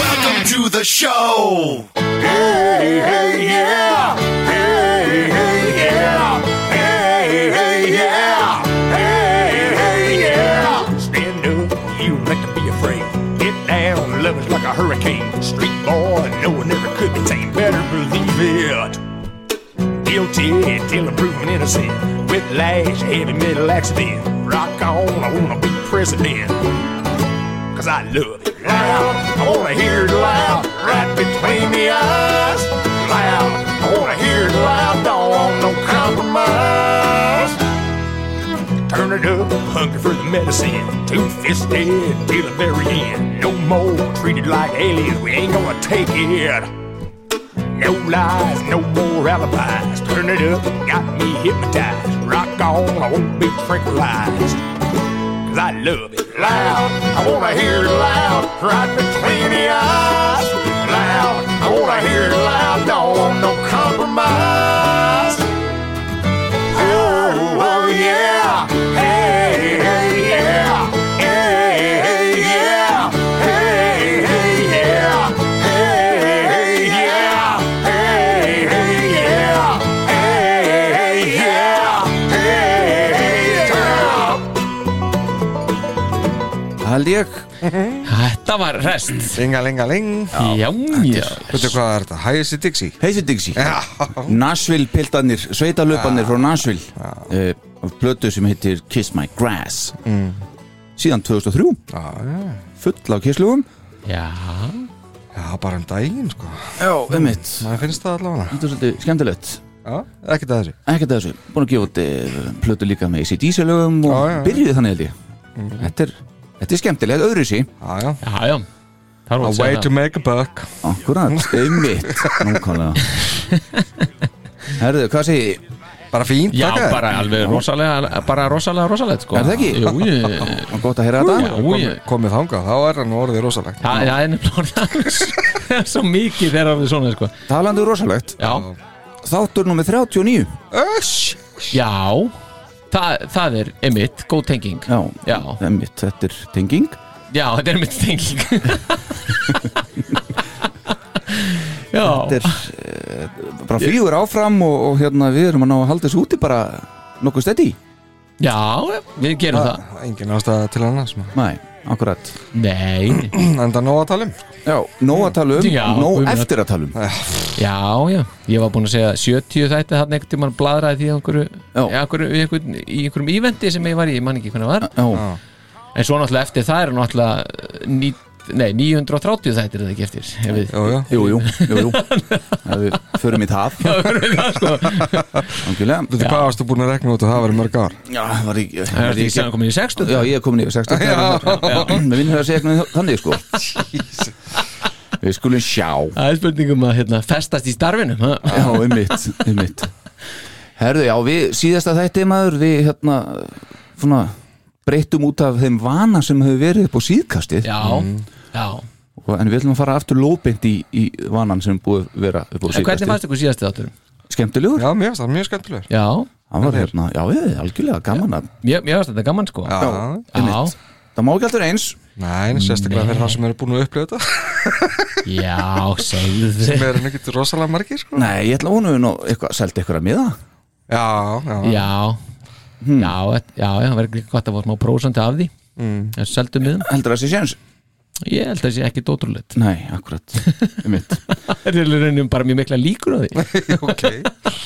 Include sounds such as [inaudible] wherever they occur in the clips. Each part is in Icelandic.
Welcome to the show. Hey, hey, yeah. Hey, hey, yeah. Hey, hey, yeah. Hey, hey, yeah. Stand up, you like to be afraid. Get down, love is like a hurricane. Street boy, no one ever could be tamed. Better believe it. Guilty till I'm proven innocent. Whiplash, heavy metal accident. Rock on, I wanna be president cause I love it loud. I wanna hear it loud, right between the eyes. Loud, I wanna hear it loud, don't want no compromise. Turn it up, hungry for the medicine. Two fisted till the very end. No more treated like aliens, we ain't gonna take it. No lies, no more alibis. Turn it up, got me hypnotized. Rock on, I won't be tranquilized. Cause I love it loud. I wanna hear it loud, right between the eyes. Loud, I wanna hear it loud, don't want no compromise. Oh, oh yeah. Hey, hey, yeah. Hey, hey, yeah. Hey, hey, yeah. Hey, hey, yeah. Hey, hey, yeah. Hey, hey, yeah. Hey, hey, yeah. held ég Þetta var rest Linga, linga, ling Já, já Veitu hvað er þetta? Hægist í Dixie Heisi Dixie Já Nashville piltarnir, sveitalöparnir frá Nashville uh, Blötu sem heitir Kiss My Grass Síðan 2003 Mm. Já, já. Full af kisslugum Já, Já, bara um daginn sko Já, um mitt Maður finnst það allavega Þetta er svolítið skemmtilegt Já, ekkert að þessu Ekkert að þessu, búin að gefa út uh, plötu líka með ACDC lögum og Já, Mm. já, já. byrjuði þannig held ég þetta, er, þetta er skemmtilegt, öðru sí Já, já já, já Það var A að way segja to það make a buck Akkurat, Mm. einmitt Nákvæmlega Herðu, hvað segi ég? Bara fínt, Já, þakka þér. bara alveg rosalega, bara rosalega rosalegt sko Er það ekki? Jú, ég Gott að heyra þetta Jú, ég Komið þangað, þá er hann orðið rosalegt Það það er nefnilega orðið alveg svo [laughs] mikið þegar orðið svona sko Talandi er rosalegt Já, Þáttur nummer 39 Öss já Það, það er emitt, góð tenging Já, Já. einmitt, þetta er tenging Já, þetta er emitt [laughs] tenging Já, Þetta er eh, bara fýgur áfram og, og hérna við erum að ná að halda þessu úti bara nokkuð steddi já, við gerum það Engin ástæða til annars maður. Nei, akkurat Nei, [clears throat] Enda nóg að tala um sko. Já, nóg að tala um, Já, nóg guð minn. eftir að tala um Já, já, ég var búinn að segja 70 þætti þarna einhvern tímann bladraði því að einhverju, Já. í einhverju, í einhverjum, í einhverjum ívendi sem ég var í, ég man ekki hvernig var Já, en svo náttúrulega eftir það er náttúrulega ní, nei, 930 þættir er það ekki eftir ef við, Jú, jú jú, jú, [laughs] jú, jú Ef Við förum í það það verður [laughs] það sko Angilega Þú hvað varstu búin að rekna út og það verið mörg ár Já, var ég, það var ég er ekki ekki sann komin í 60 Já, ég er komin yfir 16 Mér vinnur að segja eitthvað þannig [laughs] sko Við skulum sjá það er spurningum að hérna, festast í starfinu ha? Já, einmitt, einmitt Herðu, já, við síðasta þætti maður Við hérna svona, breyttum út af þeim vana sem hefur verið upp á síðkastið já, já Mm. og, En við ætlum að fara aftur lóbeint í, í vanan sem er búið að vera upp á en hvernig síðkastið fannst ykkur síðasti þáttur? Skemmtilegur? Já, mér finnst það mjög skemmtilegur já, Hann var hérna, já, við, algjörlega gaman að ég, ég varst þetta gaman sko já, Já, já, Það má ekki alltaf eins Nei, sérstaklega fyrir það sem eru búin að [laughs] upplifa þetta segðu Við þið erum ekkert rosalega margir sko. Nei, ég ætla að honum nú eitthvað, seldi eitthvað að miða Já, já, já, Hmm. já, þetta- já, já, það verður líka gott að fá smá prósandi af því mm. seldum við Heldur það sé séns? Ég held að það sé ekki dótrúleitt Nei, akkurat, einmitt [laughs] Það er í rauninni bara mjög mikla líkur á því ok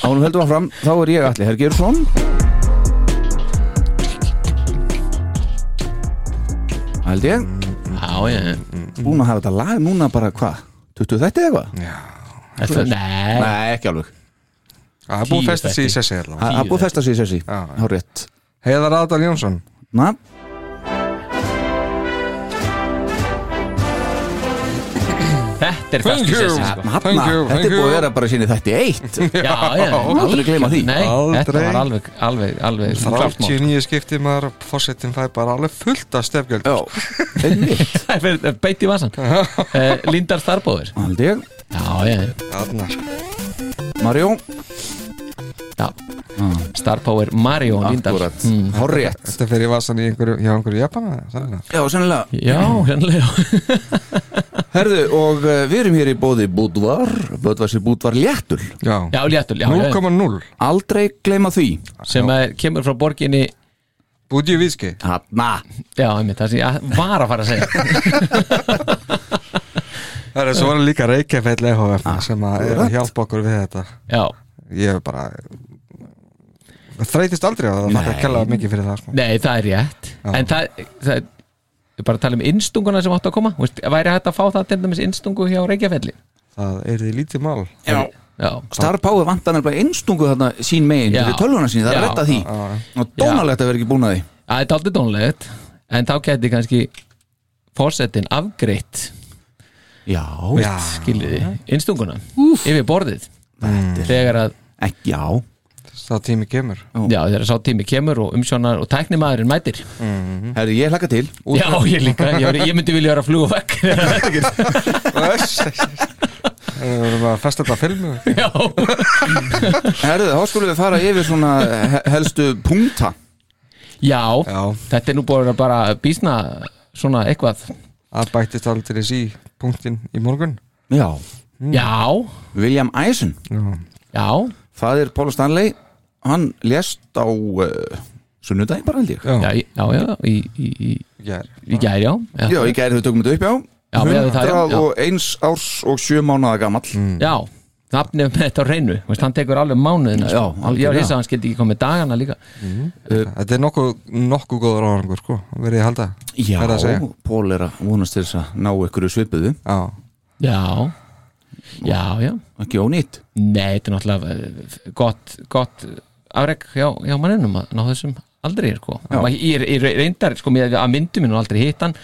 Ánum heldur áfram, þá er ég allir Hergeir Són held ég Já, já, já búin að hafa þetta lag núna bara hvað 20 þætti eða eitthvað? Þetta- Nei, Nei, ekki alveg Það er búið Tíu að festa sig í þætti. sessi allavega. Það það er búið að festa sig í sessi Já, já. Há rétt Heiðar Adal Jónsson Na, þetta er fast í sessi sko. hafna, Thank you, þetta thank er búið you. að vera bara sinni þætti eitt [laughs] Já, já, Aldrei gleyma því. Nei, þetta Aldrei. var alveg, alveg, alveg klárt [laughs] mál. 39 skipti maður Fossettin fæ bara alveg fullt af stefgjöld Já, einmitt Það er Beitt í vasan uh, Lindar Starbóður Hald ég, Já, já, Þarna sko Marjó já Starpower Mario Lindar Akkurat, há rétt Þetta fer í vasan í einhverju, hjá einhverju Japana sannlega. Já, sennilega Já, hérnlega Herðu, og uh, við erum hér í bóði Búdvar Böðvarsi Búdvar Léttul Já, Já, léttul, já, já 0,0 Aldrei gleyma því Sem að kemur frá borginni Búdju víski Hanna Já, einmitt, það sem ég var að fara að segja Það er svo var líka Reykjafell EHF sem að er að akkurat. hjálpa okkur við þetta Já, Ég er bara þreytist aldrei að það þakka að kella mikið fyrir það sko. nei, það er rétt En það, það Ég bara að tala um innstunguna sem átti að koma Þú veist, Væri hægt að fá það til dæmis innstungu hjá Reykjafelli Það er því lítið mál Já, Star Power vantar nefnilega einstungu þarna sín megin Já. fyrir tölvuna sín, það er Já. rétt að því og dónalegt að vera ekki búin að því það er daldið dónlegt En þá geti kannski Fórsetin afgreitt Já, Já, skiljiði, innstunguna Úf. yfir borðið Mm. þegar að, ekki já það tími kemur já, þegar sá tími kemur og umsjónar og tæknimaðurinn mætir Mm. Herðu, ég hlaka til já, ég líka, ég, væri- ég myndi vilja vera að fluga vekk Öss, öss, öss. Það verður bara að festa þetta að filmu [laughs] já, Herðu, þá skulum við fara yfir svona he- helstu punkta já, Já, þetta er nú búin að bara býsna svona eitthvað það bættist aldrei í punktin í morgun Já já, William Eisen, Já, já, fadir Paul Stanley hann lést á uh, sunnudaginn bara held ég Já. já, í- já, já í, í, í, ég er í gæri, já Já, ég gæri þau tökum þetta upp já Já, miðað við það, já. 101 árs og 7 mánaða gamall Mm. já nafnið með þetta á reynu, veist, hann tekur alveg mánuðina Já, alveg, já, algjörlega. þess að hann skildi ekki komið dagana líka Þetta er nokkuð, nokkuð góður árangur sko, verið ég að halda Já, Verð að segja. Paul er að vonast til þess að ná ykkur svipuðu, Já, já, já, já ekki ónýtt Nei, þetta er náttúrulega eh, gott, gott afreg hjá, hjá manninum að ná þessum aldrei sko. maður, ég, ég reyndar sko, mér að myndu minn og aldrei hitt hann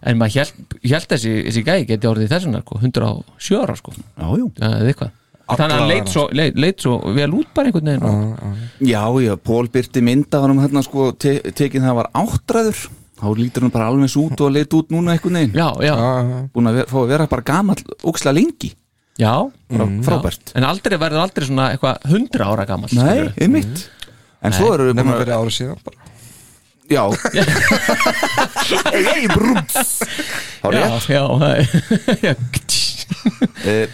en maður held, held þessi, þessi gæi geti orðið þessunar sko, 107 ára sko, Já, já eða eitthvað þannig að hann leit svo, leit, leit svo vel út bara einhvern veginn og, Já, já, Pól byrti mynda hann um hérna sko te tekið það var áttræður þá lítur hann bara alveg eins út og leit út núna einhvern veginn já, já, já, já, búin að ver- fá að vera bara gamall óksla lengi já, Frá- frábært Mm, já en aldrei verður aldrei svona eitthvað 100 ára gamall Nei, skilurðu. Mm. einmitt En svo eru við búin nema að verið árið síðan bara Já Ei, brúms Þá er já, rétt já, það er- Eh,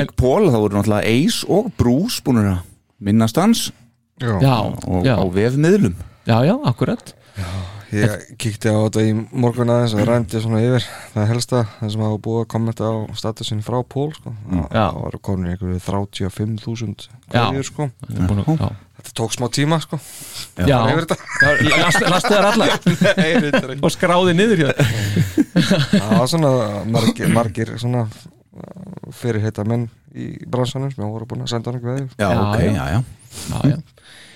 Auk Pól þá voru náttúrulega Ace og Bruce búin að minnast hans [laughs] já, og já, á vefmiðlum já, já, akkurat Ég kíkti á þetta í morgun aðeins og rændi svona yfir það helsta það sem hafa búið að kommenta á statusin frá Pól sko. Já. það var komin einhverju 35.000 Já. hverjur sko. Búinu, já. þetta tók smá tíma sko. Já, Fara yfir já þetta. lastu, lastu þær allar Nei, reyndar ekki. og skráði niður hjá þér. það var svona margir, [clears throat] margir svona fyrirheita menn í bransanum sem voru búin að senda hann eitthvað Já, Já, ok, já. já, já Já, já.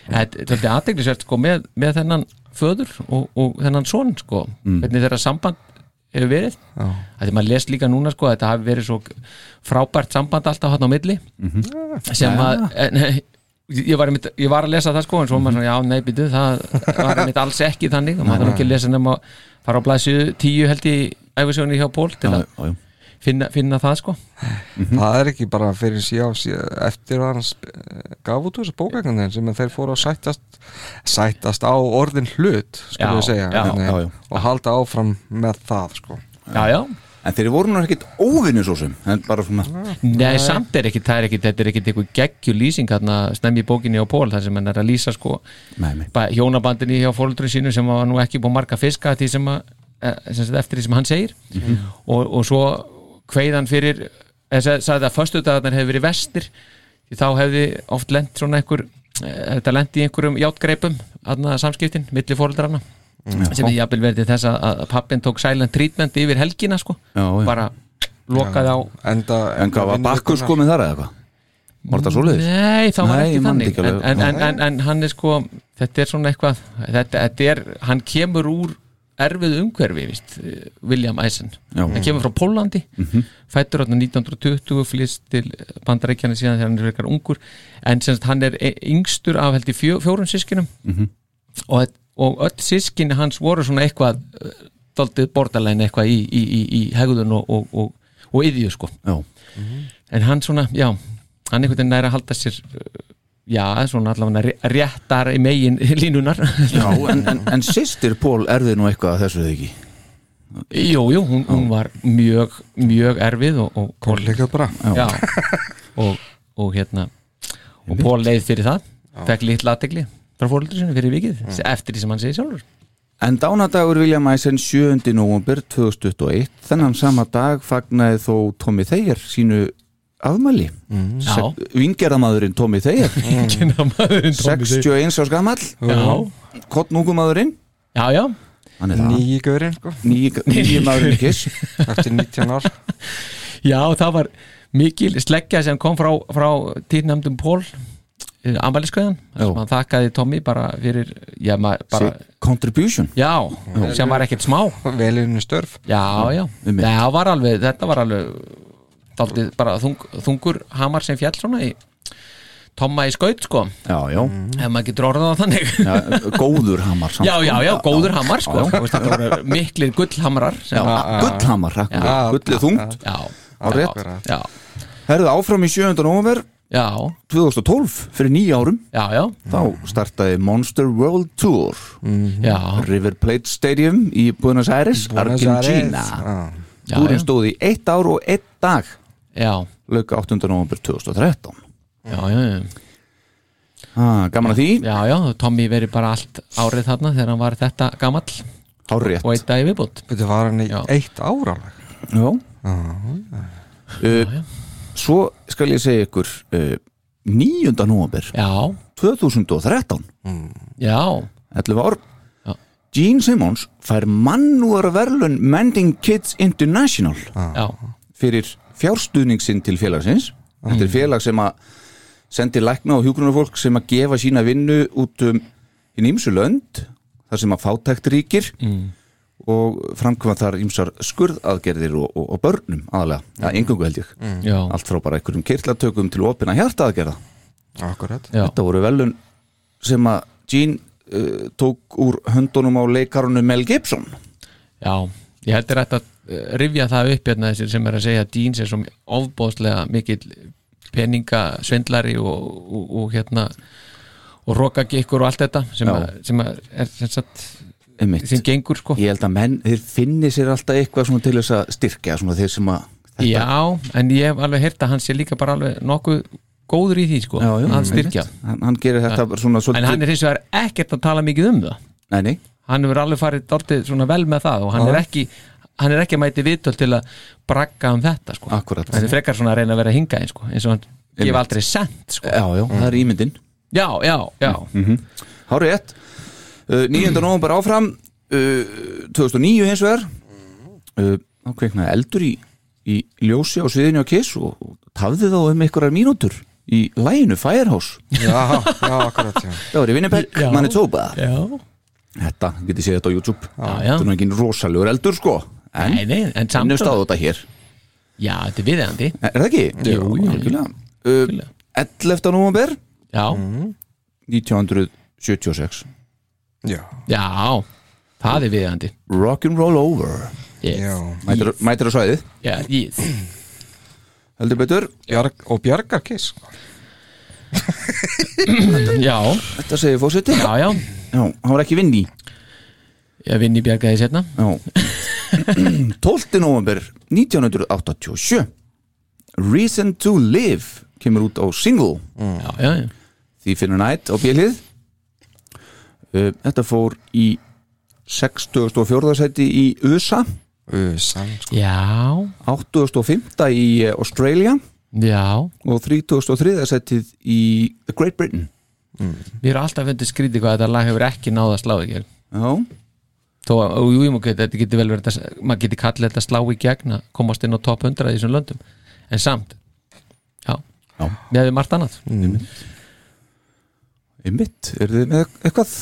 Þetta þetta er aðteglisvert sko með, með þennan föður og, og þennan son sko Mm. hvernig þeirra samband hefur verið Já. Þegar maður les líka núna sko að þetta hafi verið svo frábært samband alltaf hann á milli sem að en, ég, var einmitt, ég var að lesa það sko en svo maður svona já nei býtu það var einmitt alls ekki þannig og maður þarf ekki að lesa nema að fara á blæsju tíu held í æfisjónu hjá Pól til Já, að já, já. finna, finna það sko það er ekki bara fyrir síðan eftir að hans gaf út úr þessu bókækandinn sem að þeir fóru að sættast sættast á orðin hlut Já, skulum við segja já, hvernig, já, já. og halda áfram með það sko. já já En þeir voru nú ekkert óvinni svo sem En bara svona Nei, samt er ekki, það er ekki, þetta er ekki eitthvað geggju lýsing hérna snemmi í bókinni á Pól þar sem hann er að lýsa sko Nei, nei ba- hjónabandinni hjá fólundurinn sínu sem var nú ekki búið að marga fiska því sem að, eh, sem sagt, eftir því sem hann segir og, og svo kveiðan fyrir eða sa- sagði að föstudagarnar hefði verið vestir því þá hefði oft lent svona einhver eh, þetta lent í einhverjum játgreipum þarna samskiptin, milli fólundrarna sem ég jafnvel verið til þess að, að pappin tók silent treatment yfir helgina sko Já, já. bara lokaði á enda, En hvað var Bakkus komið þar eða eitthvað? Var það svoleiðis? Nei, það var Nei, ég ekki man þannig ekki alveg. en, en, en, en hann er sko þetta er svona eitthvað þetta, þetta er, hann kemur úr erfið umhverfi, víst, eh, William Eisen Já. Mhm. hann kemur frá Pólandi fættur hann 1920 flýst til bandarækjana síðan þegar hann er frekar ungur en sem sagt, hann er e- yngstur af held í fjó, fjórum sískinum Mhm. og, þetta- og öll sískinni hans voru svona eitthvað eh, dálítið bordalæn eitthvað í, í, í, í hegðun og, og, og, og yðju sko Já, en hann svona, já hann einhvern veginn næri að halda sér uh, já, svona allavega ré- réttar í megin [laughs] línunar já en, [laughs] en, en sýstir Pól erði nú eitthvað að þessu þau ekki jú, jú, hún, hún var mjög mjög erfið og, og, og líka bara já, og, og hérna og Pól leið fyrir það fekk litla aðtegli frá fóröldur sinni fyrir vikið eftir því sem hann segir sjálfur En dánadagur William Eisen 7. november 2021 þennan sama dag fagnaði þó Tommy Thayer sínu afmæli mm. Já. Vingerðamaðurinn Tommy [laughs] Thayer kynna maðurinn Tommy Sig. 61 á skamall já, Kottnúkumadurinn já, já, Hann er það nýji gaurinn sko, Nýjumadurinn kiss eftir 19 [laughs] ár já, það var mikil sleggja sem kom frá, frá týrnæmdum Pól amaliskveðan, Já. sem hann þakkaði Tommy bara fyrir, já, maður [laughs] bara Sitt Contribution Já, sem var ekkert smá velinu störf Já, já, einmitt. Nei, það var alveg, þetta var alveg daldið bara þung, þungur hamar sem fjall svona í Tomma í skaut sko, Já, já, ef maður getur orðað það þannig já góður hamar samt, Já, já, já, sko. góður hamar sko Já, já. Þú veist, Þetta voru miklir gullhamrar Já, sem, gullhamar, Já. akkurat. gullið þungt já, Á já, rétt. já, Herðu áfram í 7. november já, 2012 fyrir nýja árum já, já, þá startaði Monster World Tour Mhm. já, River Plate Stadium í Buenos Aires, Buenos Argentina Aires. já, Túrin já, stóð í eitt ár og eitt dag já, lauka 8. november 2013 já, já, já. ah, Gaman að því, já, já, Tommy verið bara allt árið þarna þegar hann var þetta gamall og hárétt eitt dag í viðbútt Þetta var hann í Já. eitt ár alveg Já uh, Svo skal ég segja ykkur uh, 9. november Já, 2013 já, 11 ár Já. Gene Simmons fær mannúar verðlun Mending Kids International já, fyrir fjárstuðning sinn til félagsins þetta Mm. er félag sem að sendir lækna og hjúgrunarfólk sem að gefa sína vinnu út um hinn ímsu lönd þar sem að fátækt ríkir Mm. og framkvæma þar ímsar skurðaðgerðir og, og, og börnum aðalega, ja, Mm. engungu held ég já, mm, allt frá bara einhverjum kirtlatökum til opina hjartaðgerða akkurat já. þetta voru velun sem að Gene uh, tók úr höndunum á leikarunum Mel Gibson Já, ég heldur þetta að eh, rifja það upp hérna þessir sem er að segja að Dean er svo ofbóðslega mikill peningasvindlari og, og, og hérna og rokagikkur og allt þetta sem, Já. að, sem að er sem, sagt, Einmitt. sem gengur sko ég held að menn, þeir finni sér alltaf eitthvað svona til þess að styrkja svona þeir sem að þetta Já, en ég hef alveg heyrt að hann sé líka bara alveg nokkuð góður í því sko já, já, að styrkja einmitt. hann, hann gerir þetta bara svona En svolítið hann er eins og er ekkert að tala mikið um það nei, nei, hann hefur alveg farið dálítið svona vel með það og hann er ekki hann er ekki að mæti viðtöl til að bragga um þetta sko. Akkúrat. hann er frekar svona að reyna að vera hinga eins, sko. eins og hann gefa aldrei sent sko. já, Mm. já, það er ímyndin já, já, já, hárið ett uh, 9. november áfram uh, 2009 hins vegar uh, þá kveiknaði eldur í, í ljósi á sviðinu á Kiss og, og tafði þá um einhverjar mínútur í læginu Firehouse Já, já, akkurat já. það var í Winnipeg, Já. Manitoba já. þetta, getið séð þetta á YouTube Já, já. þetta er nú ekki rosalegur eldur sko en, Nei, nei, en samt ennum stáðu þetta hér já, þetta er viðeigandi er það ekki? Jú, jú. algjörlega. uh, 11. november já, Mm. 1976 Já, já, það er viðeigandi Rock'n'Roll Over já. yes. mætir, mætir á svæðið, já, yes. heldur betur Bjarg, og Bjargar Kiss sko. já, þetta segir fórseti já, já Já, hann var ekki vinn í ég vinn í bjargaði setna Já. [clears throat] 12. november 1987 Reason to Live kemur út á single já, já, já, því finnur nætt á bjölið þetta fór í 64. seti í USA Usan, sko. já, 85. í eh, Australia já. og 33. setið í The Great Britain mér er alltaf fundið skrítið hvað þetta lag hefur ekki náða að slá ekki Já þó að, og jú, ég má geta, þetta geti vel verið að, maður geti kallið þetta slá í gegna komast inn á top 100 í þessum löndum en samt, já, Já. með við margt annað Einmitt, eru þið með eitthvað?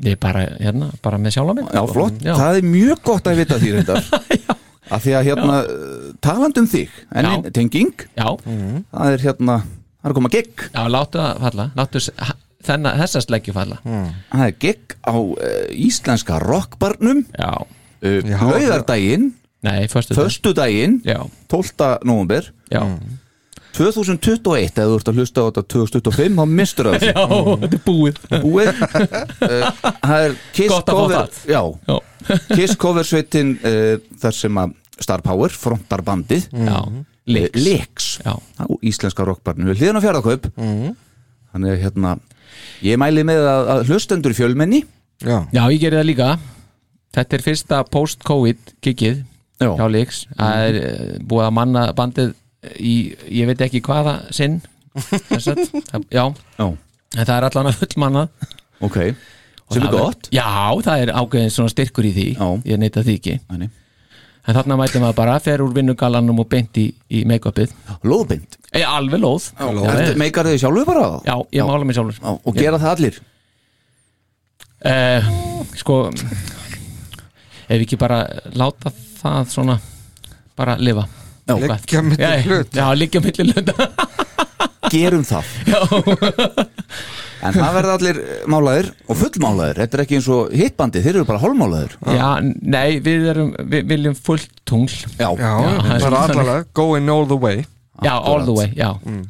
ég er bara, hérna, bara með sjálfa mig Já, flott, já, það er mjög gott að vita því reyndar [laughs] Af því að hérna, já. taland um þig En Já. ein- tenging, já, það er hérna Það er að koma gig já, láttu það falla láttu s- ha- þennan, þessa sleggju falla Mm. Það er gig á uh, íslenska rockbarnum já, uh, Já. Laugardaginn, nei, föstu föstudaginn já, 12. november já, Mm. 2021, ef þú ert að hlusta á þetta 2025, þá mistur það já, [laughs] þetta er búið búið uh, það er Kiss Gott að fá cover það. já, já, Kiss cover sveitin uh, þar sem að Star Power frontar bandið já, Mm. Lix, leiks já, á íslenska rockbarnu við hliðan á fjárðakaup þannig að hérna ég mæli með að, að hlustendur í fjölmenni já, já, ég gerði það líka þetta er fyrsta post-covid gigið já, Mhm. hjá Líks það er eh, búið að manna bandið í ég veit ekki hvaða sinn sem sagt. Það- já, já, en það er allan að full manna ok sem er gott já, það er ágæðin svona styrkur í því Já. ég neita því ekki Þannig. en þarna mætum við bara fer úr vinnugallanum og beint í, í make-upið lóðbind, e, alveg lóð já, Ertu- ég- meikar þið sjálfu bara já, ég mála mig sjálfur Já, og gera það allir Eh, sko ef ekki bara láta það svona bara lifa Já. Liggja milli Já, já, hluta. já, liggja milli hlut [laughs] gerum það en það verða allir eh, málaðir og fullmálaðir, þetta er ekki eins og hittbandi, þeir eru bara hálmálaðir Já, nei, við erum við viljum fullt tungl já, já, það er bara þannig. allalega going all the way Já, all the way, já Mm.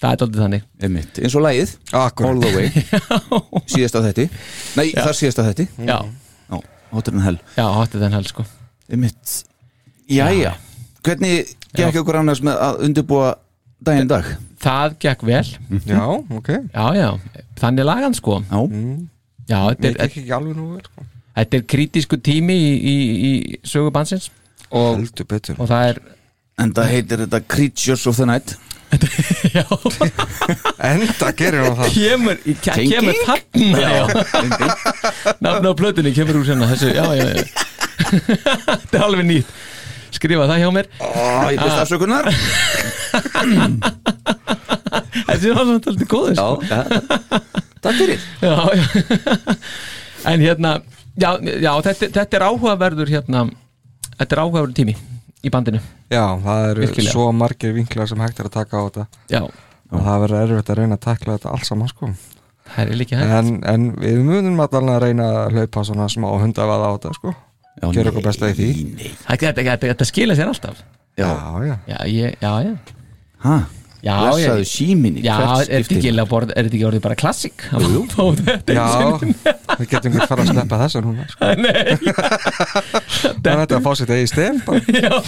Það er daldið þannig Einmitt. eins og lægið All akkurat, the way Síðasta þetti Nei, þar síðasta þetti Mm. Já, Já, Hotter en hell já, hóttið þenn helst sko Einmitt Jæja Hvernig gekk okkur annars með að undirbúa daginn í dag? Það gekk vel, já, ok já, já Þannig lagan sko Já, Já, þetta Mér er, gekk ekki alveg nú vel sko. þetta er kritísku tími í, í, í sögu bansins og, heldur betur og það er en það heitir þetta Creatures of the Night Já, enda gerir hún það [laughs] kemur, í- ke- Tenging? kemur þarna Já, nafn á plötunni kemur úr senna þessu, já, já, [laughs] já Þetta er alveg nýtt Skrifa það hjá mér Ó, ég byrst afsökunar Þetta er alveg alltaf góður Já, sko. ja. takk fyrir já, já. [laughs] en hérna já, já þetta, þetta er áhugaverður hérna, þetta er áhugaverður tími í bandinu já, það eru Virkilega. svo margir vinklar sem hægt er að taka á þetta já, og það verður erfitt að reyna að takla þetta alls saman sko. það er líka hægt en, en við munum allan að reyna að hlaupa svona smá hundavaða á þetta sko. Já, gera okkur besta í því þetta, þetta, þetta, þetta skila sér alltaf Já, já, já, já, ég, já, já hæ, Já, blessaðu ég- síminni Já, er þetta ekki, eiginlega borð- er þetta ekki orðið bara klassik? Jú, þetta já einu sinni? við getum ekki fara að sleppa þessu núna sko. [laughs] Nei, þannig að þetta er að fá sitt eigi stef bara.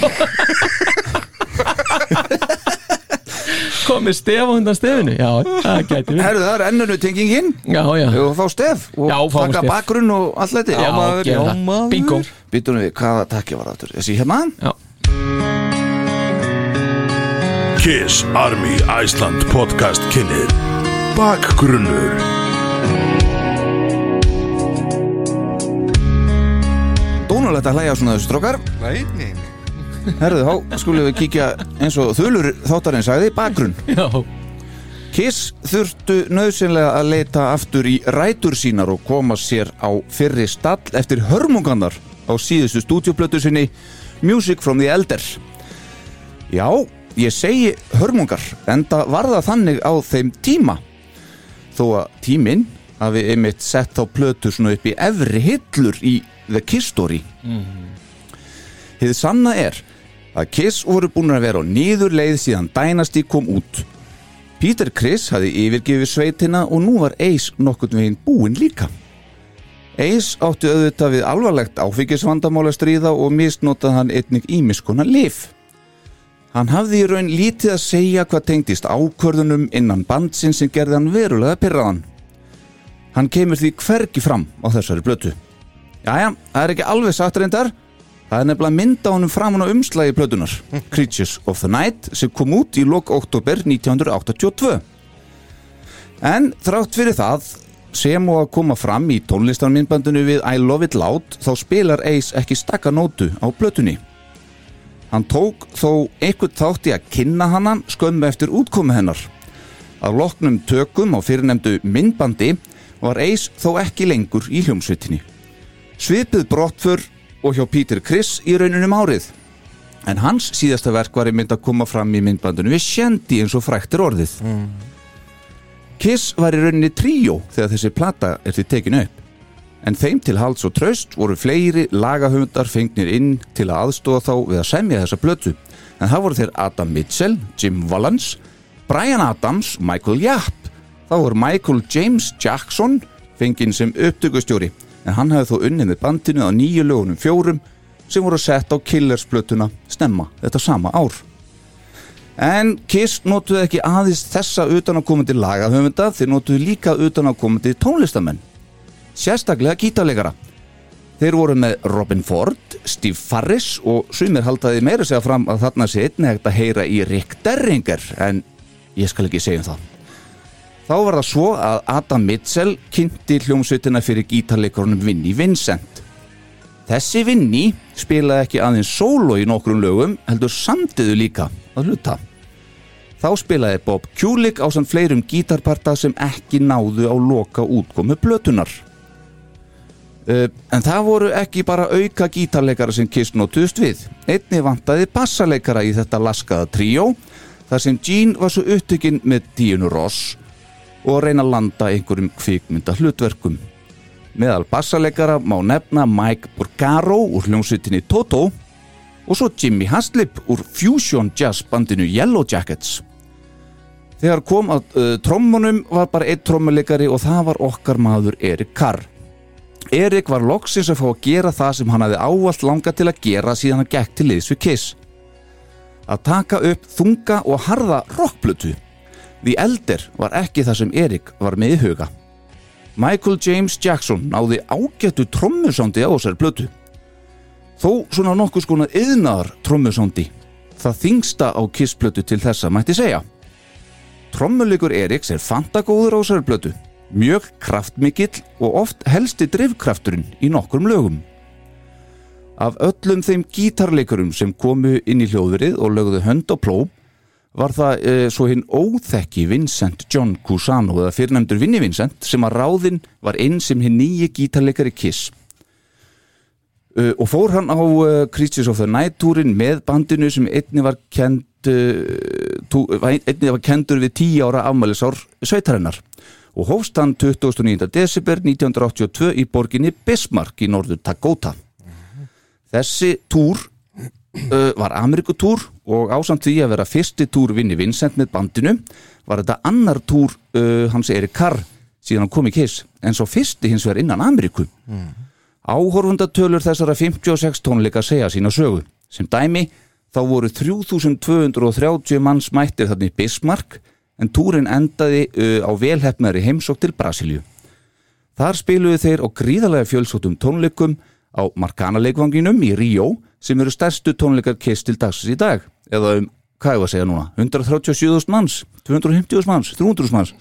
komið stef á hundan stefinu Já, það gæti við Herðu, það er ennunu tengingin Já, já, Hefur að fá stef og Já, fáum taka stef. bakgrunn og allt þetta já, maður, gerum já, það. maður. Bingo Býtum við, hvaða takki var aftur? Þessi hérna? Já, Kiss Army Iceland podcast kynir Bakgrunnur Dónulegt að hlæja svona þessu strókar Nei, nei, nei. Herðu, þá skulum við kíkja eins og þulur þáttarinn sagði, bakgrunn já, Kiss þurftu nöðsynlega að leita aftur í rætur sínar og koma sér á fyrri stall eftir hörmungannar á síðustu stúdíuplötu sinni Music from the Elder Já, ég segi hörmungar enda var það þannig á þeim tíma þó að tíminn hafi einmitt sett þá plötu svona upp í efri hillur í The Kiss Story Hið sanna er að Kiss voru búin að vera á nýður leið síðan Dynasty kom út Peter Criss hafði yfirgefið sveitina og nú var Ace nokkurn veginn búinn líka. Ace átti auðvitað við alvarlegt áfengisvandamál að stríða og misnotaði hann einnig ímiskona lif. Hann hafði í raun lítið að segja hvað tengdist ákvörðunum innan bandsinn sem gerði hann verulega pyrraðan. Hann kemur því hvergi fram á þessari blötu. Jæja, það er ekki alveg satt reyndar. Það er nefnilega mynd á honum framan á umslagi plötunar, Creatures of the Night, sem kom út í lok oktober 1982. En þrátt fyrir það sem og að koma fram í tónlistarminnbandinu við I Love It Loud þá spilar Ace ekki stakka nótu á blötunni. Hann tók þó einhvern þátt í að kynna hannan skömmu eftir útkomu hennar. Af loknum tökum á fyrirnemdu myndbandi var Ace þó ekki lengur í hljómsveitinni. Svipið brottför og hjá Peter Criss í rauninum árið. En hans síðasta verk var í mynd að koma fram í myndbandinu við Shandy eins og fræktir orðið. Kiss var í rauninni tríó þegar þessi plata er því tekinu upp. En þeim til halds og tröst voru fleiri lagahöfundar fengnir inn til að aðstóða þá við að semja þessa blötu. En það voru þeir Adam Mitchell, Jim Valance, Brian Adams, Michael Japp. Þá voru Michael James Jackson fenginn sem upptökustjóri. En hann hefði þó unnið með bandinu á nýju lögunum fjórum sem voru sett á Killers blötuna stemma þetta sama ár. En Kiss notuðu ekki aðeins þessa utanakomandi lagahöfunda, þeir notuðu líka utanakomandi tónlistamenn. Sérstaklega gítarleikara. Þeir voru með Robin Ford, Steve Farris og sumir haldaði meira segja fram að þarna sé einnig hægt að heyra í Rick Derringer, en ég skal ekki segja um það. Þá var það svo að Adam Mitchell kynnti hljómsveitina fyrir gítarleikarunum Vinnie Vincent. Þessi vinni spilaði ekki aðeins sóló í nokkrum lögum, heldur samtiðu líka að hluta. Þá spilaði Bob Kulik á samt fleirum gítarparta sem ekki náðu á loka útkomu blötunar. Uh, en það voru ekki bara auka gítarleikara sem Kiss notuðust við. Einni vantaði bassaleikara í þetta laskaða tríó, þar sem Gene var svo upptökinn með Díunu Ross og að reyna að landa einhverjum kvikmynda hlutverkum. Meðal bassaleikara má nefna Mike Borgaro úr hljómsveitinni Toto og svo Jimmy Haslip úr Fusion Jazz bandinu Yellow Jackets. Þegar kom að uh, trommunum var bara einn trommuleikari og það var okkar maður Erik Carr. Erik var loksins að fá að gera það sem hann hafði ávallt langa til að gera síðan hann gekk til liðs við Kiss. Að taka upp þunga og harða rockblötu. Því eldir var ekki það sem Erik var með í huga. Michael James Jackson náði ágættu trommusándi á þessar blötu. Þó svona nokkuð skona yðnar trommusándi. Það þingsta á kissblötu til þessa mætti segja. Trommuleikur Eriks er fantagóður á þessar blötu, mjög kraftmikill og oft helsti drifkrafturinn í nokkrum lögum. Af öllum þeim gítarleikurum sem komu inn í hljóðrið og lögðu hönd á pló var það e, svo hinn óþekki Vincent John Cusano eða fyrrnefndur Vinni Vincent sem að ráðinn var inn sem hinn nýji gítarleikari Kiss e, og fór hann á e, Creatures of the Night túrin með bandinu sem einni var kend e, tú, einni var kendur við 10 ára afmælisár sveitarinnar og hófst hann 29. desember 1982 í borginni Bismarck í norður Dakota þessi túr uh, var Amerikutúr og ásamt því að vera fyrsti túr vinni Vincent með bandinu var þetta annar túr uh, hans Erik Carr síðan hann kom í Kiss en svo fyrsti hins vegar innan Ameriku mm. áhorfundatölur þessara 56 tónleika segja sína sögu sem dæmi þá voru 3230 manns mættir þarna í Bismarck en túrin endaði uh, á velhefnari heimsók til Brasilíu þar spiluðu þeir á gríðalega fjölsóttum tónleikum á Markana-leikvanginum í Ríó sem eru stærstu tónleikar Kiss til dagsins í dag eða um, hvað ég var að segja núna 137.000 manns, 250.000 manns 300.000 manns,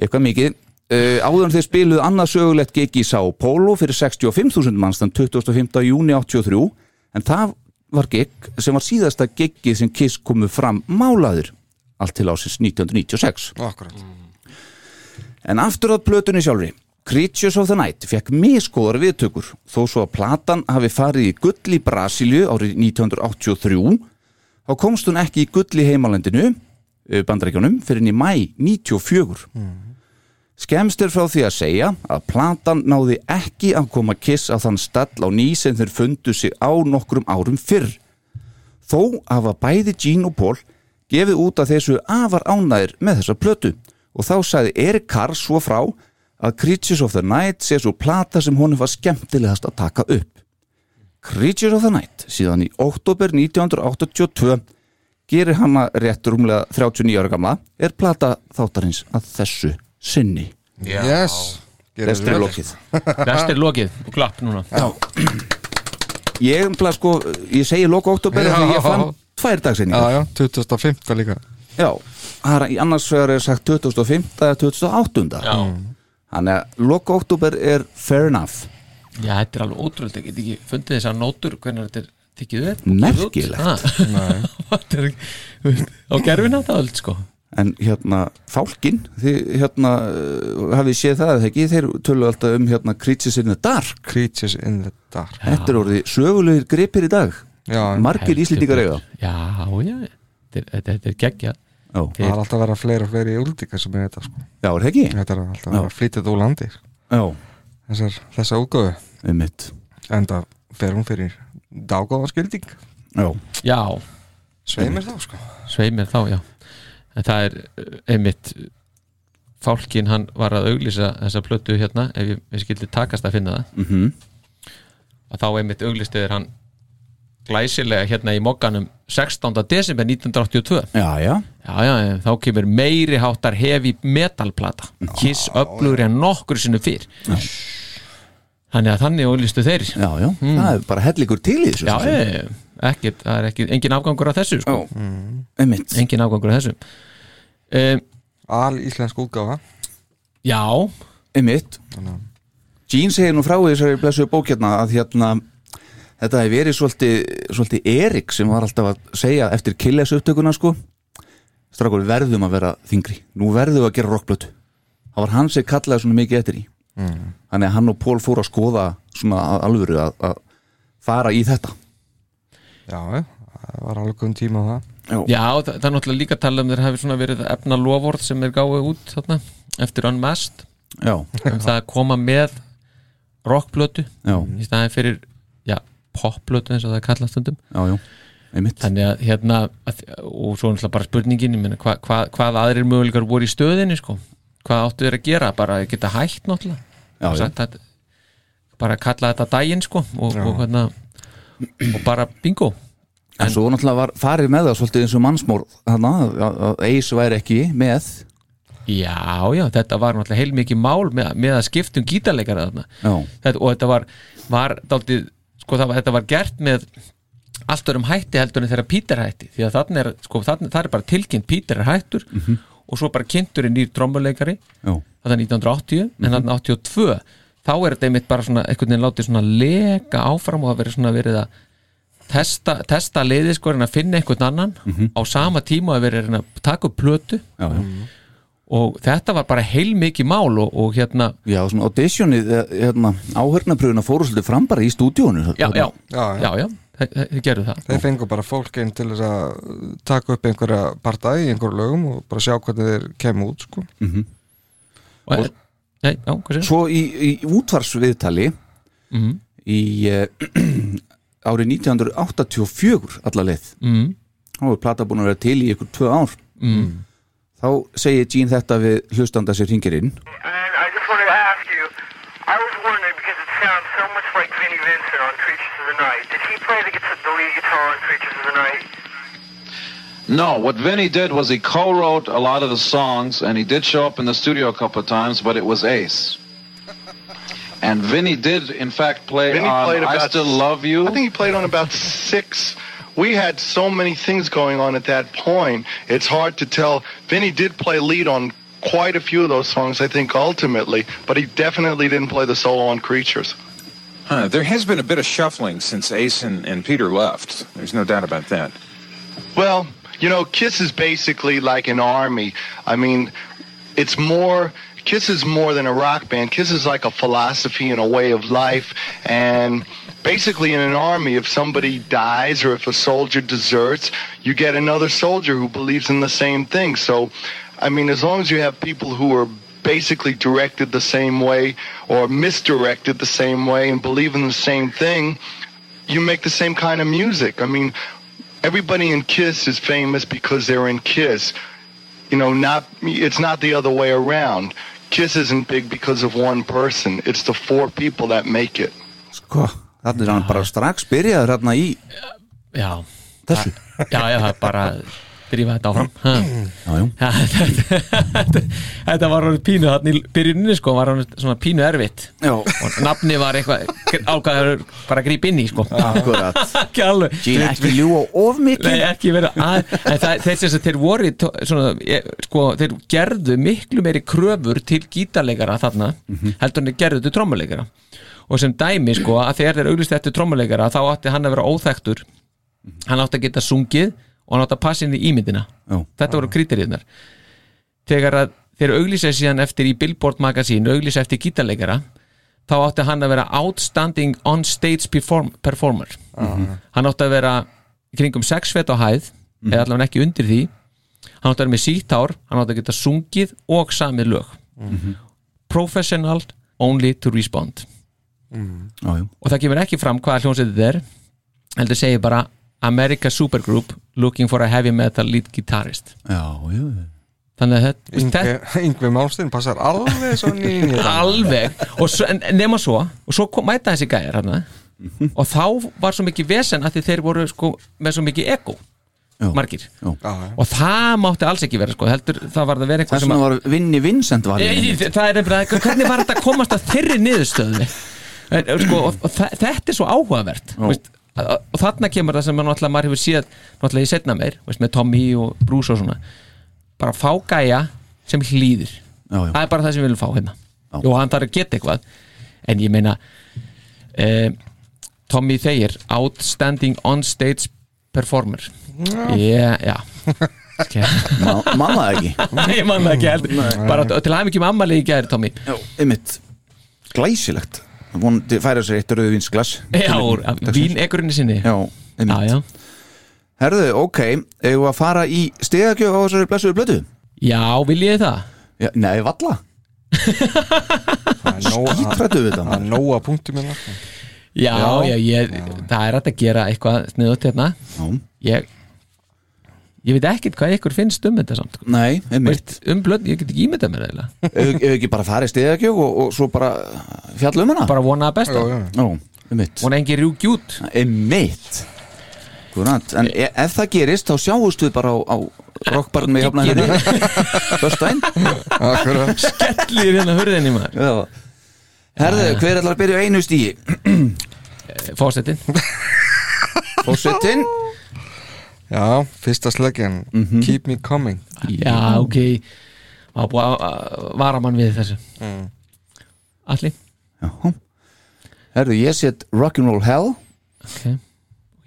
eitthvað mikið uh, áður en þeir spiluðu annað sögulegt gig í São Paulo fyrir 65.000 manns þann 25. júni 83 en það var gig sem var síðasta gigið sem Kiss komu fram málaður allt til ásins 1996 Akkurat En aftur að plötunni sjálfri Creatures of the Night fekk miskóðar viðtökur þó svo að platan hafi farið í gull í Brasilju árið 1983 þá komst hún ekki í gull í eh, heimalendinu bandarækjunum fyrir enn í mæ 94 Skemst er frá því að segja að platan náði ekki að koma kiss á þann stall á ný sem þeir fundu sig á nokkrum árum fyrr Þó hafa bæði Gene og Paul gefið út að þessu afar ánæðir með þessa plötu og þá sagði Erik Carr svo frá að Creatures of the Night sé svo plata sem honum var skemmtilegast að taka upp. Creatures of the Night síðan í oktober 1982 gerir hana rétt rúmlega 39 ára gamla er plata þáttarins að þessu sinni. Yes Gerir Restur vel. er lokið. Rest er lokið og klapp núna Ég, umtla, sko, ég segi loka oktober Já. þegar ég fann tvær Já, dagsinningar. já, 2005 líka Já, það er annars vegar er sagt 2005 eða 2008. Já. Þannig að loka oktober er fair enough Já, þetta er alveg ótrúlega, ég get ekki fundið þessar nótur hvernig þetta er tekið upp Ah. Merkilegt. [laughs] Merkilegt Á gerfina það öll sko En hérna, fálkin þið hérna, eh, hafið séð það eða ekki, þeir tölu alltaf um hérna Creatures in the Dark Creatures in the Dark Þetta er orðið sögulegir gripir í dag Já, Margir íslendingar eiga Já, já, þetta er, þetta- þetta er geggja Já, það er alltaf að vera fleiri og fleiri úldingar sem er þetta sko. já er það ekki? þetta er alltaf að vera flytjað úr landi sko. Já, Þessar, þessa útgöfu um en það fer hún fyrir dágóða skilding Já, Já, sveimir þá sko. sveimir þá, já En það er eh, einmitt fálkin hann var að auglýsa þessa plötu hérna, ef ég, ég skildi takast að finna það mhm að þá einmitt auglýstuður hann glæsilega hérna í mokkanum 16. desember 1982 já, já Já, já, en þá kemur meiri háttar heavy metalplata Kiss öflugur en nokkur sinni fyrr Þannig að þannig ólýstu þeir Já, Já, já, það er bara hellingur til í þessu já eh, ekkert, það er ekki, engin afgangur á þessu sko. um Engin afgangur á þessu um, al íslensk útgáfa Já, Einmitt Jean segir nú frá í þessari blessuðu bók hérna að hérna þetta hefur verið svolítið, svolítið Erik sem var alltaf að segja eftir Killes upptökuna sko strákur við verðum að vera þingri nú verðum við að gera rockblötu það var hann sem kallaði svona mikið eftir í þannig að hann og Pól fór að skoða svona að alvöru að, að fara í þetta já, já, það var alveg um tíma á það já, það, það er náttúrulega líka talað um þeir hafi svona verið að efna loford sem þeir gáu út þarna, eftir Unmasked Já, um það að koma með rockblötu já, í staðin fyrir, já, popblötu eins og það er kallast stundum já, já einmitt þannig að hérna að, og svo náttúrulega bara spurningin ég meina, hva, hva, hvað aðrir möguleikar voru í stöðinni sko? hvað áttu þeir að gera bara að geta hægt náttúrulega Já, já. Sagt, að, bara að kalla þetta daginn sko, og, og, hérna, og bara bingo En svo náttúrulega var farið með það svolítið eins og mannsmór þannig að, að- að Ace væri ekki með já já þetta var náttúrulega heilmikið mál með, með að skiptum gítarleikara þarna Já, þetta, og þetta var, var daldið, sko, það, var- þetta var gert með allt örum hætti heldur en þegar Peter hætti því að þannig er, sko, þannig, það er bara tilkynnt Peter er hættur og svo bara kynntur í nýr trommuleikari já, þetta er 1980 en þarna 82 þá er þetta einmitt bara svona einhvern veginn látið svona leka áfram og það verið svona verið að testa, testa liðið sko en að finna einhvern annan á sama tíma að verið að taka upp plötu já, já. og þetta var bara heilmikið mál og, og hérna Já, svona auditionið, eh, hérna, áhörnapröfuna fóru svolítið fram bara í stúdíónu já, já, Já, já. já, já, þe- þe- þið gerðu það þeir fengu bara fólk inn til þess að taka upp einhverja parta í einhverju lögum og bara sjá hvernig þeir kemur út sko. og, nei, já, hvað séu? Svo í, í útvarsviðtali í uh, [clears throat] árið 1984 alla leið Mm, þá er plata búin að vera til í ykkur tvö ár Mhm. mm. þá segir Gene þetta við hlustanda sér hringir inn And I just wanted to ask you, I was wondering because it sounds so much like Vinnie Vincent on Creatures of the Night. Did he play the, guitar, the lead guitar on Creatures of the Night? No, what Vinny did was he co-wrote a lot of the songs, and he did show up in the studio a couple of times, but it was Ace. And Vinny did, in fact, play Vinny on played Um, "I about- Still Love You." I think he played on about six. We had so many things going on at that point. It's hard to tell. Vinny did play lead on quite a few of those songs, I think, ultimately, but he definitely didn't play the solo on Creatures. Huh, there has been a bit of shuffling since Ace and, and Peter left. There's no doubt about that. Well, you know, Kiss is basically like an army. I mean, it's more. Kiss is more than a rock band. Kiss is like a philosophy and a way of life. And basically, in an army, if somebody dies or if a soldier deserts, you get another soldier who believes in the same thing. So, I mean, as long as you have people who are basically directed the same way or misdirected the same way and believe in the same thing, you make the same kind of music. I mean, everybody in Kiss is famous because they're in Kiss. You know, not it's not the other way around. Kiss isn't big because of one person. It's the four people that make it. sko, þannig er hann bara strax byrjaður hérna í já, þessu já, já, það er bara drífa þetta áfram Ha. Já, jú. Ha, [laughs] þetta- Þetta var hann pínu hann í byrjuninni sko, var hann svona pínu erfitt Já. og nafni var eitthvað ákvæður bara að grípa inn í sko Akkurat. [laughs] [laughs] Ekki alveg Gene, ekki ljúga of mikið Nei, ekki vera að En það, þeir sem sagt, þeir voru í tó- svona, eh, sko, þeir gerðu miklu meiri kröfur til gítarleikara þarna heldur en þeir gerðu til trommuleikara og sem dæmi sko að þegar þeir auglist eftir trommuleikara þá átti hann að vera óþektur hann átti að geta sungið og hann átti að passa inn í ímyndina Já. þetta voru krítirinnar þegar að þeir auglýsa síðan eftir í Billboard magasín auglýsa eftir gítarleikara þá átti hann að vera outstanding on stage perform performer Mhm. hann átti að vera í kringum 6 fett á hæð eða allavega ekki undir því hann átti að vera með sítt hár hann átti að geta sungið og samið lög Mhm. professional only to respond Já, jú. og það kemur ekki fram hvaða hljómsveit þetta er heldur segir bara America Supergroup looking for a heavy metal lead guitarist Já, jú, jú. þannig að þetta [laughs] Yngve Málstein passar alveg svo nýjum alveg og svo, en, en nema svo og svo kom, mæta þessi gæjar hann Mhm. og þá var svo mikið vesen að því þeir voru sko, með svo mikið ego margir og það mátti alls ekki vera sko, heldur það var það verið eitthvað Þess vegna var Vinni Vincent valið Nei, einmitt. það er nefnilega, hvernig var þetta að komast að þeirri niðurstöðu En, sko, og, og þa- þetta er svo áhugavert Já. veist, að- að- og þarna kemur það sem að náttúrulega maður hefur séð náttúrulega í setna meir, veist, með Tommy og Bruce og svona bara fá gæja sem hlýðir Já, já. það er bara það sem við viljum fá hérna og hann þarf að geta eitthvað en ég meina eh, Tommy Thayer Outstanding On Stage Performer Já. yeah, [laughs] já Ma- man það ekki. Nei, man það ekki heldur Nei. Bara til aðeins ekki með ammali í gæri, Tommy Já, einmitt Glæsilegt Vonandi færa sér eitt rauðvinsglas Já, vínekurinn sinni Já, einmitt já, já. Herðu, ok, eigum við að fara í stegagjöf á þessari blessuðu blödu? Já, viljið þið það? Já, nei, valla Skítrættu við það Nóa punktum hérna Já, Já. já, ég, það er hægt að gera eitthvað sniðut hérna ég, ég veit ekkert hvað ykkur finnst um þetta samt sko. Nei, einmitt Veist, Um blöð, ég get ekki ímyndað mér eiginlega Ef ef ekki bara farið stegagjöf og, og svo bara fjalla um hana Bara vona að besta Já, einmitt Vona engi rjúki út Einmitt Kurant, en e- ef það gerist þá sjáumst við bara á, á rockbarn með hafna hérna Föstudaginn Skellir hérna hurðinni maður Já Herðu, hver ætlar að byrja á einu stíi? Fósettin Fósettin Já, fyrsta sleggjan Keep me coming Já, ok Má búið að- að vara mann við þessu Alli Herðu, ég set Rock'n'Roll Hell Ok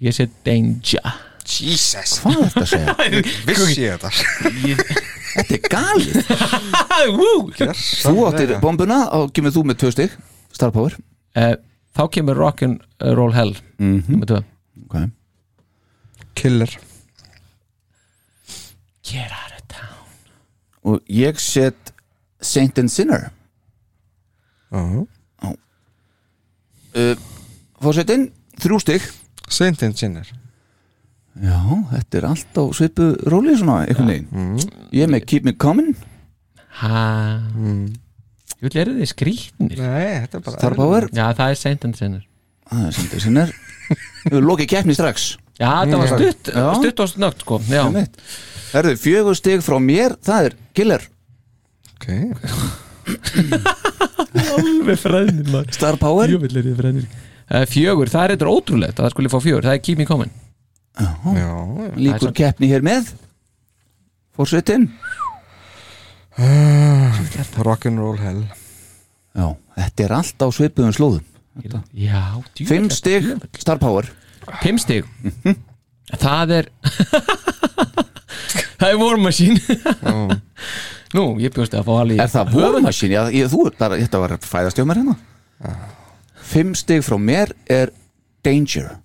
Ég set Danger Jesus Hvað er þetta að segja? Vissi ég þetta [laughs] Þetta er galið Woo. Þú áttir bombuna og kemur þú með tvö stygg Star Power Eh, Þá kemur Rock'n'Roll Hell Mm. Mhm, Númer tvö. okay. Killer Get out of town Og ég set Saint and Sinner uh -huh. uh, Fósettin, þrjú stygg Saint and Sinner Já, þetta er allt á svipu rólið svona einhvern veginn Ég er með Keep Me Coming Ha Jú, eru þið skrýtnir Nei, þetta er bara Star Power Já, það er Saint and Sinner Það er Saint and [laughs] Sinner Við höfum lokið keppni strax Já, þetta var Já. stutt, Já. stutt og snögt sko Já, Einmitt. Herðu, fjögur stig frá mér, það er Killer Ok alveg fræðnir maður Star Power Jú, vil eru þið fræðnir Eh, Fjögur, það er eitthvað ótrúlegt að það skulle fá fjögur Það er Keep Me Coming Já Líkur Það keppni hér með Fórsetin Rock'n'roll hell Já, þetta er allt á svipuðum slóðum Já, Fimm stig, Star Power Fimm stig [laughs] Það er [laughs] Það er War Machine Nú, ég bjóst að fá alveg Er það vormaskin? Já, ég, þú, það, þetta var að fæðast hjá mér hérna Ah. Fimm stig frá mér er Danger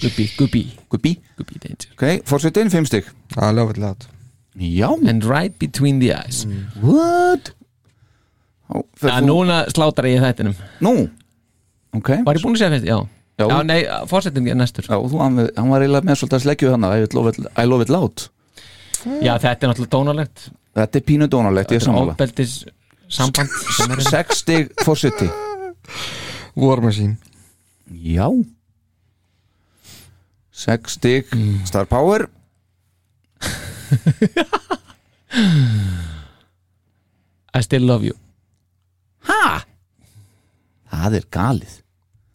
Gubbi, gubbi Gubbi Gubbi danger Ok, fórsetin, fimm stig I love it loud Já And right between the eyes What? Ó, fer Já, þú- núna slátar ég þættinum Nú, ok Var ég búin að segja fyrst? Já Já. Ah. Já, nei, fórsetin er næstur Já, þú, hann, hann var eiginlega með svolítið að sleggju hann I love it, I love it loud Já, þetta er náttúrulega dónalegt Þetta er pínu dónalegt, ég er Þetta er sammála ofbeldis samband sem er- Sex stig fórseti War Machine Já Mm. Sex stig Star Power I still love you Ha? Það er [laughs] galið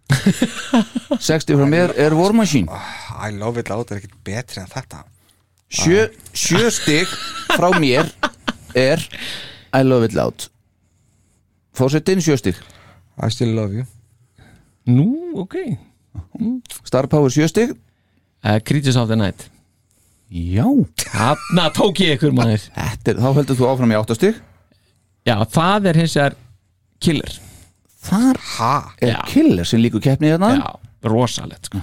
60 frá mér er War Machine I love it out er ekkert betri en þetta Sjö, sjö stig frá mér er I love it loud Fórsetin sjö stig I still love you Nú, ok Star Power sjö stig uh, Creatures of the Night Já Þarna tók ég ykkur maður Þetta, er- Þá heldur þú áfram í átta stig Já, það er hins vegar killer Þar ha? er killer sem líku keppni hérna Já, rosalegt sko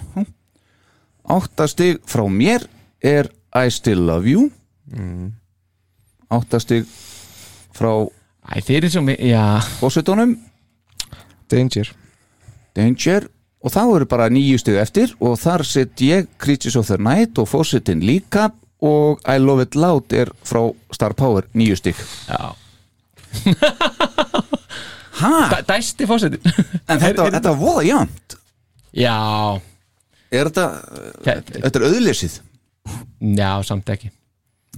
Átta stig frá mér er I still love you Átta stig frá Æ, þeir eru svo mér, já Fórsetunum Danger Danger og þá eru bara nýju stig eftir og þar set ég Creatures of the Night og Fawcettin líka og I Love It Loud er frá Star Power nýju stig [laughs] Já Hæ? Dæ- Dæsti fósitin En þetta, þetta var voða jæmt [laughs] Já, Er þetta, Þetta- þetta er auðlýsið já, samt ekki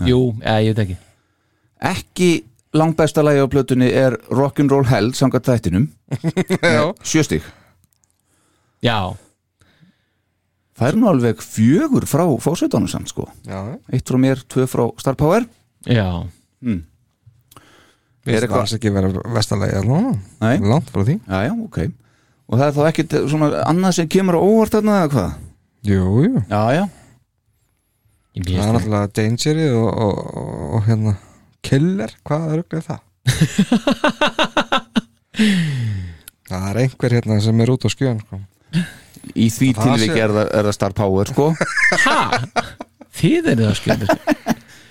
Jú, eða, ég veit ekki Ekki langbæsta lagi á plötunni er Rock'n'Roll Hell samkvæmt þættinum Já. Sjö stig Já, Það er nú alveg fjögur frá Fawcettunum samt sko Já, Eitt frá mér, tvö frá Star Power já við Er erum eitthvað- alls ekki verið vestalegi alveg Nei langt frá því Já, já, ok Og það er þá ekkert eh, svona annað sem kemur á óvart þarna eða hvað? Jú, jú, Já, já það Ég veist er það náttúrulega danger og, og, og, og hérna killer, hvað er [laughs] auðvitað það? það er einhver hérna sem er út á skjön sko. Í því Það tilviki sé- er, það- er það star power sko Ha? Þið eru það skjöndur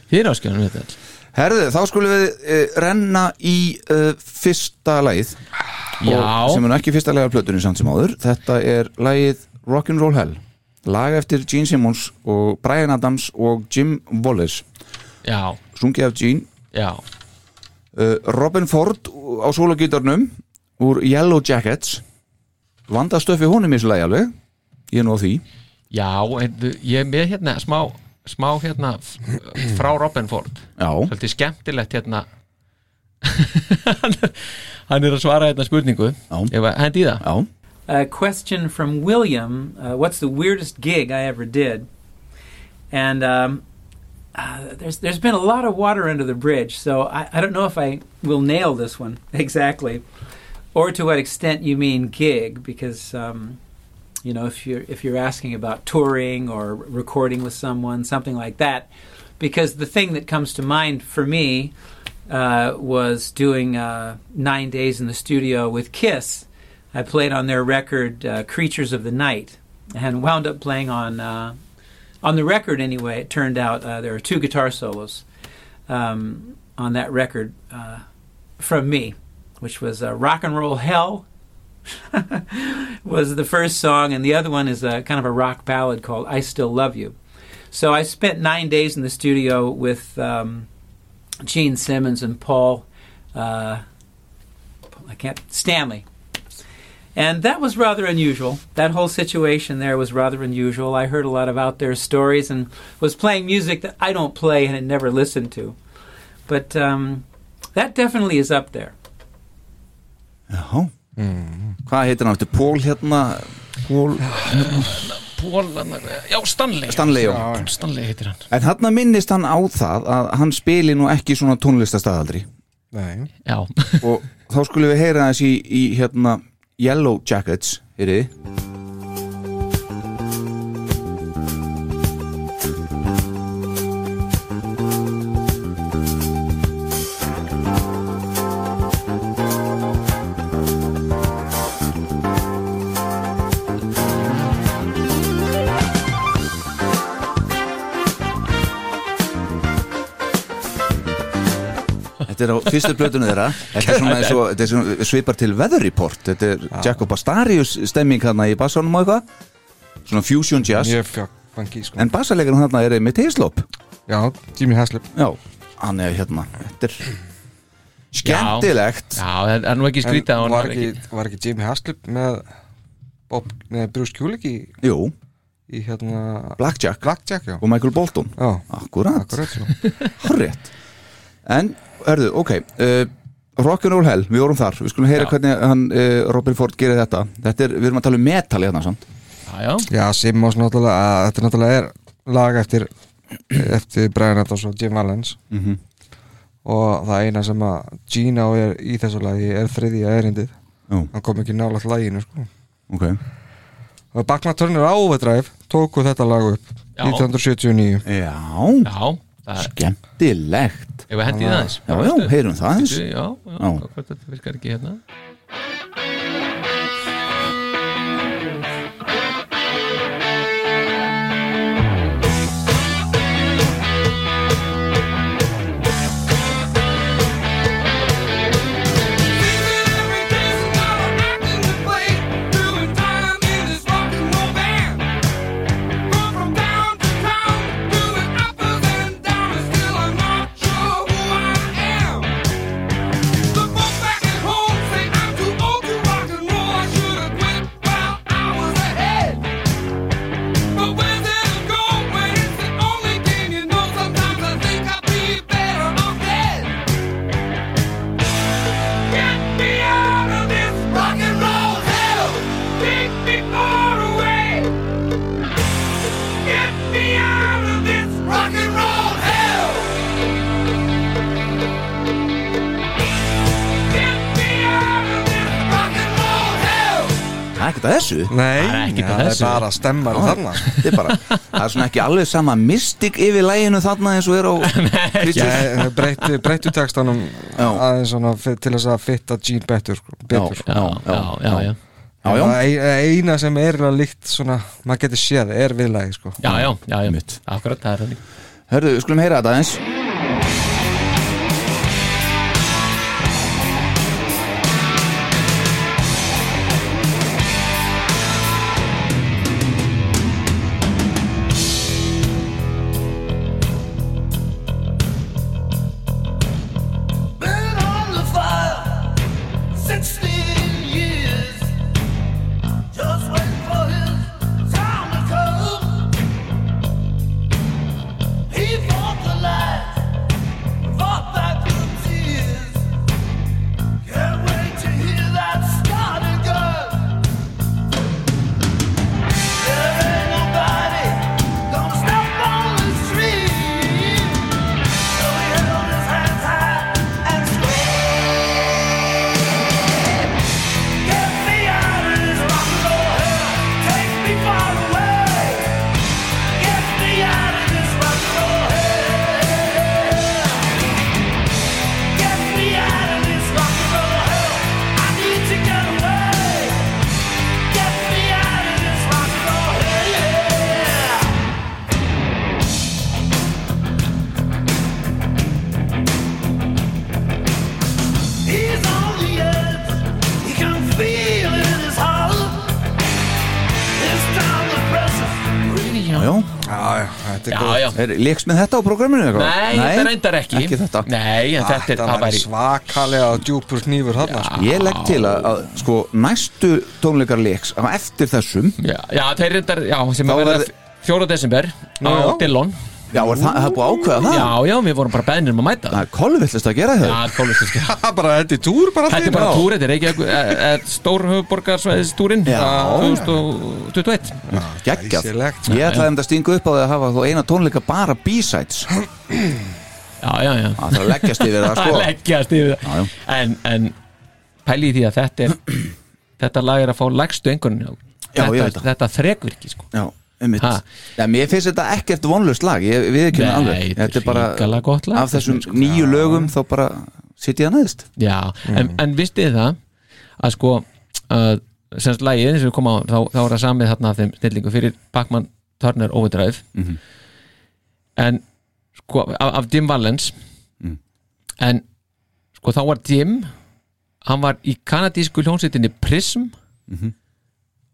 Þið eru það skjöndur við þetta [laughs] Herðu, þá skulum við uh, renna í uh, fyrsta lagið og- sem Já, er nú ekki fyrsta lagið af plötunni samt sem áður Þetta er lagið Rock'n'Roll Hell Lag eftir Gene Simmons og Brian Adams og Jim Wallace já, Sungið af Gene já uh, Robin Ford á sólagítarnum úr Yellow Jackets Vanda stöfi honum í þessu lagi alveg Ég er nú á því Já, heyrðu, ég er með hérna smá smá hérna f- frá Robin Ford Já, svolítið skemmtilegt hérna Hann er- [laughs] hann er að svara hérna spurningu Já. ef að hendi í það já a question from William. Uh, what's the weirdest gig I ever did? And um, uh, there's there's been a lot of water under the bridge, so I, I don't know if I will nail this one exactly, or to what extent you mean gig, because um, you know if you're if you're asking about touring or recording with someone, something like that, because the thing that comes to mind for me uh, was doing uh, nine days in the studio with Kiss. I played on their record uh, "Creatures of the Night" and wound up playing on uh, on the record anyway. It turned out uh, there are two guitar solos um, on that record uh, from me, which was uh, "Rock and Roll Hell." was the first song, and the other one is a kind of a rock ballad called "I Still Love You." So I spent nine days in the studio with um, Gene Simmons and Paul. Uh, I can't Stanley. And that was rather unusual. That whole situation there was rather unusual. I heard a lot of out there stories and was playing music that I don't play and had never listened to. But um, that definitely is up there. Já Hvað heitir hann eftir? Pól hérna Pól Pólan, já, Stanley Stanley já. Stanley heitir hann En hann minnist hann á það að hann spili nú ekki svona tónlistastaðaldri Nei, Já, [laughs] og þá skulum við heyra þessi í, í hérna Yellow Jackets Heyriði Þetta er á fyrstu plötunum þeirra Þetta er svona, eins og, þetta er svona svipar til Weather Report Þetta er Jacob Astarius stemming hérna í bassanum og eitthvað Svona fusion jazz mjög fjökk fangi sko. En bassalegur hérna er einmitt heislop Já, Jimmy Haslip Já Hann er hérna Þetta er skemmtilegt já, það er nú ekki skrýta En var ekki, var ekki Jimmy Haslip með Bob, nei, Bruce Kulik í, Jú, í í hérna Blackjack, Blackjack já. og Michael Bolton já. akkurat, Akkurat svo. Hárrétt. en, herðu, ok uh, Rock'n'Roll Hell, við vorum þar við skulum heyra Já. hvernig hann, uh, Robin Ford gerir þetta, þetta er, við erum að tala um metal hérna, sant? já Já, Simmons náttúrulega, að- þetta náttúrulega er lag eftir, eftir Brian Adams og Jim Valens Mhm. og það eina sem að Gina og er í þessu lagi er þriðja erindið Já. hann kom ekki nálægt laginu sko. ok, og Bakman Turner á Overdrive tóku þetta lag upp Já. 1979 Já, Já, það skemmtilegt Ef við hendi í það aðeins Já, já, heyrum það aðeins. Bíddu, Já, já, Já. hvort þetta virkar ekki hérna Get me out of this rock and roll hell. Take me far away. Get me out of this rock and roll hell. Get me out of this rock and roll hell. Það er ekkert að þessu Nei, það er ekkert að það er þessu. bara stemmar þarna, sko. Það er bara, það er svona ekki alveg sama mystik yfir læginu þarna eins og [laughs] er á Já, breyttu, breyttu textanum aðeins svona fi- til þess að fitta Gene betur, sko, betur sko. já, já, já, já. Já, já. Það er eina sem er eiginlega líkt svona, maður getur séð, er viðlagi sko. Já, já, já, já Mitt. Akkurat, það er þannig Hörðu, við skulum heyra þetta aðeins Been on the fire 16 years. Just waiting for his time to come. He fought the lies, fought back the tears. Can't wait to hear that starting gun. There ain't nobody gonna step on his dream. So he held his hands high. He's on the edge. He can feel it in his heart. This time the pressure's really Já, já, já, þetta er góð. já. er, Lékst með þetta á programminu eitthvað? Nei, þetta reyndar ekki. Ekki þetta Nei, en þetta er- Þetta það væri væri- svakalega djúpur nýfur þarna [laughs] sko. Ég legg til að, að sko, næstu tónleikar Léks á eftir þessum Já, já þeir reyndar, já, sem Þá að verða verði- 4. desember Já, á já. Dillon Já, er það, það er búið að ákveða það? Já, já, við vorum bara beðnir um að mæta Það er kolvillist að gera það Já, kólvist Bara þetta er túr bara Þetta er þín, bara já. túr, þetta er Reykjavík eh, eh, Stór höfuborgarsvæðistúrin Já. 2021 Geggjað Glæsilegt. Ég ætlaði um þetta að stinga upp á því að hafa þú eina tónleika bara B-sides Já, já, já Það þarf að leggjast yfir [laughs] það sko leggjast yfir það já. en, en pæli í því að þetta er [clears throat] þetta lag er að fá lægstu einhvern Já, ég þetta, veit það. þetta þrekvirki sko Já, um Ha. Já, mér finnst þetta ekkert vonlust lag Ég við ekki Nei, með alveg þetta er hrikalega gott lag, Af þessum finnst mér, sko. nýju lögum þá bara sitt ég að næðist Já, en, Mm. en vistið það að sko uh, semst lagið eins og við komum á þá, þá er það samið þarna af þeim snillingu fyrir Pacman Turner Overdrive Mhm. en sko af, af Jim Valens Mhm. en sko þá var Jim hann var í kanadísku hljónsveitinni Prism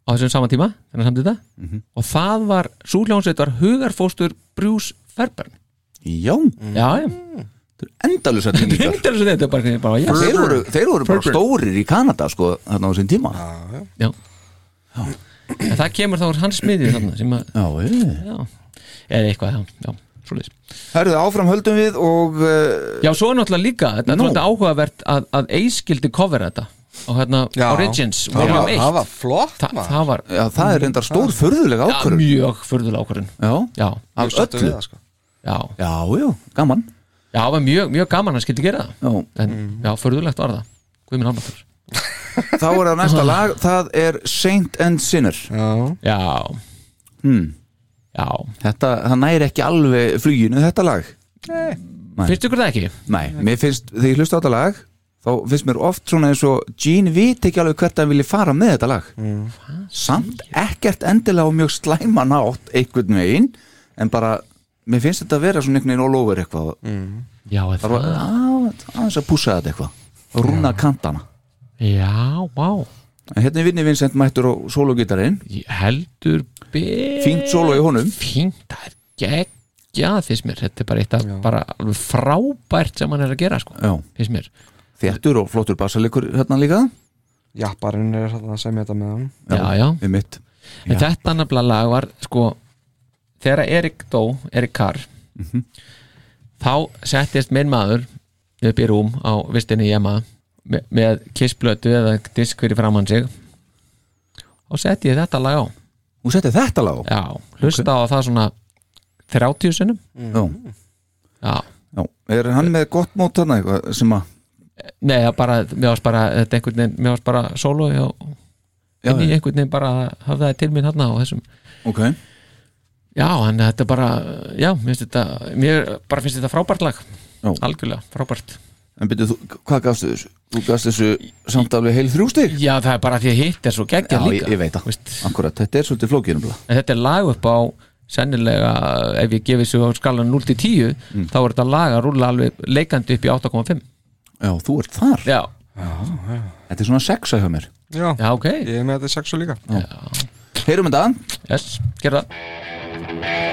á þessum sama tíma þannig samt þetta Mhm. og það var, svo hljónsveit var hugarfóstur Bruce Fairburn Já, Já, já, endalusa tíningar þetta er svo þetta er bara, bara já, þeir, voru- þeir voru bara Fairburn. stórir í Kanada sko, þarna á þessum tíma Já. en það kemur þá úr hans smiðju þarna sem að já, já, eða eitthvað já, já, svoleiðis Herðu, áfram höldum við og uh, Já, svo er náttúrulega líka, þetta er Nú. náttúrulega áhugavert að, að eiskildi covera þetta á hérna Origins Það Volume var- 1. það var flott, Þa, maður. það, var, Já, það er reyndar stór furðuleg ákvörðun. Já, mjög furðuleg ákvörðun Já, já. Af Mjög sáttur öllu. við það, sko. Já. já, já, gaman Já, það var mjög, mjög gaman að hann skildi gera það Já, en, já furðulegt var það Guð minn almatur Þá er það næsta lag, það er Saint and Sinner Já, já. Hmm. já. Þetta, það næri ekki alveg fluginu þetta lag Nei. Nei. Finnst ykkur það ekki? Nei, mér finnst, þegar ég hlusta á þetta lag þá finnst mér oft svona eins og Gene viti ekki alveg hvert að vilja fara með þetta lag samt ekkert endilega og mjög slæma nátt einhvern veginn, en bara mér finnst þetta að vera svona einhvern veginn all over eitthvað mm. Já, er það var á- aðeins að pússa þetta eitthvað og rúna kantana Já, vá En hérna er vinni Vincent mættur á sologitarinn Heldur be- Fínt solo í honum Fínt, það er geggja þess mér Þetta er bara eitt af bara alveg frábært sem hann er að gera sko Já. Finnst mér Þéttur og flottur bassalikur hérna líka Japparinn er hérna að semja þetta með hann Já, já. um mitt En þetta nafnilega lag var sko þegar Erik dó, Erik Carr Mhm. þá settist minn maður upp í rúm á vistinni í Emma með, með kissblötu eða disk fyrir framann sig og setti ég þetta lag á Hún setti þetta lag á? Já, hlusta á það svona 30 sinnum Já. Já. Já, er hann með gott mót þarna eitthvað sem að Nei, það bara, mér varst bara þetta einhvern veginn, mér varst bara solo og Já, inn í já. einhvern veginn bara hafði það til mín hann á þessum Ok Já, þannig að þetta bara, já, mér finnst þetta, mér bara finnst þetta frábært lag Já. Algjörlega, frábært En byrju, þú, hvað gafstu þessu? Þú gafst þessu samt alveg heil þrjústig? Já, það er bara því að hitt er svo geggjað Já, líka ég, ég veit það, akkurat, þetta er svolítið flókið um En þetta er lag upp á sennilega, ef ég gefið svo skalan 0 til 10 Mm. þá er þetta lag að rúla alveg leikandi upp í 8,5 Já, þú ert þar Já, Þetta er svona sexa hjá mér Já, já ok Ég er með þetta í sexu líka Heyrum þetta Yes, gerðu það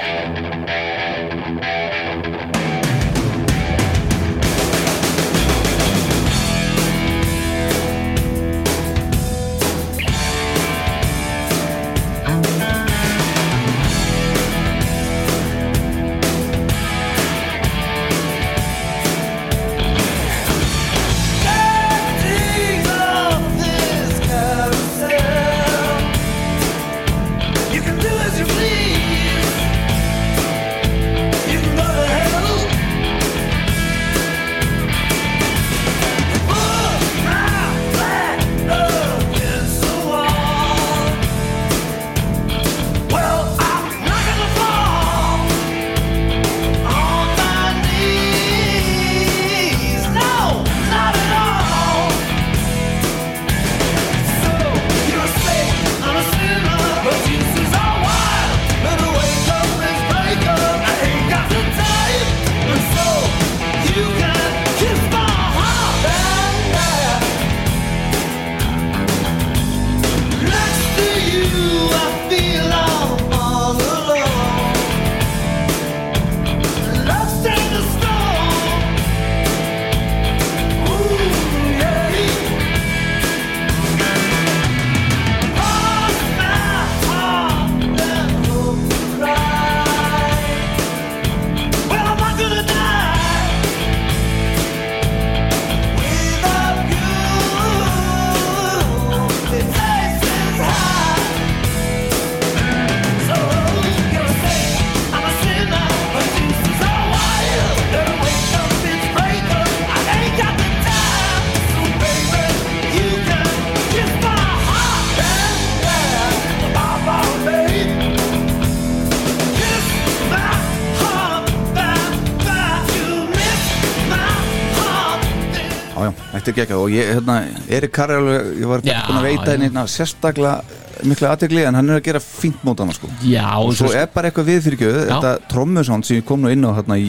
Já, já, þetta er gekkað og ég, hérna, Erik Karri alveg, ég var Já, búin að veita já. henni hérna, sérstaklega mikla aðtegli en hann er að gera fínt mót hana sko Já, og svo svo- er bara eitthvað við fyrir gjöðu, Já. þetta trommusánd sem ég kom nú inn á hérna í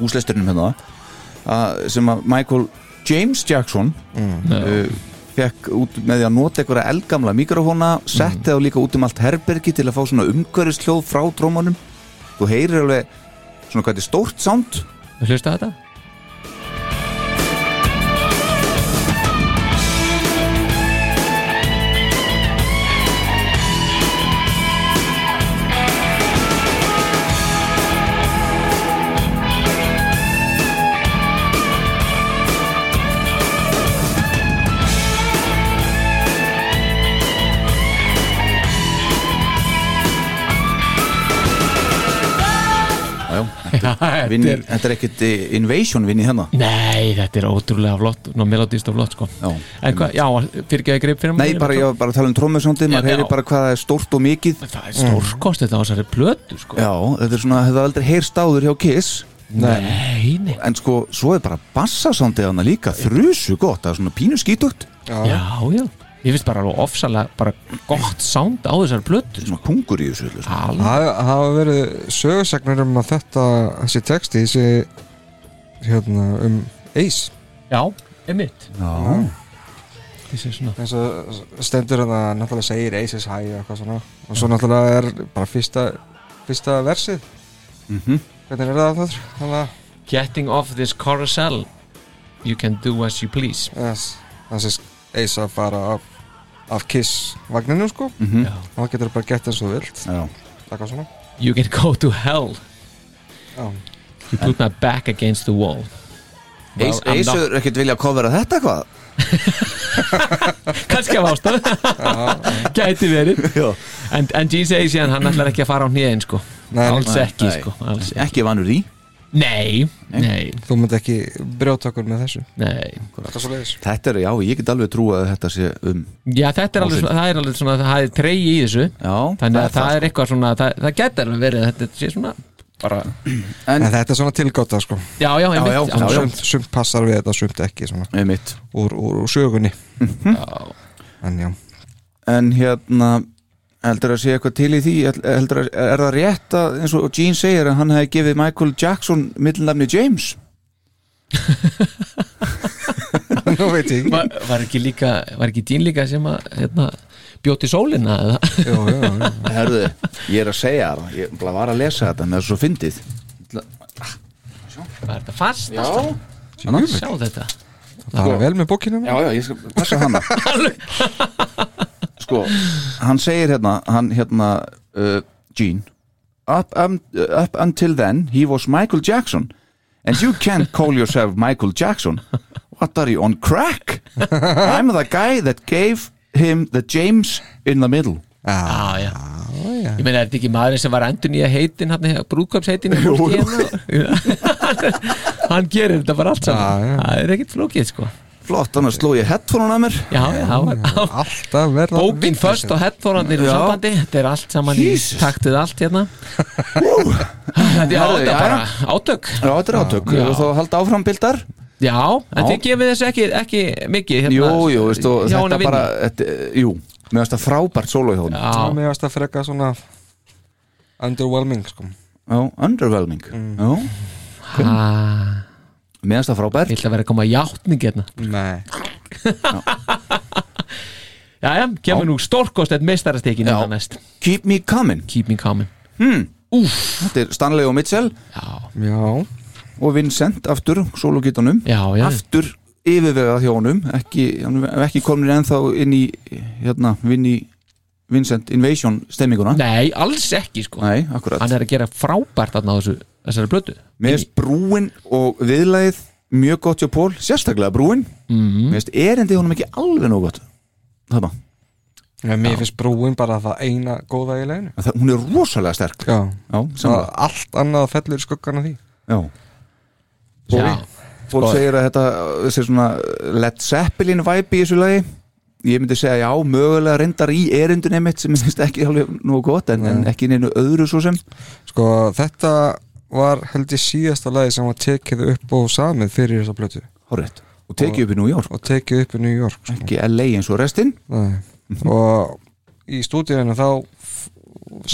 úsleisturinnum hérna að, sem að Michael James Jackson Mm. uh, fekk út með því að nota einhverja eldgamla mikrofóna, Mm. setti þá líka út um allt herbergi til að fá svona umhverfisljóð frá trómanum, þú heyrir alveg svona hvað þetta er stórt sound Hlusta þetta? [laughs] Thank Vinni, þetta er ekkert eh, Invasion vinni hérna Nei, þetta er ótrúlega flott Ná, melodist og flott, sko Já, En hvað, já, fyrir ekki að greip fyrir sko. Nei, bara, ég var bara að tala um trómmusóndið Maður Já, heyri já. bara hvað það er stórt og mikið Það er stórkost þetta á þessari plötu sko. Já, þetta er svona, hefur aldrei heyrst áður hjá Kiss Nei, nei En sko, svo er bara bassasóndið hana líka Þrusu gott, það er svona pínu skítugt Já, já Ég finnst bara alveg ofsalega bara gott sound á þessari plötu Svona pungur í þessu Alveg Það það hafa verið sögursagnir um að þetta þessi texti sé hérna, um Ace Já, einmitt Já. Þessi svona eins og stendur hann að náttúrulega segir Ace is high og eitthvað svona og svo náttúrulega er bara fyrsta fyrsta versið Mhm. hvernig er það aftur? Þannig að Getting off this carousel You can do as you please yes. það sé Ace að fara af, af Kiss vagninu sko Mhm. Já. og það getur bara gett eins og þú vilt Já. eitthvað svona You can go to hell Já. You put my back against the wall Ace I'm not- Aceður ekkert vilja að kofera þetta hvað? kannski af ástæð gæti [laughs] verið en, en Gene segir síðan hann ætlar ekki að fara á hnýðin sko. alls ekki Nei. sko. alls ekki. ekki vanur í Nei, nei Þú mynd ekki brjóta okkur með þessu Nei Þetta er svo leiðis Þetta er, já, ég get alveg trú að þetta sé um Já, þetta er alveg, svona- það er alveg svona, það er trey í þessu Já, þannig að það sko. er eitthvað svona það, það getur alveg verið að þetta sé svona bara, en, þetta er svona tilgáta sko Já, já, einmitt. Já, já. Sumt, sumt passar við þetta, sumt ekki svona. Einmitt úr, úr, úr sögunni Mhm. En já [laughs] En hérna, heldur að sé eitthvað til í því Hel- heldur að, er það rétt að, eins og Gene segir að hann hefði gefið Michael Jackson millnafni James Nú veit ég var, var ekki líka var ekki dín líka sem að hérna, bjóti sólina eða [laughs] Jó, jó, jó Herðu, ég er að segja það Ég bara var að lesa þetta, en það er svo fyndið Var þetta fast? Já. Þannig, Sjá þetta Það er vel með bókina Já, já, ég skal passa hana Sko, hann segir hérna hann hérna uh, Gene up, um, up until then he was Michael Jackson and you can't call yourself Michael Jackson What are you on crack? I'm the guy that gave him the James in the middle Já, já Ég meina, er þetta ekki maðurinn sem var endur nýja heitin hann, brúðkapsheitin í fólki hérna? [laughs] hann gerir þetta bara allt saman það er ekkert flókið sko Flott, annars sló ég headphone að mér já, já, það var Alltaf verða [laughs] bókin först og headphonarnir og Já. sambandi þetta er allt saman í Jesus. taktið [laughs] allt hérna þetta er Herðu, átök já, bara já. átök Já, þetta er átök, Já. og þá halda áfram bildar já, en Já. þið gefið þessu ekki, ekki mikið hérna, Jú, jú, veistu, hjá henni þetta að vinna. bara þetta, Jú, mér finnst það frábært solo hjá hún já, Mér varst að freka svona Underwhelming sko Já, underwhelming Mm. Já, Ah, mér finnst það frábært ég ætla að vera að koma játning hérna Nei Jæja, kemur nú stórkost eitt meistarastekinn Já. hérna næst Keep me coming Keep me coming Þetta er Stanley og Mitchell Já, Já og Vincent aftur, sólugítunum já, já aftur yfirvegað hjá honum ekki, hann er ekki komin ennþá inn í hérna, vinn í Vincent Invasion stemminguna Nei, alls ekki sko Nei, akkurat Hann er að gera frábært þarna á þessu, þessari blötu Mér finnst brúin og viðlagið mjög gott hjá Pól, sérstaklega brúin Mm. Mér finnst erindi honum ekki alveg nóg gott það bara, Já, Mér finnst brúin bara það eina góða í leginu En það, hún er rosalega sterk Já Já, Svo samlega Allt annað fellur í skuggan af því Já, Já, Fólk Sko- segir að þetta uh, þessi svona Led Zeppelin vibe í þessu lagi ég myndi segja já, mögulega reyndar í erindunum mitt sem ég finnst ekki alveg nú gott en, en ekki neinu öðru svo sem Sko þetta var held ég síðasta lagi sem var tekið upp og samið fyrir þessa blötu Horrið. og tekið upp í New York sko, og tekið upp í New York sko. ekki LA eins og restin Nei. og í stúdíunum þá f-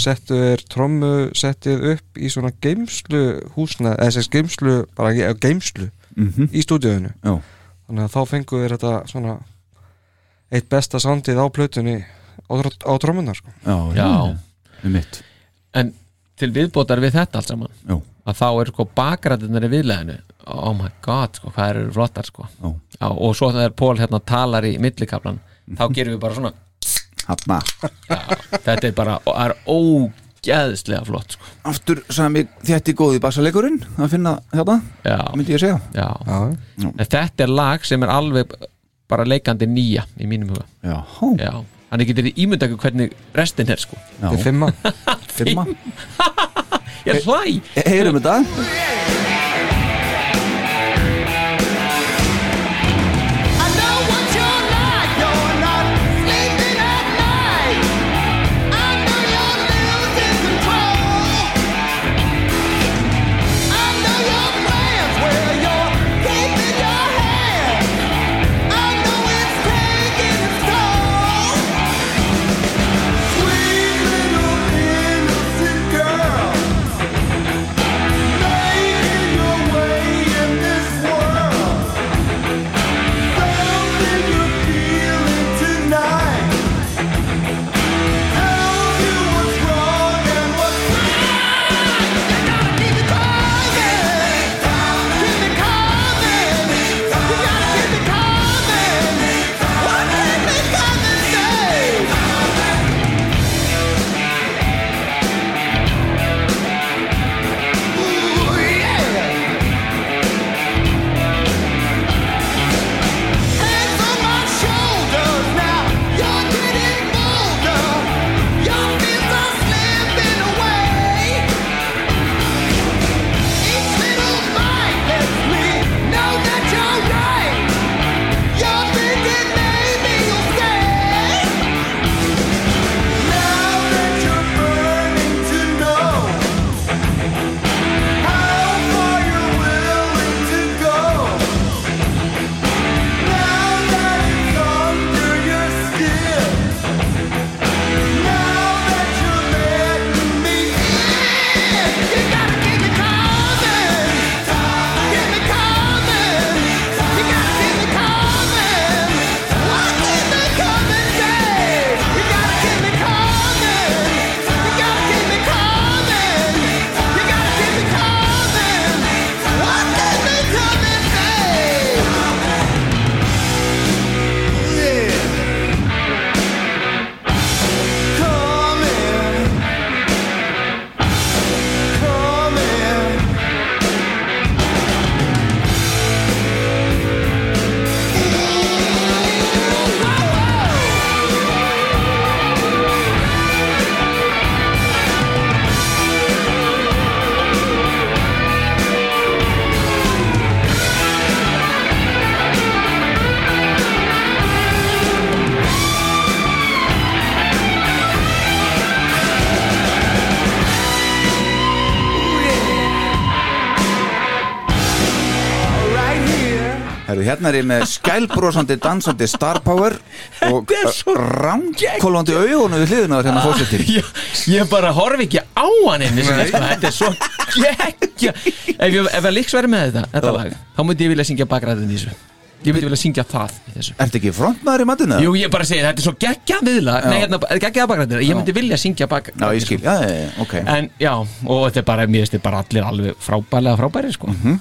settu þeir trommu settið upp í svona geimslu húsna, eða þessi geimslu bara ge- geimslu mm í stúdíunum já. þannig að þá fengu þeir þetta svona eitt besta sandið á plötunni á, tr- á trommunar sko. Já, já um mitt En til viðbótar við þetta allt saman já. að þá er sko bakræðunar í viðleginu Oh my god, sko, hvað eru flottar sko Já. Já, og svo þegar Pól hérna talar í millikaflan þá Mhm. gerum við bara svona Hanna. Þetta er bara, og það er ógeðslega flott sko aftur sami þjætti góði basalegurinn að finna þetta, Já, myndi ég segja já Já. En þetta er lag sem er alveg bara leikandi nýja í mínum huga já, Já, hann getur ímynda ekki hvernig restin er sko já. Þeir fimmann Fimma. [laughs] Ég hlæ Heyrum þetta Herru, hérna er ég með skælbrósandi, dansandi star power og rámkólandi augunum við hliðina þar hérna fórsetin ég, ég bara horfi ekki á hann einnig sem þetta þetta er svo geggja ef ég ef að líks verið með þetta, þetta lag þá myndi ég vilja syngja bakræðin í þessu ég myndi vilja syngja það í þessu Ertu ekki frontmaður í matinu? Ah. Jú, ég bara segi þetta er svo geggja viðla Já. Nei, hérna, geggja bakræðin, ég myndi vilja syngja bakræðin Já, ég skil, já, já, já, ok En já, og þetta er bara, mér finnst þetta bara allir alveg frábælega frábæri sko Mhm.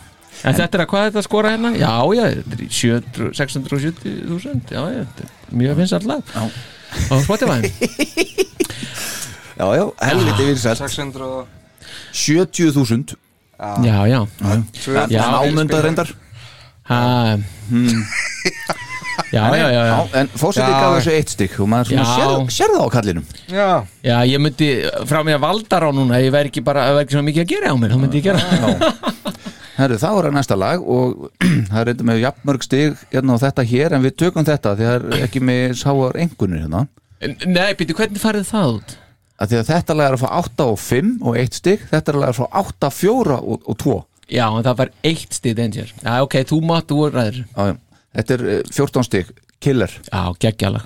En þetta er að hvað er þetta að skora hérna? Já, já, þetta er í 700 670.000 Já, já, þetta er mjög finnst alltaf Og Spotify Já, já, helviti vinsælt 600 70.000 Ah. Já, já Já, já ámyndað reyndar Ha, hmm. Já, já, já, já. En fórsetið Já. gaf þessu eitt stykk og maður svona Já. sér, sér það á kallinum Já, Já, ég myndi frá mér valdar á núna Ég væri ekki bara, það væri ekki svona mikið að gera á mér Þá myndi ég gera Herru, þá er að næsta lag og [clears throat] það er reynda með jafnmörg stig hérna á þetta hér en við tökum þetta því það er ekki með sáar engunir hérna Nei, býttu, hvernig farið það út? að því að þetta lag er að fá 8 og 5 og 1 stig þetta er lag að fá 8, 4 og, og 2 Já, en það var eitt stíð danger Já, ok, þú mátt, þú er ræður Já, já. Þetta er eh, 14 stig, killer Já, geggjala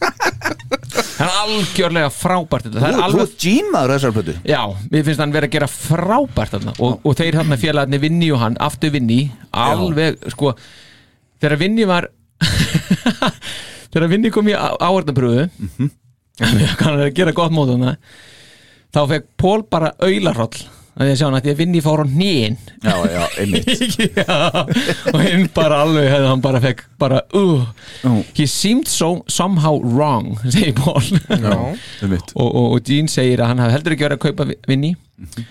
Það er algjörlega frábært þetta. Þú Það er alveg... alveg ert gímaður þessar plötu Já, mér finnst hann vera að gera frábært þarna og, og þeir hann að félagarnir Vinni og hann aftur Vinni, alveg sko, þegar Vinni var [laughs] þegar Vinni kom í áhörnabröðu mm [laughs] -hmm. hann er að gera gott mót hann þá fekk Pól bara aularroll að ég sjá hann að því að Vinni fór á hnýin Já, já, [laughs] einmitt já, og hinn bara alveg hefði hann bara fekk bara, uh, he seemed so somehow wrong [laughs] segir Paul Já, einmitt og, og, og Gene segir að hann hafi heldur ekki verið að kaupa Vi- Vinni Mhm.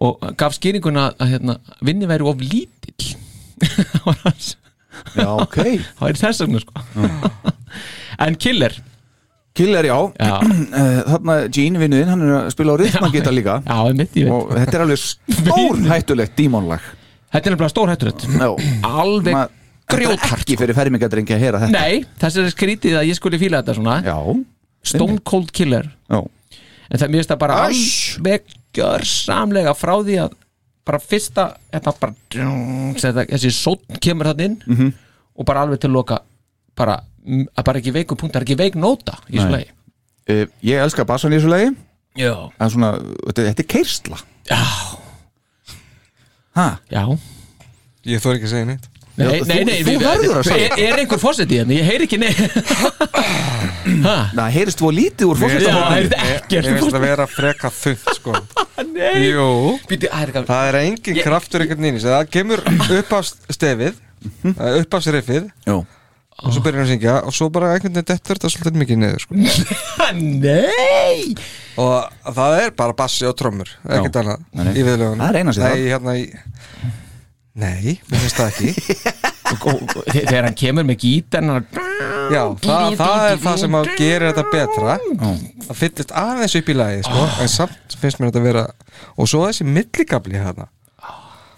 og gaf skýringuna að hérna, Vinni væri of lítill [laughs] Það var hans- Já, ok [laughs] það er þess vegna sko en Killer Killer, já, [clears throat] já. Þarna Gene, vinnuðinn, hann er að spila á rithmagita Hérna líka Já, ég mitt, ég veit Og þetta er alveg stór hættulegt dímonlag Þetta er nefnilega stór hættulegt Alveg grjóthart Ekki fyrir fermingadrengi að heyra þetta sko. Nei, þess er skrítið að ég skuli fíla þetta svona Já Stone Cold Killer Já En það mér finnst það bara alveg gjörsamlega frá því að bara fyrsta þetta bara, þetta, þessi sótn kemur þann inn Mhm. og bara alveg til loka bara, að bara ekki veiku punkt, það er ekki veik nóta í þessu Nei. lagi Eh, Ég elska bassan í þessu lagi Já En svona, þetta, þetta er keirsla Já Ha? Já Ég þóri ekki að segja neitt Nei, nei, nei, Þú, við- þú verður að Er, er einhver fósett í henni? Ég heyri ekki neitt Það heyrist þú lítið úr Mér fórsetahópnum finnst mér finnst það vera freka þund sko Nei Jú Býtu, að, er, Það er engin kraftur einhvern veginn í þessu. Það kemur upp af stefið upp af srefið Jó. og svo byrjar hann að syngja og svo bara einhvern veginn dettur þetta svolítið mikið Mm. neður sko. Nei og það er bara bassi og trommur ekkert Já. annað Nei, nei. í viðlögunum Það er eina sem Nei, það. hérna í... Nei, mér finnst það ekki þegar hann kemur með gítarn hann- Já, það, það er það sem að gera þetta betra það fyllist aðeins upp í lagi sko, Ah. en samt finnst mér þetta vera og svo þessi millikabli hérna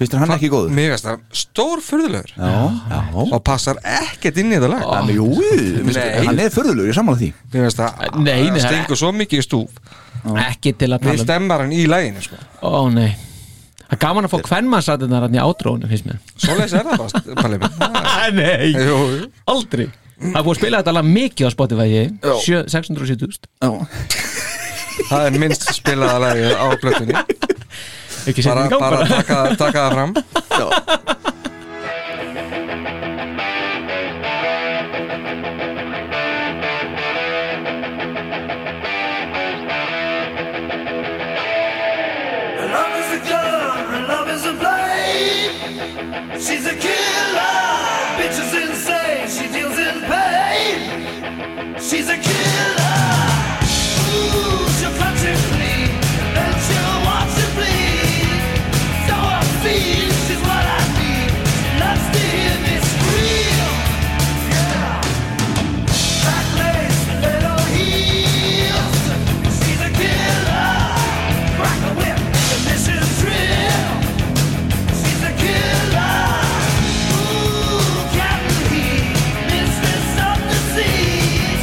Finnst þér hann ekki góður? Mér finnst það stór furðulegur Já, Ah. já og passar ekkert inn í þetta lag Þannig, Jú, finnst- Nei. hann er förðulegur, ég sammála því Mér finnst það Nei, nei, að það er- stingu svo mikið í stúf ekki til að Við tala um. stemmar hann í læginu sko. Ó nei Það er gaman að fá kvennmannsrættirnar hann í átrónu finnst mér Svoleiðis er það bara, Palli minn [laughs] Ah, [laughs] Nei, Jú, jú. aldrei Það er búið að spila þetta alveg mikið á Spotify Já. sjö- 670.000 Já, Það er minnst spilaða lagið á blöttinni Ekki setja Bara, í gang bara bara taka, taka það fram Love is a gun, and love is a blade. She's a killer, bitch is insane. She deals in pain. She's a killer. Ooh, she'll cut you free, and she'll watch you bleed. So I feel she's what I need. Loves to hear me scream. Yeah. That lace, little heels. She's a killer. Crack a whip, the mission's real. She's a killer. Ooh, Captain Heat, mistress of deceit.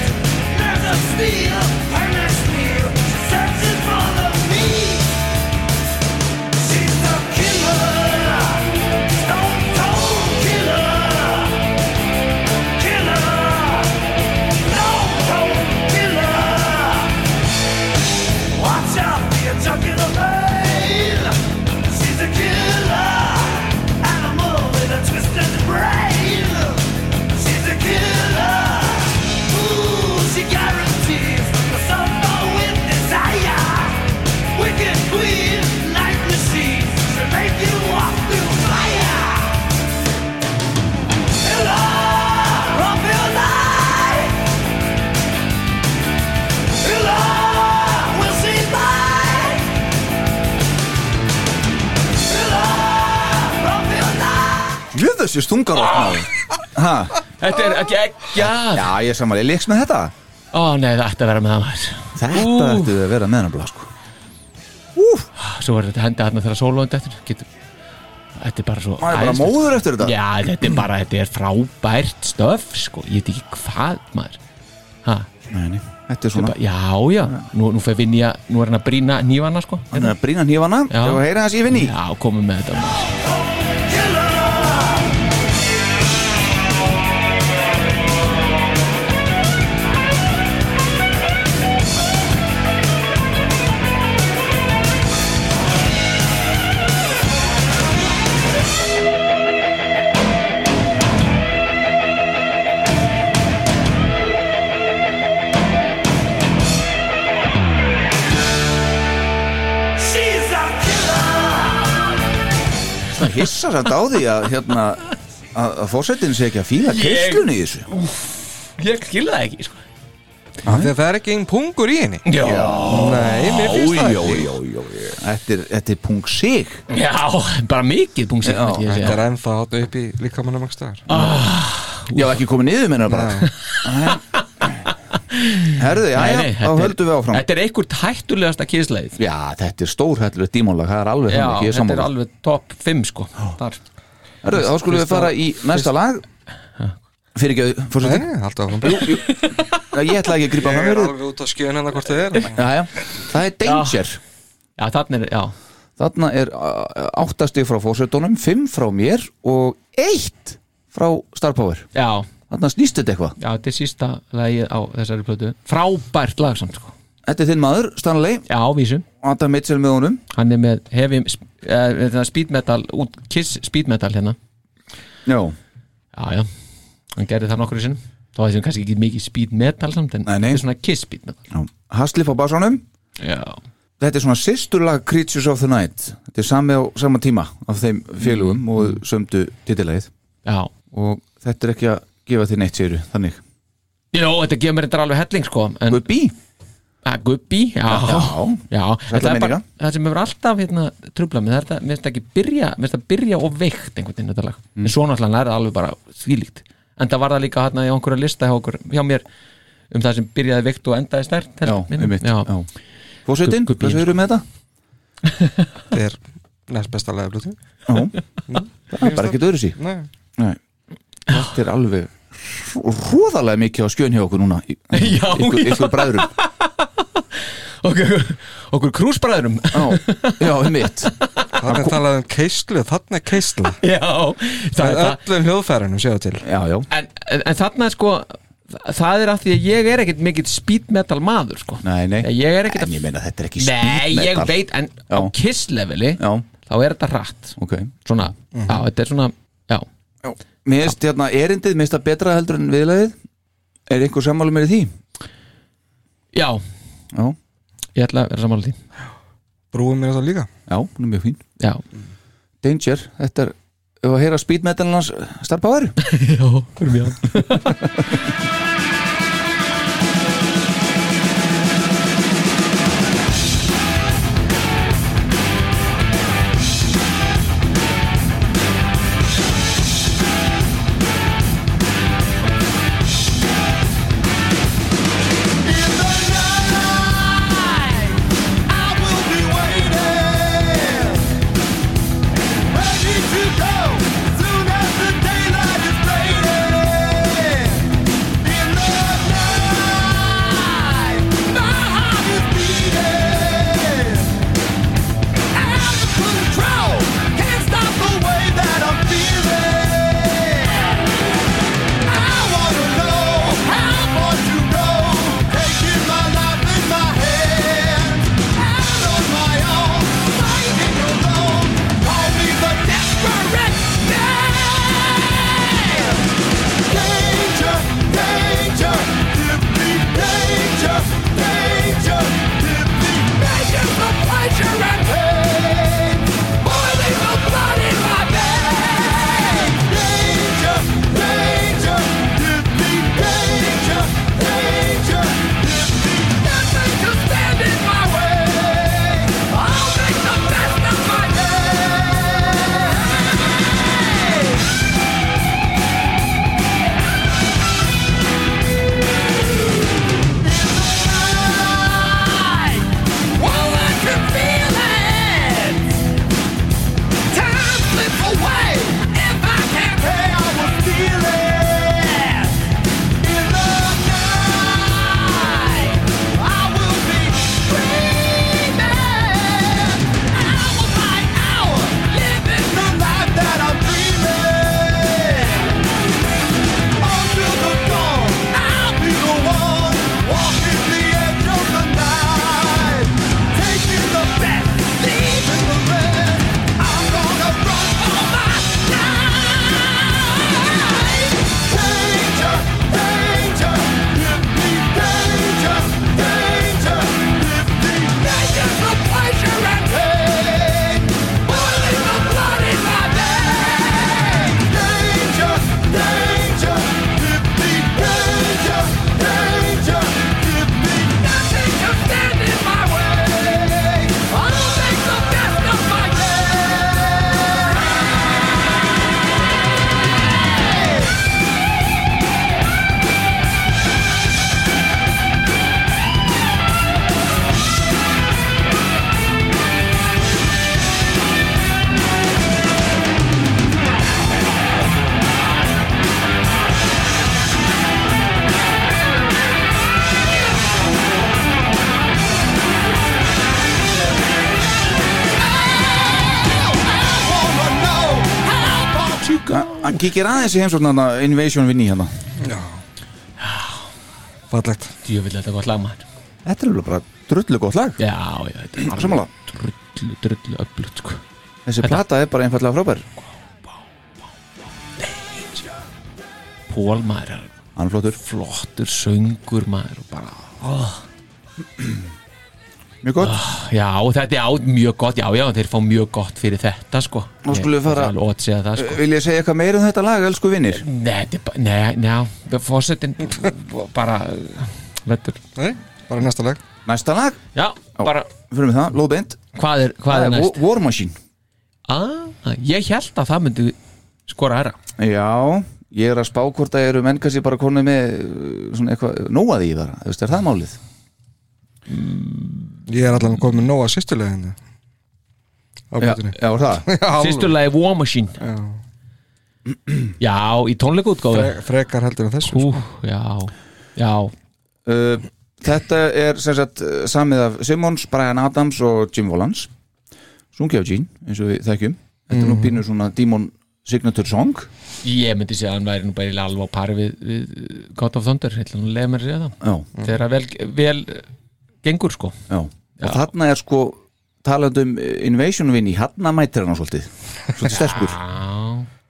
There's a steel, her next meal. She's searching for the meat. She's the killer. Stone cold killer. Killer. Stone cold killer. Watch out, be a junk in the vein. She's a killer, animal with a twisted brain. She's a killer. Ooh, she guarantees the summer with desire. Wicked queen, night machine. She'll make you walk through fire. Killer, of your life. Jöðu sér stungar átt maður [laughs] Þetta er ekki ekki að Já, ég sammála, ég leiks með þetta Ó nei, það ætti að vera með það maður Þetta Ú. ættu að vera með hann blá sko Svo verður þetta henda þarna þegar sólóðan dettur Getur- Þetta er bara svo Maður er bara æðislegt. móður eftir þetta Já, þetta er bara, þetta er frábært stöf sko, ég veit ekki hvað maður ha, Nei, nei. Þetta er þetta er svona bara, já, já nú, nú fer vinja, nú er hann að brýna nývana sko Þannig að brýna hnífana Já. Þegar heyra hans í vinni Já, komum með þetta maður. She's a killer. Svona hissa samt á því að hérna að að fórsetin sé ekki að fíla Ég- keislunni í þessu Ég skilði það ekki sko. Þegar það er ekki einn pungur í henni Já, Nei, mér finnst það ekki jó, jó Þetta er, þetta er punkt sig já bara mikið punkt sér Já, Þetta er ennþá hátta upp í líkamannum ekki staðar Ég var ekki komið niður meina bara Herðu, já, já, þá höldum við áfram Þetta er einhvert hættulegasta kísleið Já, þetta er stórhættulegt dímónlag, það er alveg Já, þannig, ég er þetta er sammála alveg top 5 sko Þar Herðu, þá skulum við fara í næsta lag Fyrir ekki að fórseti Nei, haltu áfram jú, jú. Já, Ég ætla ekki að grípa fram Ég er yfir alveg út á skjöðin hennar hvort þið er Já, já, það er Danger Já, þarna er, já Þarna er uh, áttastig frá fórsetunum, fimm frá mér og eitt frá Star Power Já, Þarna snýst þetta eitthvað já þetta er sísta lagið á þessari plötu Frábært lag samt sko Þetta er þinn maður, Stanley Já, vísu Adam Mitchell með honum Hann er með heavy, uh, speed metal, út, kiss speed metal hérna Já Já, já, hann gerði það nokkur sinnum Þá var þessum kannski ekki mikið speed metal samt En Nei, nei. þetta er svona kiss speed metal Já. Haslif á basánum Já Þetta er svona sýsturlag Creatures of the Night Þetta er sami á sama tíma af þeim félugum Mm. og sömdu titillegið Já og þetta er ekki að gefa þér neitt séru þannig Jó, þetta gefur mér þetta alveg helling sko en, Gubbi Ah, Gubbi, já Já. já. Sælla En Það, er bara, minninga. það sem hefur alltaf hérna, trubla með þetta Mér finnst það ekki byrja, mér finnst það byrja og veikt einhvern veginn þetta lag Mm. En svo náttúrulega er það alveg bara þvílíkt En það var það líka hérna í einhverja lista hjá, okkur, hjá mér Um það sem byrjaði veikt og endaði stert Já, einmitt, já. Fósetinn, Gubbi, hvað segirðu með þetta? Þetta er næst besta lega blötu [laughs] Já, það er bara ekkert öðru sí Nei. Nei. Þetta er alveg hróðalega mikið á skjön hjá okkur núna í- [laughs] [laughs] Já, ykkur, já. ykkur bræðurum Okkur, okkur [laughs] krúsbræðurum Já, já, mitt Þarna er talað um keislu, þarna er keislu Já, það, Með það, öllum hljóðfærunum sjáðu til Já, já, en, en, en þarna sko þa- Það er af því að ég er ekkert mikill speed metal maður sko nei, nei Ég er ekkert En ég meina þetta er ekki Nei, speed ég metal. veit, en á Já. kiss-leveli Já, þá er þetta hratt ok svona, já, þetta er svona já, Mér finnst hérna erindið, mér finnst það betra heldur en viðlagið Er einhver sammálu mér í því? já, Já, ég ætla að vera sammála því Brúum mér þetta líka já, hún er mjög fín já, Danger, þetta er Ef að heyra speed metal hans starfbáður já, fyrir mjög Soon as the daylight is fading, in Hann kíkir aðeins í heimsóknarna Invasion Vinny hérna Fallegt Djöfull þetta er gott lag maður Þetta er alveg bara drullu gott lag Já, já, þetta er Sammála Drullu, drullu, öflut sko Þessi Þetta- plata er bara einfallega frábær Pól maður er Hann flottur Flottur söngur maður og bara oh. Mjög gott Já, þetta er á, mjög gott, já, já, þeir fá mjög gott fyrir þetta sko Nú skulum við fara- Ót segja það sko Vil ég segja eitthvað meira um þetta lag, elsku vinnir? Nei, þetta er bara, nei, nei, fórsetin bara Vettur Nei, bara næsta lag Næsta lag? Já, bara Fyrir með það, lóðbeint Hvað er, hvað er Það er næst? War Machine Ah, ég held að það myndi skora aðra Já, ég er að spá hvort að eru menn kannski bara konið með uh, svona eitthvað nóaði í það, þú veist, er það málið? Ég er allan komið nóg að sýstuleginu Á Já, plötunni. [laughs] já, er það? Já, alveg. Sýstu lagi War Machine Já, í tónleikaútgáfu Fre- Frekar heldur en þessu Hú, já, já Uh, þetta er sem sagt uh, samið af Simmons, Brian Adams og Jim Volans Sungið af Gene, eins og við þekkjum Þetta er nú Mhm. pínu svona Demon Signature Song Ég myndi segja að hann væri nú bara eiginlega alveg á pari við, við uh, God of Thunder, hérna nú leiði mér að segja það Já. Þegar að vel, vel uh, gengur sko Já. og þarna er sko talandi um Invasion Vinny, hann mætir hann á svolítið svolítið sterkur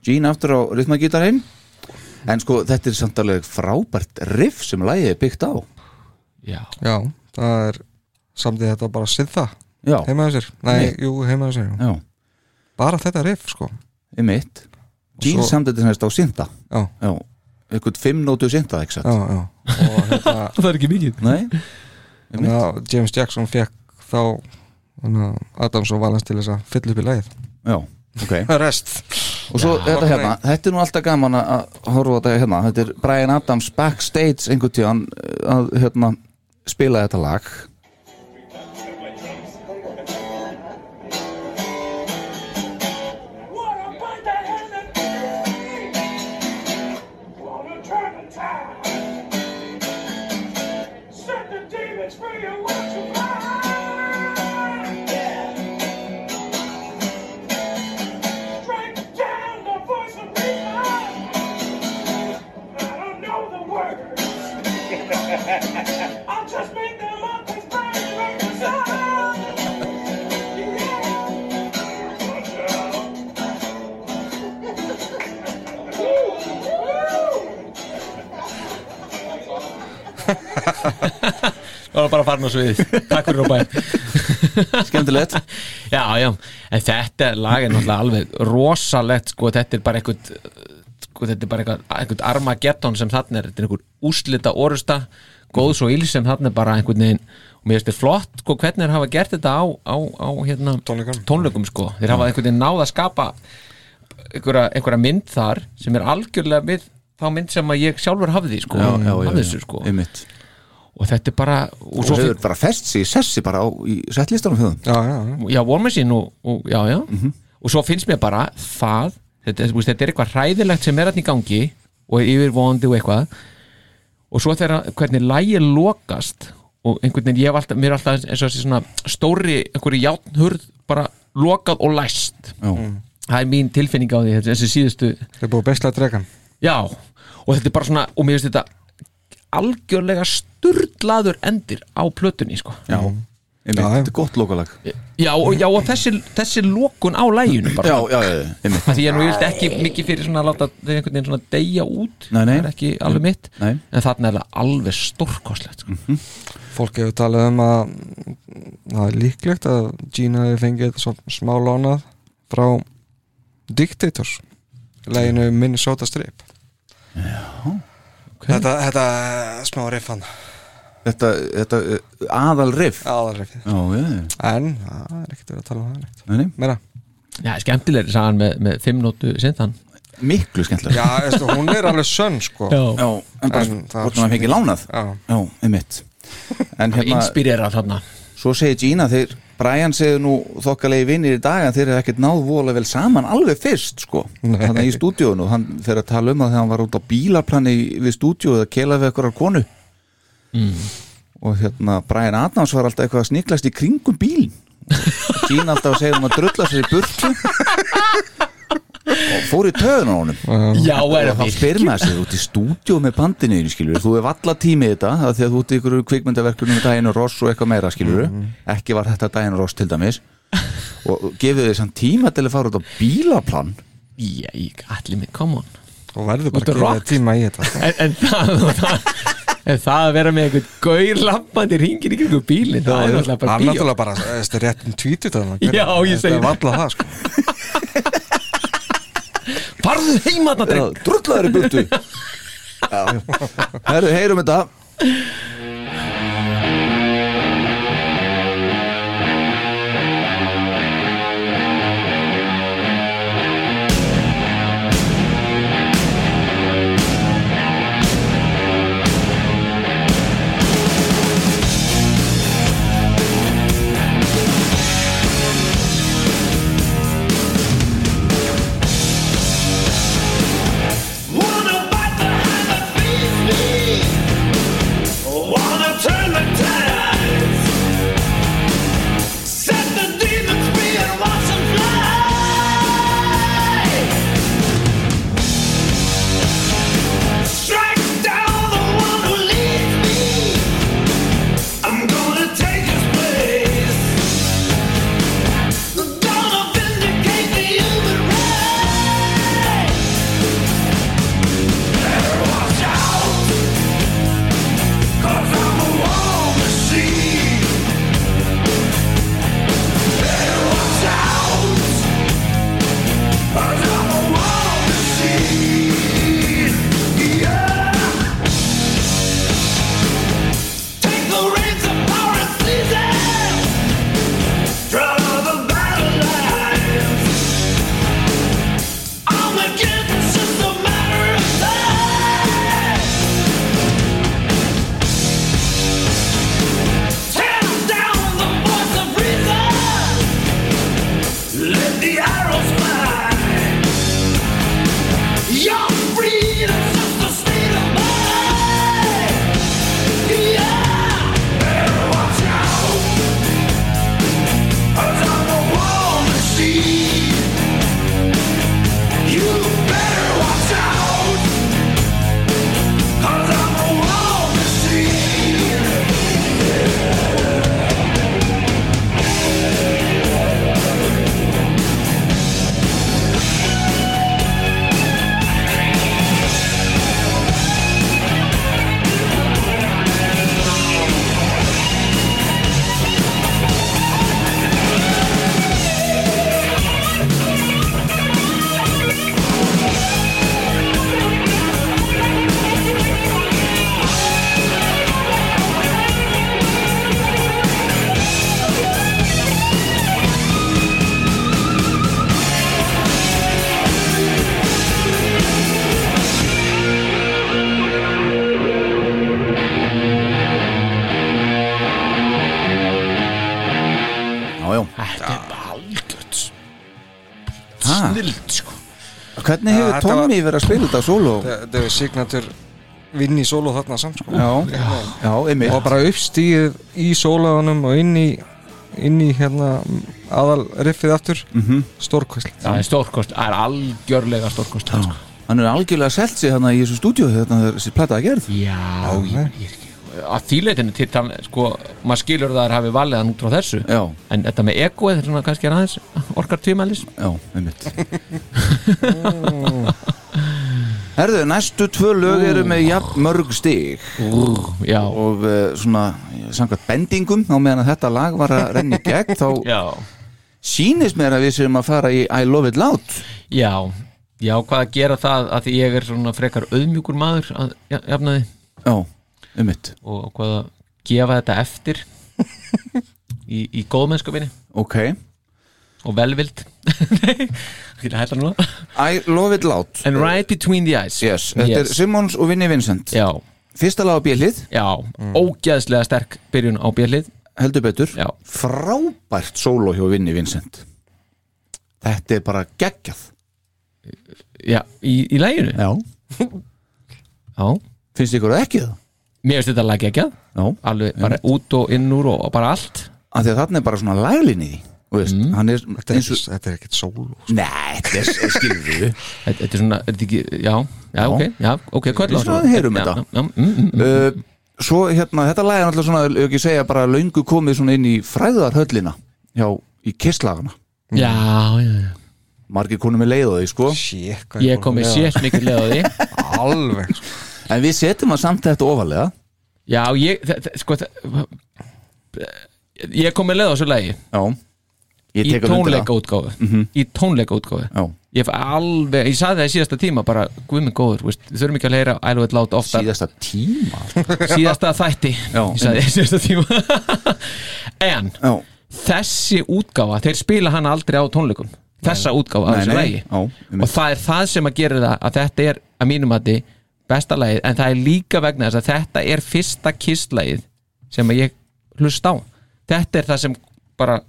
Gene aftur á rytmagítarinn en sko þetta er samt alveg frábært riff sem lagið er byggt á Já, Já, það er samtið þetta bara siða Já. Heimaðu sér, nei, Nei. jú, heimaðu sér jú. Já. Bara þetta riff, sko um mitt Og Gene svo- samt þetta semst á synda Já. Já. einhvern fimm nótu synda já, já. Og hérna- Það er ekki mikið Nei Þannig að James Jackson fekk þá þannig að Adams og Valens til þess að fylla upp í lagið Já, ok Rest Og svo þetta hérna, þetta er nú alltaf gaman að- að horfa á þetta hérna, þetta er Brian Adams backstage einhvern tíðan að hérna, spila þetta lag I'll just make them up as Það var bara að fara ná svið Takk fyrir Róbæ [laughs] Skemmtilegt [laughs] Já, já, en þetta lag er náttúrulega alveg rosalegt sko, þetta er bara eitthvað sko, þetta er bara eitthvað, eitthvað Armageddon sem þarna er, þetta er eitthvað úslita orusta góðs og íls sem þarna er bara einhvern veginn og mér finnst þetta flott sko, hvernig þeir hafa gert þetta á, á, á hérna, tónleikum. sko, þeir hafa einhvern veginn náð að skapa einhverja, einhverja mynd þar sem er algjörlega við þá mynd sem að ég sjálfur hafði sko, Já, já, já, hafði já, þessu sko einmitt. og þetta er bara og svo hefur bara fest sig í sessi bara á, í settlistanum þjóðum já, já, já, War Machine og, og já, já og svo finnst mér bara það þetta, þú veist, þetta er eitthvað hræðilegt sem er hann í gangi og er yfirvóndi og eitthvað og svo þegar hvernig lægi lokast og einhvern veginn, ég hef alltaf, mér er alltaf eins og þessi svona stóri, einhverju játnhurð bara lokað og læst já. það er mín tilfinning á því þetta- þessi síðustu Það er búið bestlega að dregan Já, og þetta er bara svona og mér finnst þetta algjörlega sturglaður endir á plötunni sko. Já, einmitt, þetta er gott lokalag Já, og, já, og þessi, þessi lokun á læginu bara Já, já, já, einmitt Af Því ég nú vilt ekki mikið fyrir svona að láta þau einhvern veginn svona deyja út Nei, nei. Það er ekki alveg mitt Nei. En þarna er það alveg stórkostlegt sko. Fólk hefur talað um að það er líklegt að Gina hefur fengið þetta svona smá lánað frá Dictators leginu Minnesota Strip okay. Þetta, þetta smá riff hann Þetta, þetta eh, aðal riff Aðal riff Já, já, já En það er ekkert verið að tala um það neitt Nei, nei. Meira Já, skemmtilegri sagan með, með fimm nótu sindan Miklu skemmtilega Já, veistu, hún er alveg sönn sko Já. Já, en bara En það er hvort hann fengið lánað Já. Já, einmitt En hérna- Hann Hérna- inspírerað þarna. Svo segir Gina þeir Brian segir nú þokkalegi vinnir í dag en þeir eru ekkert náð vola vel saman alveg fyrst sko Þannig í stúdíónu Hann fer að tala um að þegar hann var út á bílaplani við stúdíóið að keila við ekkur konu mm. og hérna Brian Adams var alltaf eitthvað að sniklast í kringum bílin Gina alltaf að segja um að drulla sér í burtu og fór í töðun á honum Já, er og þá spyr maður sig, þú ert í stúdíó með bandinu þínu, skilur, þú hefur alla tími þetta það er því að þú ert í ykkur kvikmyndaverkunum með Diana Ross og eitthvað meira skilur ekki var þetta Diana Ross til dæmis og gefið þið samt tíma til að fara út á bílaplan Já, ég, allir minn, come og on verður Út bara og að gefa rock. þér tíma í þetta [laughs] en, en það, það En það að vera með einhvern gaur lappandi ringir í kringu bílinn, það er náttúrulega bara hann bíó náttúrulega bara eftir réttum tvítut Já, ég segi það var alltaf það sko Farðu heima þarna dreng Drullaður í burtu Herru, heyrum þetta Wanna turn the tides Set the demons free and watch them fly Strike down the one who leads me I'm gonna take his place Gonna vindicate the human race Better watch out Cause I'm a war machine. Better watch out. 'Cause I'm a war machine. Yeah. Take the reins of power and seize it. Draw the battle lines. Armageddon's just a matter of time. Tear down the voice of reason. Let the arrows fly. Your freedom's just a state of mind. Yeah. Better watch out. 'Cause I'm a war machine. You better watch out. 'Cause I'm a war machine. Já, já Þetta er bara algjört Ah. Ha? Snild, sko Hvernig hefur Já, þetta Tommy verið að spila þetta solo? þetta er signatur vinn í solo þarna samt sko Já, já, einmitt og bara uppstíð í sólaðunum og inn í inn í hérna aðal riffið aftur mm Mhm. -hmm. stórkvæsl Það er stórkost, það er algjörlega stórkost sko. Hann er algjörlega selt sig hann í þessu stúdíu þegar þetta er þessi plata að gerð Já, ég, ég, ég, að þýleitinu til hann, sko, maður skilur það að hafi valið hann út frá þessu Já, En þetta með egoið, svona kannski er aðeins orkar tvímælis já, einmitt [laughs] Herðu, næstu tvö lög eru með jafn mörg stig Já, og uh, svona samkvæmt bendingum á meðan að þetta lag var að renni gegn [laughs] þá já, sýnist mér að við séum að fara í I Love It Loud já Já, hvað að gera það að því ég er svona frekar auðmjúkur maður að ja- jafnaði Já, einmitt, og hvað að gefa þetta eftir í, í góðmennskapinni ok og velvild [laughs] Því að hætta núna I Love It Loud And right between the eyes yes. Þetta er Simmons og Vinnie Vincent Já, Fyrsta lag á bjölið, já, Mm. ógeðslega sterk byrjun á björlið heldur betur Já, Frábært solo hjá Vinnie Vincent Þetta er bara geggjað já, í, í læginu Já Já, Finnst ykkur það ekki það? mér finnst þetta lag ekki Já Alveg bara út og inn úr og, og bara allt Af því að þarna er bara svona laglinn í því Þú veist, Mm. hann er eins og Þetta er ekkert sól Nei, þetta [laughs] er skilur við Þetta er svona, er þetta ekki, já, já, ok, já, ok, hvað Við svona heyrum þetta. mm, uh, Svo hérna, þetta lag er alltaf svona ef ekki segja bara löngu komið svona inn í fræðarhöllina hjá, í kisslagana Já, já, já Margir konum er leið á því, sko Sjék, hvað ég Ég er kom með leið á. sétt mikið leið á því Alveg [laughs] sko. En við setjum að samt þetta ofalega Já, ég, þe- þe- sko þe- Ég kom með leið á þessu lagi Já Ég Í tek alveg undir það. Mhm. tónleika útgáfu Í tónleika útgáfu Já Ég hef alveg, ég sagði það í síðasta tíma bara, guð minn góður, þú veist, við þurfum ekki að heyra I love it loud ofta Síðasta tíma? [laughs] Síðasta þætti Já, Ég sagði einmitt. síðasta tíma [laughs] En Já. þessi útgáfa, þeir spila hana aldrei á tónleikum Þessa útgáfa af Nei, þessu nei, lagi já, Og það er það sem að gera það að þetta er að mínum að þið besta lagið En það er líka vegna þess að þetta er fyrsta kisslagið sem að ég hlust á Þetta er það sem bara,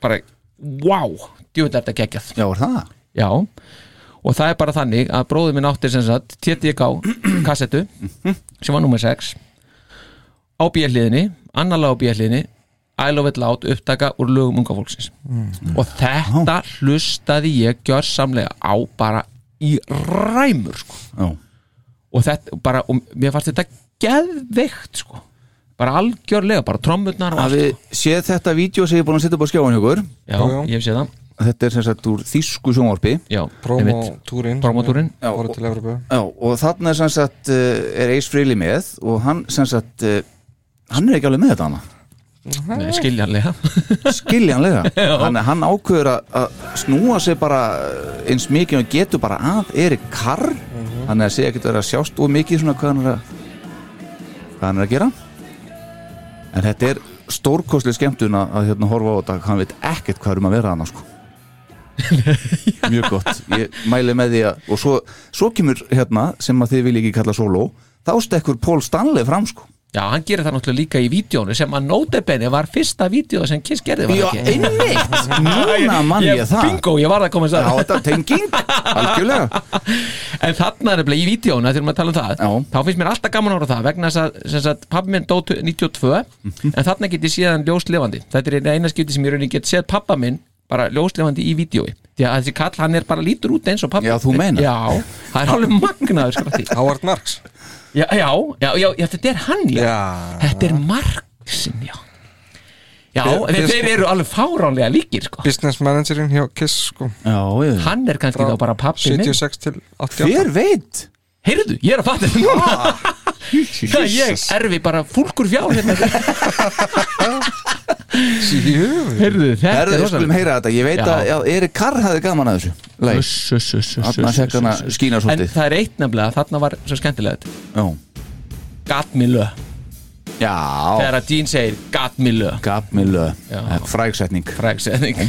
bara wow, djúvind er þetta geggjað Já, er það? Já, og það er bara þannig að bróður minn átti sem sagt TTK kassettu sem var nummer 6 á bíhliðinni, annarlega á bíhliðinni I love it loud upptaka úr lögum unga fólksins Mm. og þetta hlustaði ég gjörsamlega á bara í ræmur sko. og þetta bara og mér fannst þetta geðveikt sko. bara algjörlega, bara trommurnar og Að allt, sko. við séð þetta vídeo sem ég er búin að setja upp á skjáin hjá okkur Já, Já, já. ég hef séð það Þetta er sem sagt úr þýsku sjónvarpi Já, Promotúrin Promotúrin Já, Fóru til Evropu Já, og þarna er sem sagt uh, er Ace Frehley með og hann sem sagt uh, hann er ekki alveg með þetta hana Nei, skiljanlega skiljanlega [laughs] Já. hann, hann ákveður að- að snúa sig bara uh, eins mikið og getur bara að Erik Karr hann er að segja ekkert vera að sjást og mikið svona hvað hann er að hvað hann er að gera en þetta er stórkostlega skemmtun að, að hérna, horfa á þetta hann veit ekkert hvað er um að vera [laughs] hann sko. mjög gott ég mæli með því að og svo, svo kemur hérna sem að þið vilji ekki kalla solo þá stekkur Paul Stanley fram sko Já, hann gerir það náttúrulega líka í vídjónu sem að nótebenni var fyrsta vídjó sem Kiss gerði var Já, það ekki? [laughs] einmitt. Núna man ég það. Bingo, ég var að koma þess að Já, þetta tenging, algjörlega [laughs] En þarna er nefnilega í vídjónu, þegar maður tala um það Já. Þá finnst mér alltaf gaman að horfa á það vegna þess að, sem sagt, pabbi minn dó 92 Mhm. En þarna get ég síðan ljóslefandi Þetta er eina skipti sem ég í rauninni get séð pabba minn bara ljóslefandi í vídjói Því að þessi kall, hann er bara lítur út eins og pabbi Já, þú meinar. Já, það er alveg magnaður skratti Howard Marks Já, já, já, já, já, þetta er hann, já, Þetta er Marksinn, já Já, Þeir- þeir, þeir- þeir eru alveg fáránlega líkir sko. Business managerinn hjá Kiss sko Já, ég Hann er kannski þá bara pabbi minn. 76 til 88 Hver veit? Heyrðu, ég er að fatta þetta núna Ah, [laughs] Það er ég Jesus. erfi bara fúlkur fjár hérna Herðu, þetta er Herðu, rosalegt. skulum heyra þetta Ég veit Já. að já, Erik Karr hafði gaman að þessu Þarna Þarna fekk hann að skína En svolítið það er eitt nefnilega, þarna var svo skemmtilegt Já Gat mig lög Já Þegar að Dean segir gat mig lög Gat mig lög Frægsetning Frægsetning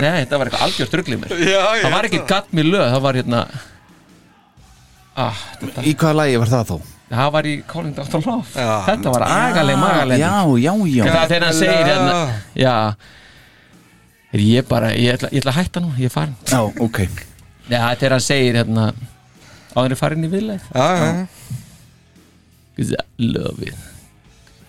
Nei, þetta var eitthvað algjör strugglið mér Já, ég Það var held ekki gat mig lög, það var hérna ah, Í hvaða lagi var það þó? Það var í Calling Dr. Love Þetta var agaleg magaleg Ah, Já, já, já Það þegar hann segir hérna Já Er ég bara, ég ætla, ég ætla að hætta nú, ég er farin Já, ok Já, þegar hann segir hérna Áður er farin í viðleið Já, já, já. Cause I love it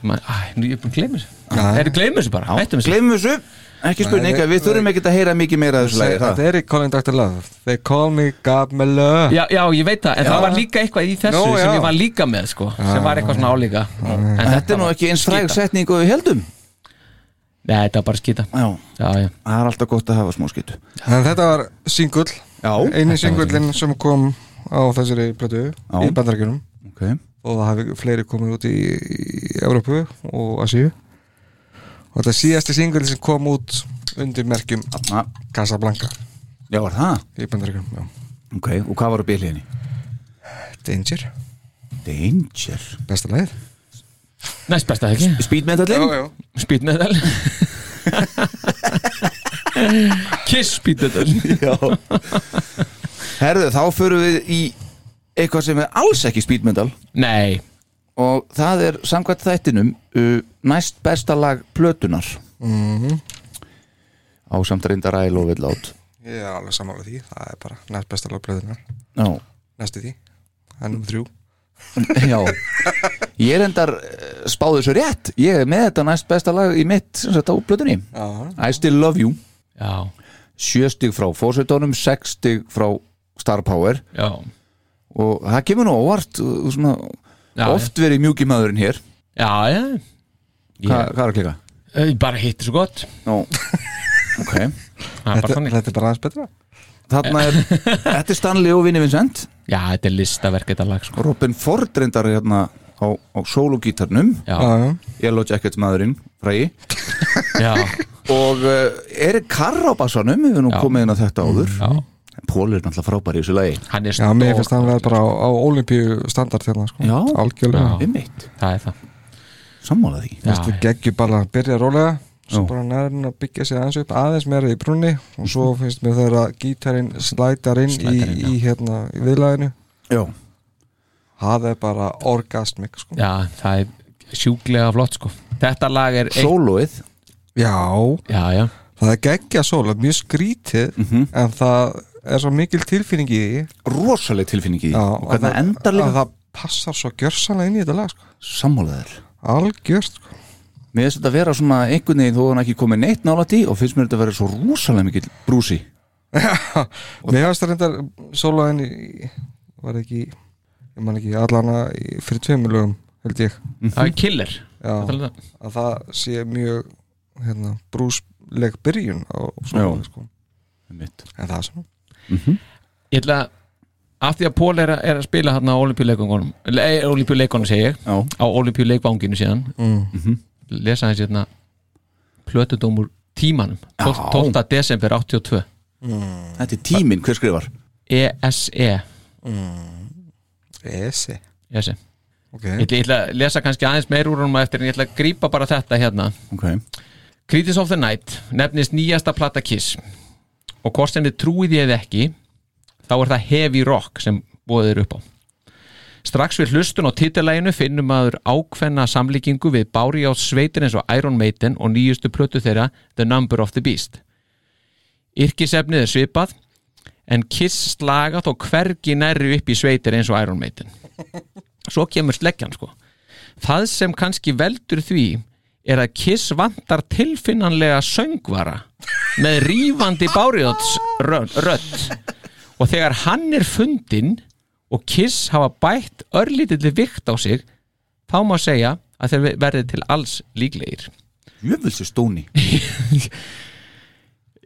Man, Æ, nú ég er búin að gleyma þessu Það er gleyma þessu bara, hættum þessu Gleimum þessu Ekki spurning, Nei, við þurfum ekkert að heyra mikið meira af þessu lagi Þetta er í Calling Dr. Love They call me God my love já, já, ég veit það, en Já. það var líka eitthvað í þessu Nú, já. sem ég var líka með sko, Já, sem var eitthvað svona álíka en Þetta er nú ekki eins fræg setning og við heldum Nei, þetta var bara skýta Já, já, já. það er alltaf gott að hafa smá skýtu En þetta var singull Þetta Einu var singullin sem kom á þessari plötu Já. í bandarækjunum Ok. og það hafi fleiri komið út í, í Evrópu og Asíu og þetta er síðasti singull sem kom út undir merkjum Casablanca Já, var það? í bandarækjunum, já Ok, og hvað var á bylhiðinni? Danger Danger Besta lagið Næst besta ekki Speed metalin? Já, já. Speed metal Kiss speed metal [laughs] Já Herðu, þá förum við í eitthvað sem er alls ekki speed metal Nei Og það er samkvæmt þættinum uh, næst besta lag plötunar Mhm. á samt reyndar I love it loud Ég er alveg samanlega því, það er bara næst besta lag plöðunar Já, Næstu því, það er nummer þrjú já Ég er endar spáðu þessu rétt Ég er með þetta næst besta lag í mitt sem sagt á plötunni I still love you Já Sjö stig frá fósveitónum, sex stig frá Star Power Já Og það kemur nú óvart uh, svona, Já, Oft verið mjúki maðurinn hér Já, já Hva, Hvað er að klika? Ég bara hittir svo gott Nó [laughs] Ok Það er bara þannig Þetta er bara aðeins betra Þarna er, þetta er Stanley og Vinnie Vincent Já, þetta er listaverk þetta lag sko Robin Ford reyndar hérna á, á sólugítarnum Já. Yellow Jackets maðurinn, frægi Já. Og uh, Erik Karr á bassanum, við erum nú komið inn á þetta áður Já. Pól er náttúrulega frábær í þessu lagi Hann er Já, mér finnst það verið bara á, á olimpíu standard hérna, sko, Já. algjörlega Einmitt. Það er það Sammála því Mér finnst Já, það geggjum bara að byrja rólega svo Já. bara nærinn að byggja sig aðeins upp aðeins meira í brunni og svo finnst mér þegar að gítarinn slætar inn í, Slætar inn, í hérna í viðlæðinu Já það er bara orgasmik sko. já það er sjúklega flott sko Þetta lag er eitt Sólóið Já, Já, já það er geggja sól mjög skrítið Mhm. en það er svo mikil tilfinning í því Rosaleg tilfinning í því Já, Og hvernig það endar að líka það passar svo gjörsanlega inn í þetta lag sko. Sammála þér algjört sko. Mér finnst þetta að vera svona einhvern veginn þó að hann ekki komið neitt nálætt í og finnst mér þetta að vera svo rosalega mikill brúsi Mér hafst það reyndar sólaðin í, var ekki ég man ekki, allana í- fyrir tveimur lögum held ég Það er killer Mhm. Já, Það er það. að það sé mjög hérna, brúsleg byrjun á Já. sólaðin sko. Einmitt. en það er svona Ég ætla að af því að Pól er, að- er að spila hérna á olimpíuleikunum olimpíuleikunum segi ég Já, á olimpíuleikvanginu síðan mm. lesa hans hérna plötudómur tímanum 12. 12. desember 82 þetta er tíminn, hver skrifar? E ESE Esi ESE Ég okay. ætla, ég ætla að lesa kannski aðeins meir úr honum á eftir en ég ætla að grípa bara þetta hérna Okay. Critics of the Night nefnist nýjasta plata Kiss og hvort sem þið trúið ég eða ekki þá er það heavy rock sem búið er upp á strax við hlustun á titilæginu finnum maður ákveðna samlíkingu við Bári á sveitin eins og Iron Maiden og nýjustu plötu þeirra The Number of the Beast yrkisefnið er svipað en Kiss slaga þó hvergi nærri upp í sveitir eins og Iron Maiden svo kemur sleggjan sko það sem kannski veldur því er að Kiss vantar tilfinnanlega söngvara með rífandi báriðots rödd og þegar hann er fundinn og Kiss hafa bætt örlítilli vikt á sig þá má segja að þeir verði til alls líklegir Jöfnvilsi stóni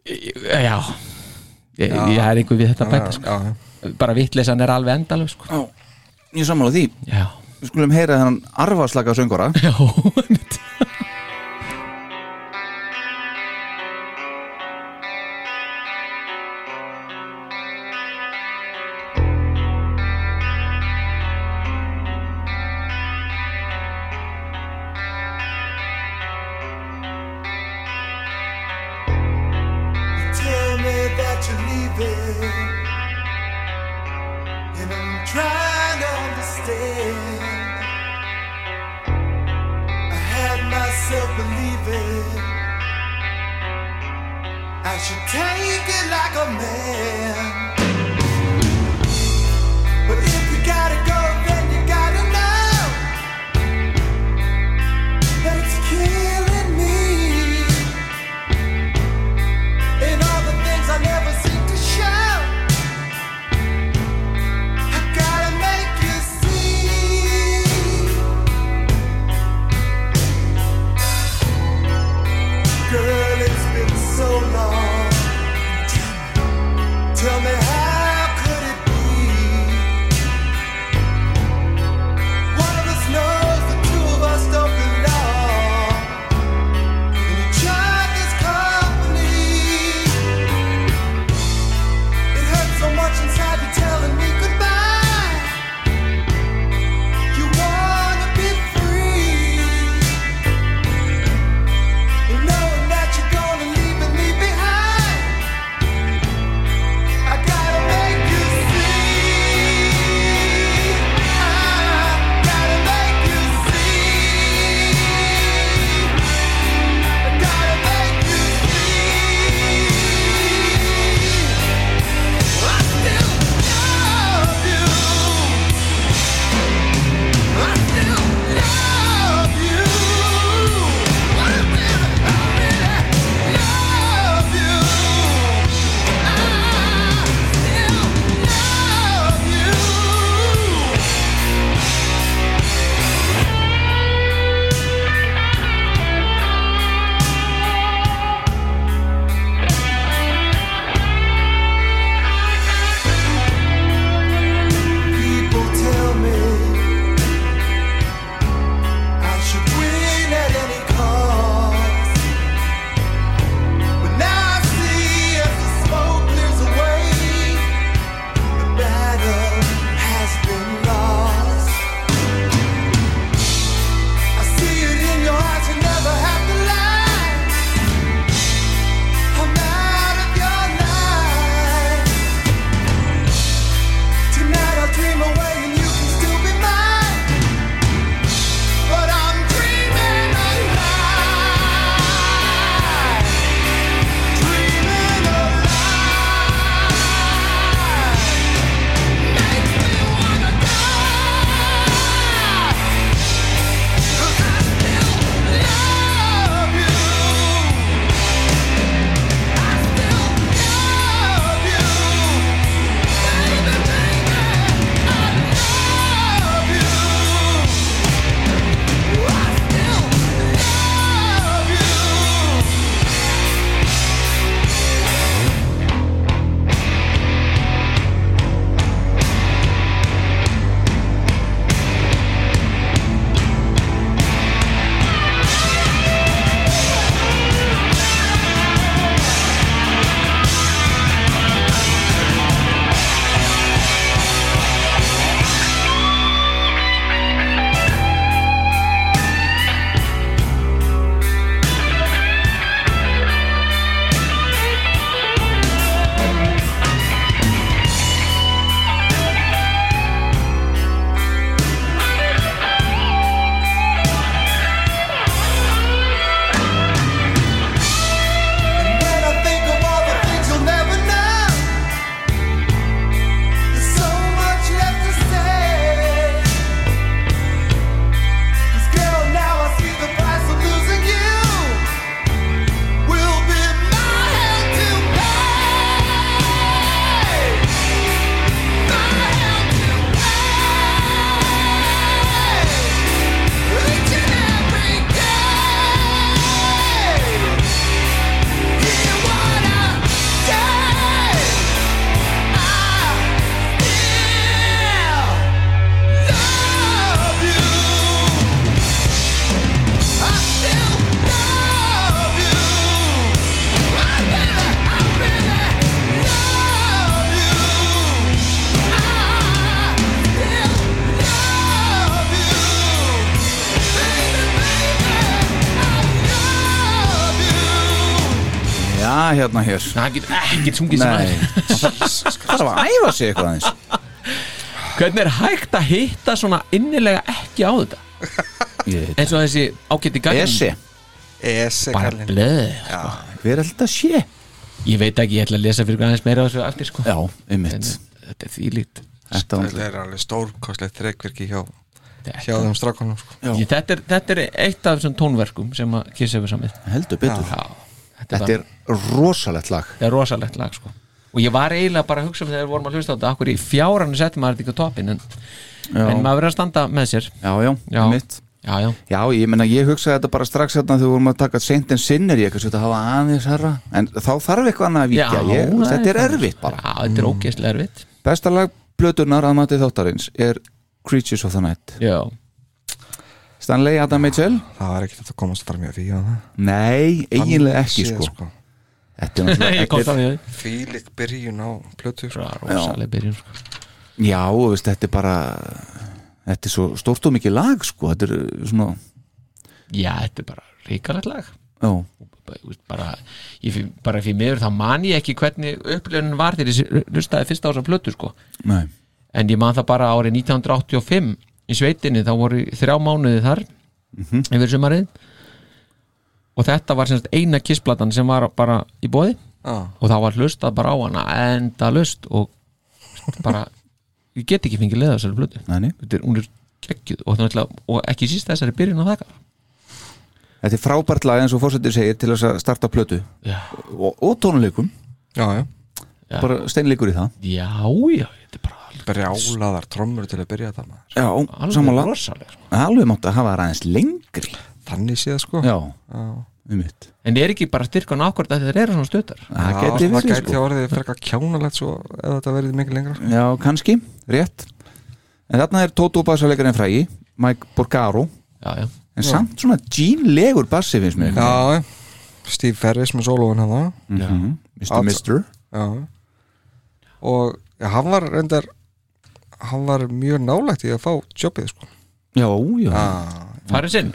já, ég, ég er einhver við þetta að bæta sko. já, bara vittlesan er alveg endalög sko. Já, ég er sammála því já, Við skulum heyra þennan arfaslaka söngvara [laughs] já einmitt. Tell me that you're leaving, and I'm trying to understand. I had myself believing I should take it like a man. But if you gotta go, then you gotta know that it's killing me. lag hérna hér Hann getur ekki sungið sem Nei, það var að æfa sig eitthvað aðeins Hvernig er hægt að hitta svona innilega ekki á þetta? eins og þessi ágætti gallin Esi. Esi Bara kallinn. blöð Hver er þetta sé? Ég veit ekki, ég ætla að lesa fyrir ykkur aðeins meira á þessu eftir sko Já, einmitt Þetta er þýlít Þetta Þetta er alveg stórkostlegt þrekverki hjá, hjá þeim strákunum sko. Ég, þetta, er, þetta er eitt af þessum tónverkum sem að Kiss hefur samið Heldur betur. Já, þetta, Þetta er rosalegt lag þetta er rosalegt lag sko og ég var eiginlega bara að hugsa um þegar við vorum að hlusta á þetta akkur í fjáranu settum maður þetta ekki á toppin en, Já. en maður verður að standa með sér Já, já, Já. einmitt Já, já ég meina, ég hugsaði þetta bara strax hérna þegar við vorum að taka seint en sinnir ég eitthvað svo þetta hafa aðeins herra En þá þarf eitthvað annað að víkja Já, ég, það Þetta er það. erfitt bara Já, þetta er ógeðslega erfitt Besta lag plötunar að matið þáttarins er Creatures of the Night Já Stanley Adam Mitchell Það var ekkert að komast fram hjá því að það Nei, eiginlega ekki Þannig séð, sko Þetta er [laughs] náttúrulega ekkert- Fílik byrjun á plötu sko. rosaleg byrjun sko. Já, og veist, þetta er bara Þetta er svo stórt og mikið lag sko Þetta er svona Já, þetta er bara ríkalegt lag Já. Bara- þú veist, bara, ég, fí- bara fyrir miður þá man ég ekki hvernig upplifun var þegar ég lustaði fyrst á þessar plötu sko. Nei. en ég man það bara árið 1985 í sveitinni, þá voru þrjá mánuði þar yfir sumarið og þetta var semst eina kissplattan sem var bara í bóði Já. og þá var hlustað bara á hana enda lust og bara, [laughs] ég get ekki fengið leið af þessari plötu Nei. hún er geggjuð og, þannig að- og ekki síst þessari byrjun á þakka Þetta er frábært lag eins og fórsetið segir til þess að starta plötu Já. og, og tónuleikum já, já. bara steinleikur í það Já, já, þetta er bara Brjálaðar trommur til að byrja þetta maður Já, Alveg sammála. rosaleg, Alveg mátt að hafa það aðeins lengri Þannig séð sko Já, Já. um mitt En er ekki bara styrkan ákvörð að þetta eru svona stötar? Það Já, gæti það verið, gæti sko. orðið frekar kjánalegt svo ef þetta verið mikið lengra sko. Já, kannski, rétt En þarna er Tóto bassalegurinn frægi Mike Borgaro já, já. En Já. samt svona gínlegur bassi finnst mér Já, já. Steve Ferris með sólóin hérna. hann Mhm. Mr. Mister. Já Og já, hann var reyndar hann var mjög nálægt í að fá jobbið sko Já, já Ah. Farið sinn?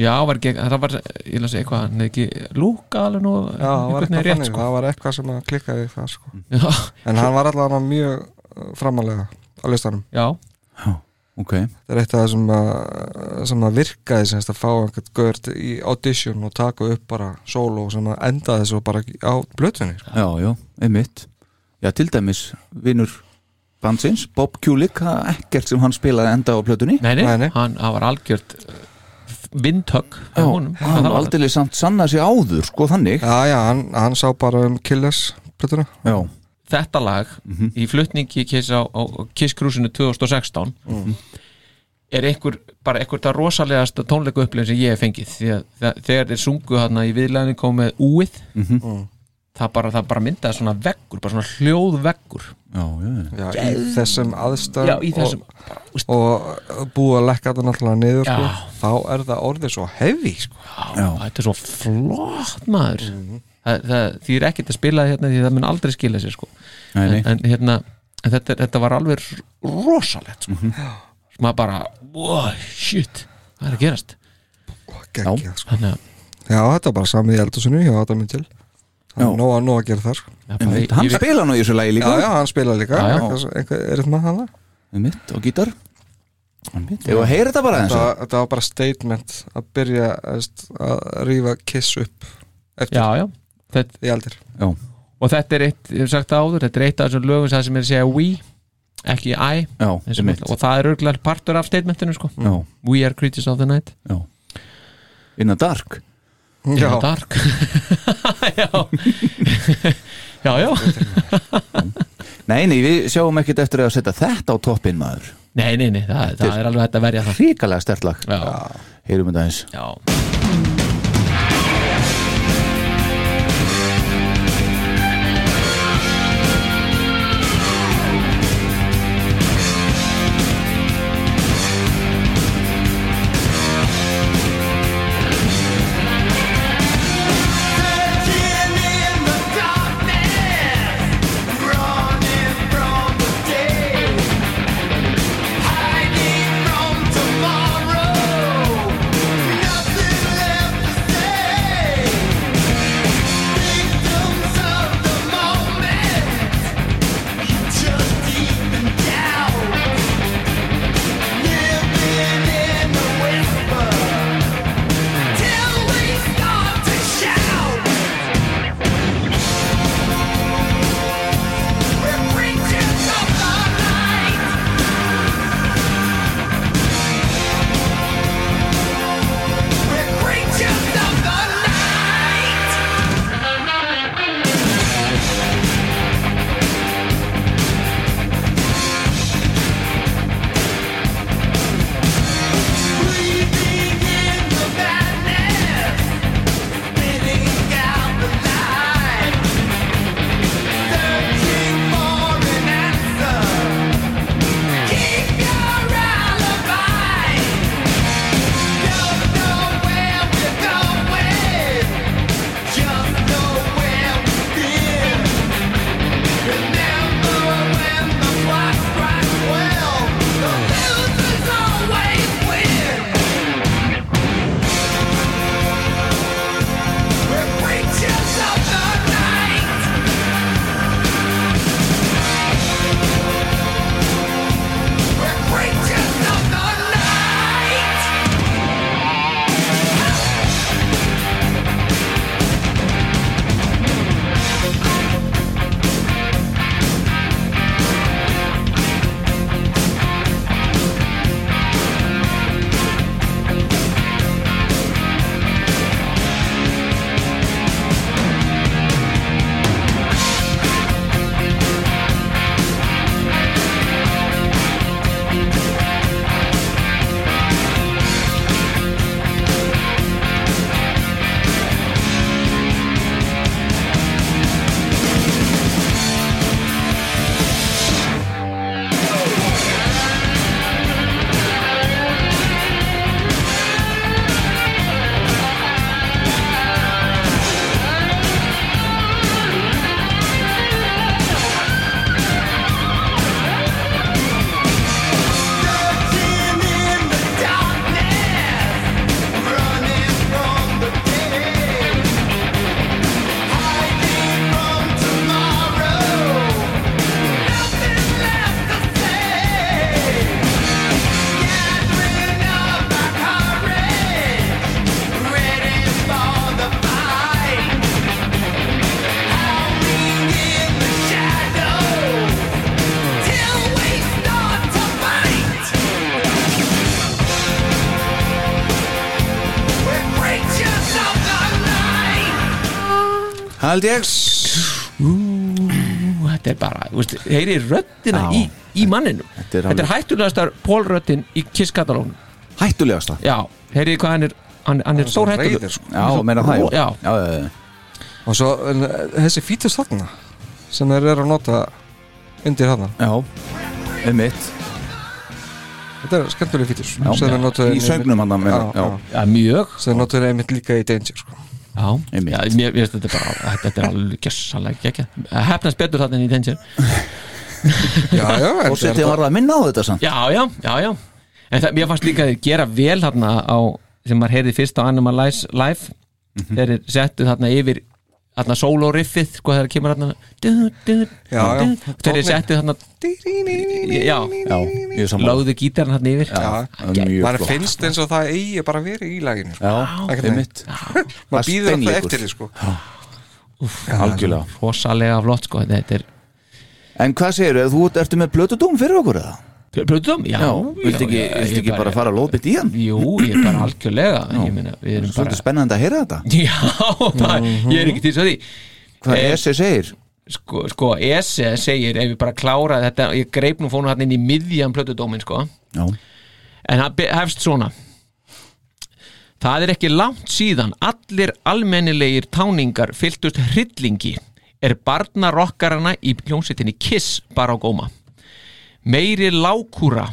Já, var gegn, það var, ég laði segja eitthvað, hann er ekki lúka alveg nú Já, það var einhvern eitthvað veginn rétt þannig, sko það var eitthvað sem að klikkaði það sko Já. En hann var allavega mjög uh, framalega á listanum Já, ok Þetta er eitt af það sem að, sem að virkaði sem að fá einhvern gört í audition og taka upp bara solo sem að endaði svo bara á blötvinni sko. Já, já, einmitt Já, til dæmis, vinnur bandsins, Bob Kulik, það er ekkert sem hann spilaði enda á plötunni nei, nei, hann hann var algjört eh, vindhögg Já, af honum. hann Það var- aldrei samt sanna sig áður, sko þannig Já, já, hann, hann sá bara um Killers blötuna Já, Þetta lag í flutningi Kiss á, á Kiss-krúsinu 2016 er einhver, bara einhver það rosalegasta tónleiku upplifin sem ég hef fengið því að þa- þegar þeir sungu þarna í viðlæðinu komið úið Mhm. það bara, það bara myndaði svona veggur bara svona hljóðveggur já, já Í þessum aðstæðum Já, í þessum- og, og búið að lekka þetta náttúrulega niður sko. Já. þá er það orðið svo heavy sko. já. þetta er svo flott maður það, það, því er ekkert að spila hérna því það mun aldrei skila sér sko. Nei, nei. En, en hérna en þetta, þetta var alveg rosalegt sko. Mhm. sem að bara, wow, shit það er að gerast Gekkið, sko. Þannig að- Já, þetta var bara samið í eldhúsinu hjá Adam Mitchell Já. Nó að nóg að gera það sko. Já, bara, einmitt, ég- hann ég- spila nú í þessu lagi Já, líka já, hann spila líka Já, já. Eitthvað, eitthvað, Er þetta maður hann það? Einmitt, og gítar Ef að heyra þetta bara eins þetta, þetta var bara statement að byrja eðst, að rífa kiss upp eftir já, já þetta, í aldir og þetta er eitt, ég hef sagt það áður þetta er eitt af þessum lögum það sem er að segja we ekki I Já, eins og einmitt náttúrulega- og það er örgulega partur af statementinu sko. Já, we are creatures of the night innan dark já. dark [laughs] já [laughs] [laughs] já, já Nei, nei, við sjáum ekkert eftir að setja þetta á toppin maður Nei, nei, nei, það, það er alveg hægt að verja það Ríkalega stert lag Já, Heyrum þetta eins já, Hiding from tomorrow, nothing held ég Ú, þetta er bara, þú veist, heyri röddina í, í manninu Þetta er alveg- Þetta er hættulegastar pólröddin í Kiss katalónum Hættulegasta? Já, heyri hvað hann er, hann, hann er er svo stór reiður, hættulegur sko. Já, meina það, já. já. Já, já, já. og svo en, eh, þessi fítur þarna sem þeir eru að nota undir þarna já, um mitt þetta er skemmtileg fítur Já. sem þeir notuðu Í einmitt- söngnum hann, meina, já. já, mjög sem þeir notuðu einmitt líka í Danger sko. Já, já mér, mér finnst þetta bara, þetta- þetta er alveg gjössalega ekki Hefnast betur þarna en í Danger Já, já, en- Forsetinn varð að minna á þetta samt Já, já, já, já En það, mér fannst líka að gera vel þarna á sem maður heyrði fyrst á Animal Lies Live þeir eru settu þarna yfir þarna solo riffið, sko, þegar kemur þarna du, du, Já, já. du, þeir eru settu þarna Já, já, ég er sammála. Láðu gítarinn þarna yfir Já, mjög maður flott. finnst eins og það eigi bara verið í laginu sko. Já, Einhvern veginn. einmitt. maður býður alltaf Spenningur. eftir því sko. Úff, Já, algjörlega. Rosalega flott, sko, þetta er En hvað segir þú, þú ertu með blötudóm fyrir okkur eða? Plötum, já, Já, viltu ekki, já, viltu ég ekki bara, fara lóðbytt í hann? Jú, ég er bara algjörlega Ég meina, við erum Svolítið bara spennandi að heyra þetta Já, það, ég er ekki til svo því Hvað Esse segir? Sko, sko Esse segir ef ég bara klára þetta, ég greip nú fónu hann inn í miðjan plötudómin sko Já. En það be- hefst svona Það er ekki langt síðan allir almennilegir táningar fyltust hryllingi er barnarokkarana í hljómsveitinni Kiss bara á góma Meiri lákúra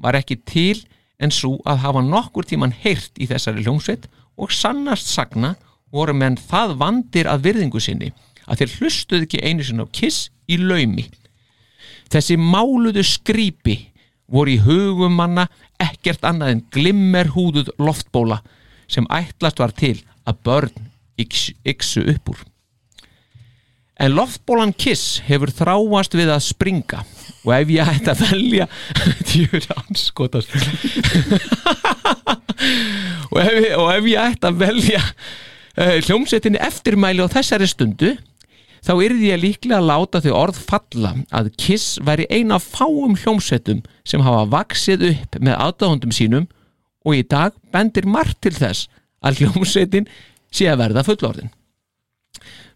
var ekki til en svo að hafa nokkur tíman heyrt í þessari hljómsveit og sannast sagna voru menn það vandir að virðingu sinni að þeir hlustuð ekki einu sinni á kiss í laumi. Þessi máluðu skrýpi voru í hugum manna ekkert annað en glimmerhúðuð loftbóla sem ætlast var til að börn yx- yksu upp úr. En loftbólan Kiss hefur þráast við að springa og ef ég ætti að velja [laughs] djúri anskotast [laughs] og, ef, ég- og ef ég ætti að velja uh, hljómsettinni eftirmæli á þessari stundu þá yrði ég líklega að láta þau orð falla að Kiss væri eina af fáum hljómsettum sem hafa vaksið upp með aðdáðundum sínum og í dag bendir margt til þess að hljómsettin sé að verða fullorðin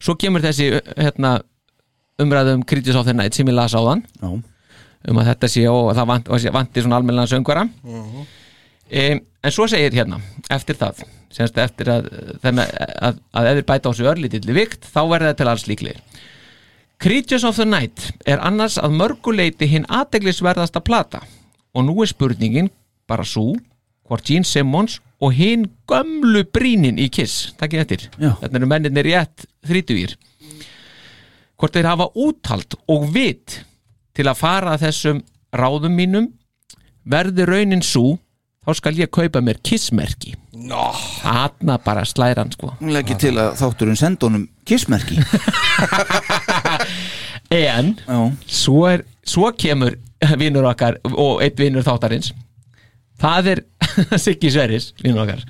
svo kemur þessi hérna, umræðum Critics of the Night sem ég las á þann Já. um að þetta sé og það vant, og sé- vanti svona almennlega söngvara Mhm. um, en svo segir hérna eftir það, semst eftir að, að, að, að ef þeir bæta á þessu örlítilli vikt þá verða þetta til alls líklegir Creatures of the Night er annars að mörguleiti hinn aðteglisverðasta plata og nú er spurningin bara svo hvort Gene Simmons og hinn gömlu brínin í Kiss takkið eftir, Já. þarna eru menninir rétt þrítugir hvort þeir hafa úthald og vit til að fara að þessum ráðum mínum verði raunin svo þá skal ég kaupa mér kissmerki Nó. Atna bara slæran sko Leggi til að þátturinn senda honum kissmerki En svo, er, svo kemur vinnur okkar og einn vinnur þáttarins Það er [laughs] Siggi Sveris, vinnur okkar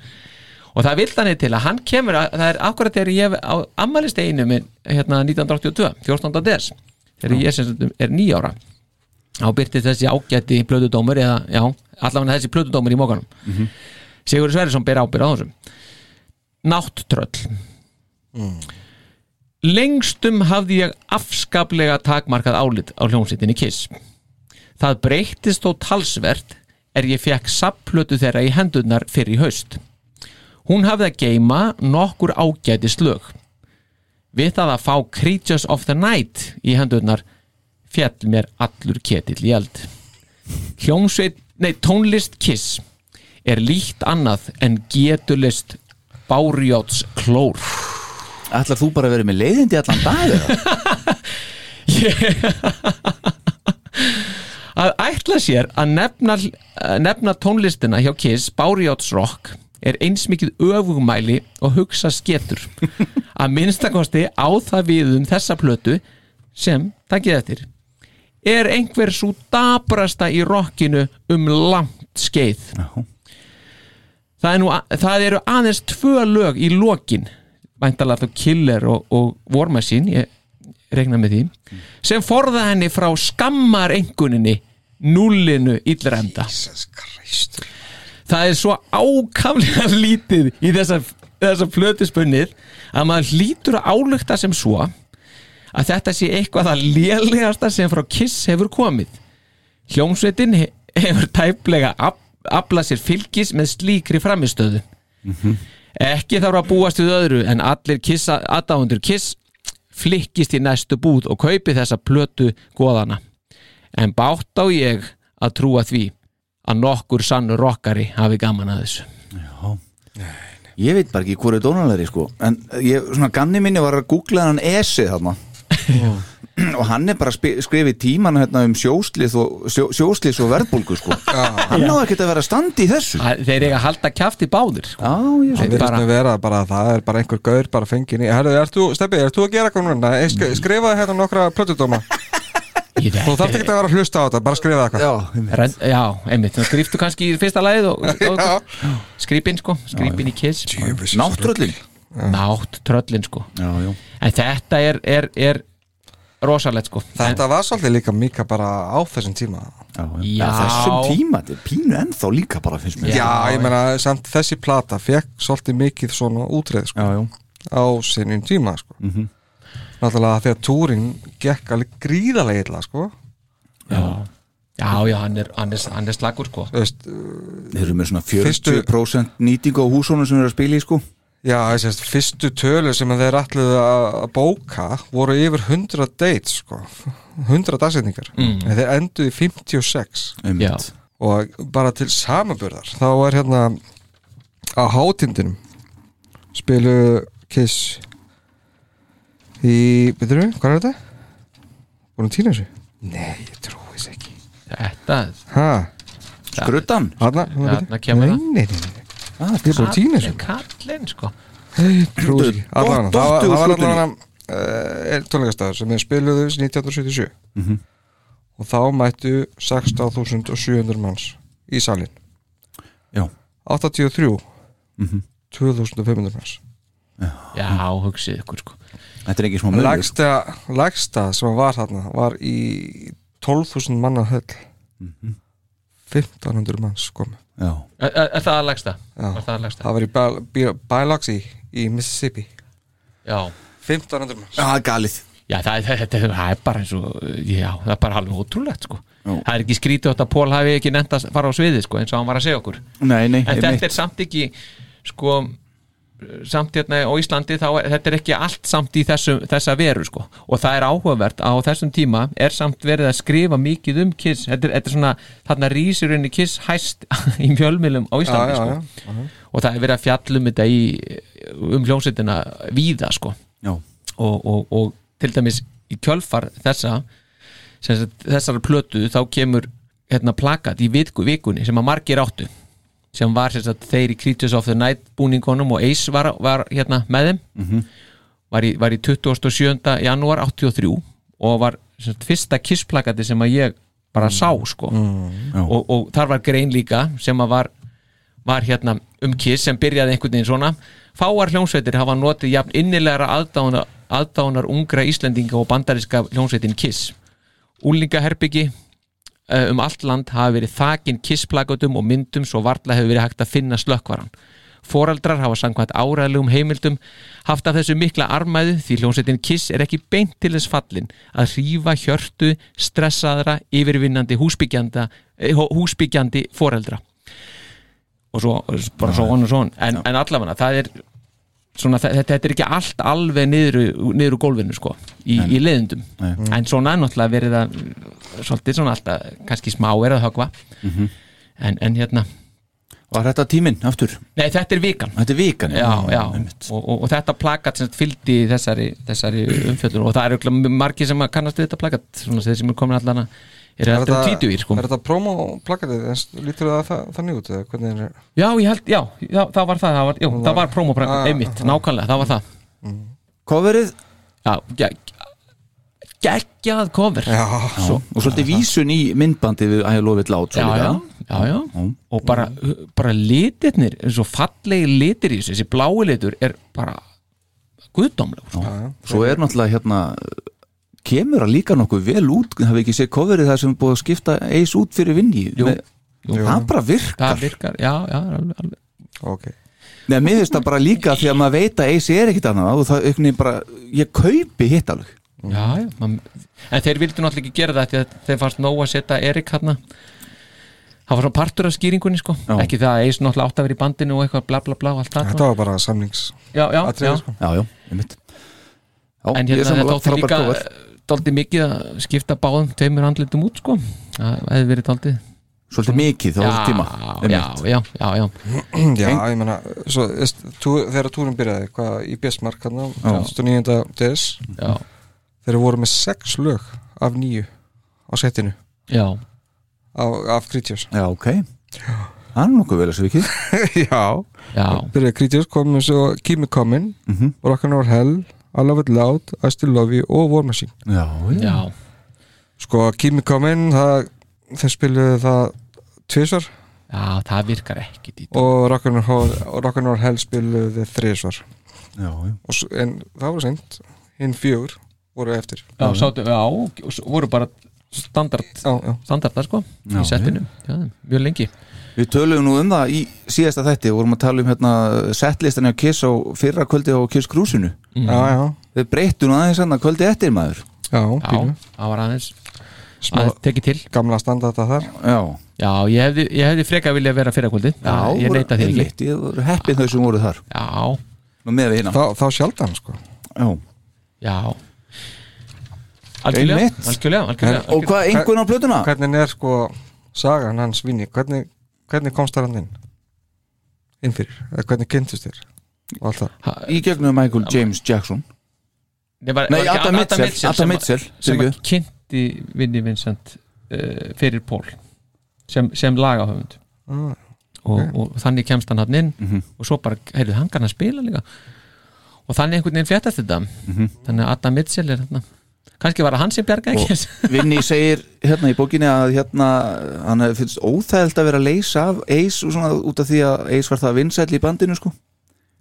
Og það vill þannig til að hann kemur að, Það er akkurat þegar ég hef á ammælisteginu minn hérna 1982, 14. des Þegar ég sem sagt er nýjára Þá byrti þessi ágætti plötudómur eða, já, allavega þessi plötudómur í mókanum Sigur Sverrisson ber ábyrð á þessum Nátttröll Lengstum hafði ég afskaplega takmarkað álit á hljómsveitinni Kiss. Það breyttist þó talsvert er ég fekk sapplötu þeirra í hendurnar fyrir í haust. Hún hafði að geima nokkur ágæti slög. Við það að fá Creatures of the Night í hendurnar fjall mér allur ketill í eld. Hljómsveit, nei tónlist Kiss er líkt annað en getulist bárjóts klór. Ætlar þú bara að vera með leiðindi allan dag eða? að ætla sér að nefna, að nefna tónlistina hjá Kiss Bárjótsrock er eins mikið öfugmæli og hugsa sketur að minnstakosti á það við um þessa plötu sem, takkið eftir er einhver svo dabrasta í rockinu um langt skeið það, er nú, a- það eru aðeins tvö lög í lokin væntalega þá Killer og, og War Machine ég regna með því sem forða henni frá skammar enguninni núllinu illrenda Jesus Christ það er svo ákamlega [laughs] lítið í þessar þessa plötu spunnið að maður hlýtur að álugta sem svo að þetta sé eitthvað að lélegasta sem frá Kiss hefur komið hljómsveitin he- hefur tæplega af- aflað sér fylgis með slíkri framistöðu Ekki þarf að búast við öðru en allir kissa, aðdáundur kiss flikkist í næstu búð og kaupi þessa plötu goðana. En bátt á ég að trúa því að nokkur sannur rockari hafi gaman að þessu. Ég veit bara ekki hvort er dónalegri sko En ég, svona ganni minni var að googla hann Esi þarna Og hann er bara að spi- skrifa í tíman hérna, um sjóslið og, sjó, sjóslið og verðbólgu sko Hann á ekkert að vera að standa í þessu Þeir eiga að halda kjafti báðir sko. Já, Það verður að vera bara að það er bara einhver gaur bara fengin í Herðu, ert þú, Steppi, ert þú að gera eitthvað núna? Sk skrifaði hérna nokkra plötudóma Þú þarf ekki að vera að hlusta á þetta, bara skrifaði eitthvað Rönd, já, einmitt, þú skriftu kannski í fyrsta lagið og, og, og skripin sko, skripin í kiss Nátttröllin Nátttröllin sko já, já. En þetta er, er, er rosalegt sko Þetta var svolítið líka mika bara á þessum tíma Já, Já. Á Þessum tíma, þetta er pínu ennþá líka bara finnst mér Já, ég meina, samt þessi plata fekk svolítið mikið svona útreið sko, já, já. á sinum tíma sko. Náttúrulega þegar túrin gekk alveg gríðarlega illa sko. Já, já, já hann, er, hann, er, hann er slagur sko Veist, Þeir eru með svona Fyrstu- 40% nýtingu á húsónum sem eru að spila í sko Já, þessi fyrstu tölu sem þeir ætluðu að að bóka voru yfir 100 dates sko. [laughs] 100 dagsetningar Mm. en þeir enduðu í 56 Einmitt. Já. og bara til samaburðar þá er hérna á hátindinum spilu Kiss í, veitur við, hvað er þetta? Búin að týna þessu? Nei, ég trúi þess ekki Þetta Ha? Skruttan? Þarna, Ah, Já, þarna þarna kemur nei, það. nei, nei, nei, nei. Ég er búin að týna þessu Kallinn sko Ég trúi þessu ekki. Allavega, Það dottu var- úr það var skútunni. allavega uh, er tónleikastæður sem við spiluðu 1977 Mhm. og þá mættu 16.700 manns í salin Já. 83 Mhm. 2500 manns Já, hugsið ykkur sko Þetta er ekki smá meðlur Lægsta, lægsta sem var þarna var í 12.000 manna höll Mhm. 1500 manns komu Já. Er, er, er það að lagsta? Er það að lagsta? það var í Bal- Bi- Biloxi í Mississippi Já 1500 manns Já, galið Já, það, það, það, það er bara eins og Já, það er bara alveg ótrúlegt sko Það er ekki skrítið átt að Pól hafi ekki nefnt að fara á sviðið sko eins og hann var að segja okkur Nei, nei, En einmitt. þetta er samt ekki sko samt hérna á Íslandi þá er, þetta er ekki allt samt í þessu, þessa veru sko og það er áhugavert að á þessum tíma er samt verið að skrifa mikið um Kiss þetta er, þetta er svona, þarna rýsir henni Kiss hæst [laughs] í mjölmilum á Já, já, Íslandi sko. já, já. og það er verið að fjallum þetta í um hljómsveitina víða sko Já. og, og, og til dæmis í kjölfar þessa sem sagt, þessara plötu þá kemur hérna plakat í viku, vikunni sem að margir áttu sem var sem sagt, þeir í Creatures of the Night búningunum og Ace var, var hérna með þeim Mhm. var, í, var í 27. janúar 83 og var sem sagt, fyrsta kissplakati sem að ég bara sá sko Mm. Já. og, og þar var grein líka sem að var, var hérna um kiss sem byrjaði einhvern veginn svona fáar hljómsveitir hafa notið jafn innilegra aðdáunar, aðdáunar ungra Íslendinga og bandariska hljómsveitin kiss úlingaherbyggi eh, um allt land hafa verið þakin kissplakatum og myndum svo varla hefur verið hægt að finna slökkvaran Foreldrar hafa samkvæmt áræðlegum heimildum haft af þessu mikla armæðu því hljómsveitin Kiss er ekki beint til þess fallin að hrífa hjörtu stressaðra yfirvinnandi húsbyggjanda, eh, hó- húsbyggjandi foreldra og svo bara svo hann og svo hann en, en allavega það er svona, þe- þetta, þetta er ekki allt alveg niður, niður úr gólfinu sko í, í leiðundum Nei. Mm. en svona er náttúrulega verið að svolítið svona alltaf kannski smá er að högva Mhm. en, en hérna Var þetta tíminn aftur? Nei, þetta er vikan Þetta er vikan Já, já, og, og, og þetta plakat sem sagt fylgdi þessari, þessari umfjöldun og það eru örugglega margir sem að kannast við þetta plakat svona þeir sem er komin allan að eru Er alltaf um títu sko Er þetta promo plakatið, en lítur það þa- þannig út eða hvernig er Já, ég held, já, já það var það, það var, jú, það var promoprank, Ah, einmitt, nákvæmlega, það var það Coverið? Já, gegg- geggjað cover Já, Svo, og svolítið vísun í myndbandi við Æja lofið lát já, já, já, já. og bara, uh, bara litirnir eins og fallegi litir í þessu, þessi blái litur er bara guðdómlegur sko. Svo er náttúrulega hérna kemur að líka nokkuð vel út hafi ekki séð coverið það sem er búið að skipta eis út fyrir vinni Jú, Með, jú. það bara virkar það virkar, já, já, alveg, alveg Ok Nei, mér finnst það bara líka því að maður veit að AC er ekkit annað og það einhvern veginn bara, ég kaupi hitt alveg Já, já, man, en þeir vildu náttúrulega ekki gera það því að þeir fannst nóg að setja Erik hann það var svona partur af skýringunni sko. Já. ekki það að Eis náttúrulega átt að vera í bandinu og eitthvað bla bla bla og allt það Þetta var bara samnings Já, já, atriði, já. sko. Já, já, ég mitt Já, en ég er hérna sammála, þetta átti frábær líka cover. dálítið mikið að skipta báðum tveimur handlitum út sko það hefði verið dálítið Svolítið mikið á þessum tíma, já, einmitt. já, já, já [clears throat] Já, ég menna svo, veist, tú, Þegar túrum byrjaði hvað, í Björsmark hann Já. 29. des Já. Þeir voru með sex lög af nýju á setinu Já. á, Af Krítjós Já, ok Það er nokkuð vel þessu vikið [laughs] Já, Já. byrjaði Krítjós komum svo Kimi Comin Mhm. Rock'n'Roll Hell, I Love It Loud I Still Love You og War Machine Já, Já. Sko, Kimi Comin það, þeir spiluðu það tvisvar Já, það virkar ekki og Rock'n'Roll rock Hell spiluðu þrisvar Já, já og, s- en það var seint hinn fjögur voru eftir já, sátu, já, og s- voru bara standard standardar sko Já, í settinu já, mjög lengi Við töluðum nú um það í síðasta þætti og vorum að tala um hérna settlistan á Kiss á fyrra kvöldi á Kiss Krúsinu Mhm. Já, já. Við breyttum nú aðeins hann að kvöldi eftir maður Mm. Já, já, það var aðeins Smá- aðeins tekið til gamla standarta þar Já, já ég hefði, ég hefði freka vilja vera fyrrakvöldi Já, ég voru- neita því einmitt, Ég voru heppin þau sem voru þar Já Nú með við hérna Þá, þá sjaldan sko Já Já Algjörlega, Einmitt. algjörlega, algjörlega, En- Og hvað, einkunn á plötuna? Hvernig er sko sagan hans vini hvernig, hvernig komst þar hann inn inn fyrir, eða hvernig kynntist þér og allt það Í gegnum Michael James Jackson Nei, var, Nei, var ekki Adam Mitchell, Adam sem- Mitchell, sem að fyrirgefðu. kynnti Vinnie Vincent uh, fyrir Pól sem, sem lagahöfund Ah, og, ok. og þannig kemst hann hann inn Mhm. og svo bara, heyrðu, hann kann að spila líka og þannig einhvern veginn fléttast þetta þannig að Adam Mitchell er hann kannski var það hann sem bjargaði Mhm. Og ekki Vinni segir hérna í bókinni að hérna hann finnst óþægild að vera að leysa af Ace og svona út af því að Ace var það vinsæll í bandinu sko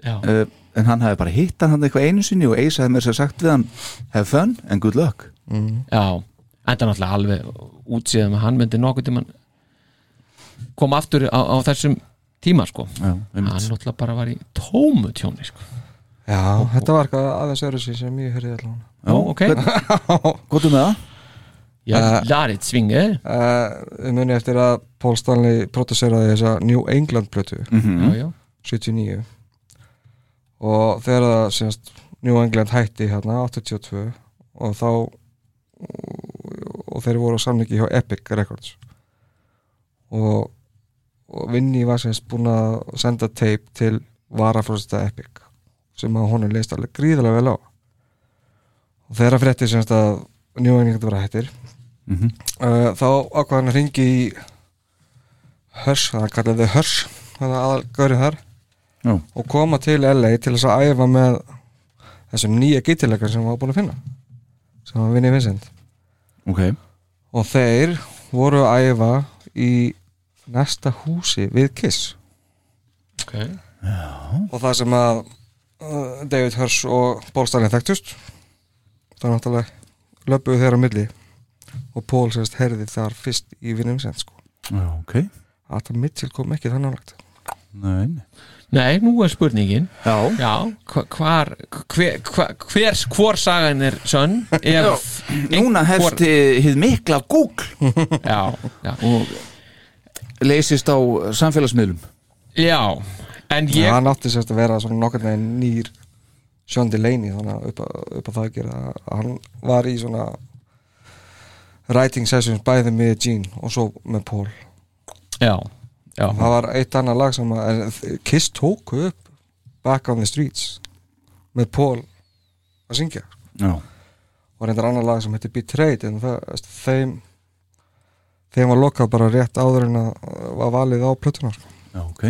Já. uh, en hann hafi bara hitt hann hann eitthvað einu sinni og Ace hafi mér sér sagt við hann have fun and good luck Já, enda náttúrulega alveg útsýðum að hann myndi nokkuð tíma kom aftur á, á þessum tíma sko Já, hann náttúrulega bara var í tómu tjóni sko Já, þetta var eitthvað aðeins öðru sér sem ég hörði allan Já, ok. Góttu með um það? Já, larið svingið Við muni Eh, eftir að Paul Stanley produseraði þessa New England plötu Mhm. Já, já. 79 og þegar það semast New England hætti hérna 82 og þá og þeir voru á samningi hjá Epic Records og, og Vinni var semast búin að senda tape til varafrösta Epic sem að honum leist alveg gríðarlega vel á og þeirra frétti semast að New England var hættir Mhm. uh, þá ákvað hann að ringi í Hörs, hann kallaði þau Hörs hann aðalgörið þar Já. og koma til LA til þess að æfa með þessum nýja gítilegar sem hann var búin að finna sem hann vinni Vincent ok og þeir voru að æfa í næsta húsi við Kiss okay. og það sem að uh, David Hirsch og Paul Stanley þekktust það er náttúrulega löpuðu þeirra á milli og Paul sérst herði þar fyrst í vinnum sent sko Já, ok Adam Mitchell kom ekki þannig álagt Nei. Nei, nú er spurningin Já, hva, hvar, hver, hva, hver hvor sagan er [laughs] sönn Já, ef núna einhver- hefst eh, hið mikla Google Já, já og leysist á samfélagsmiðlum Já, en ég... ég hann átti sérst að vera svona nokkurn veginn nýr Sean Delaney þannig að upp, að- upp að það gera að hann var í svona writing sessions bæði með Gene og svo með Paul Já, já það var eitt annað lag sem að en Kiss tóku upp Back on the Streets með Paul að syngja Já. og reyndar annað lag sem heitir Betrayed en það, veist, þeim þeim var lokað bara rétt áður en að var valið á plötunar Já, ok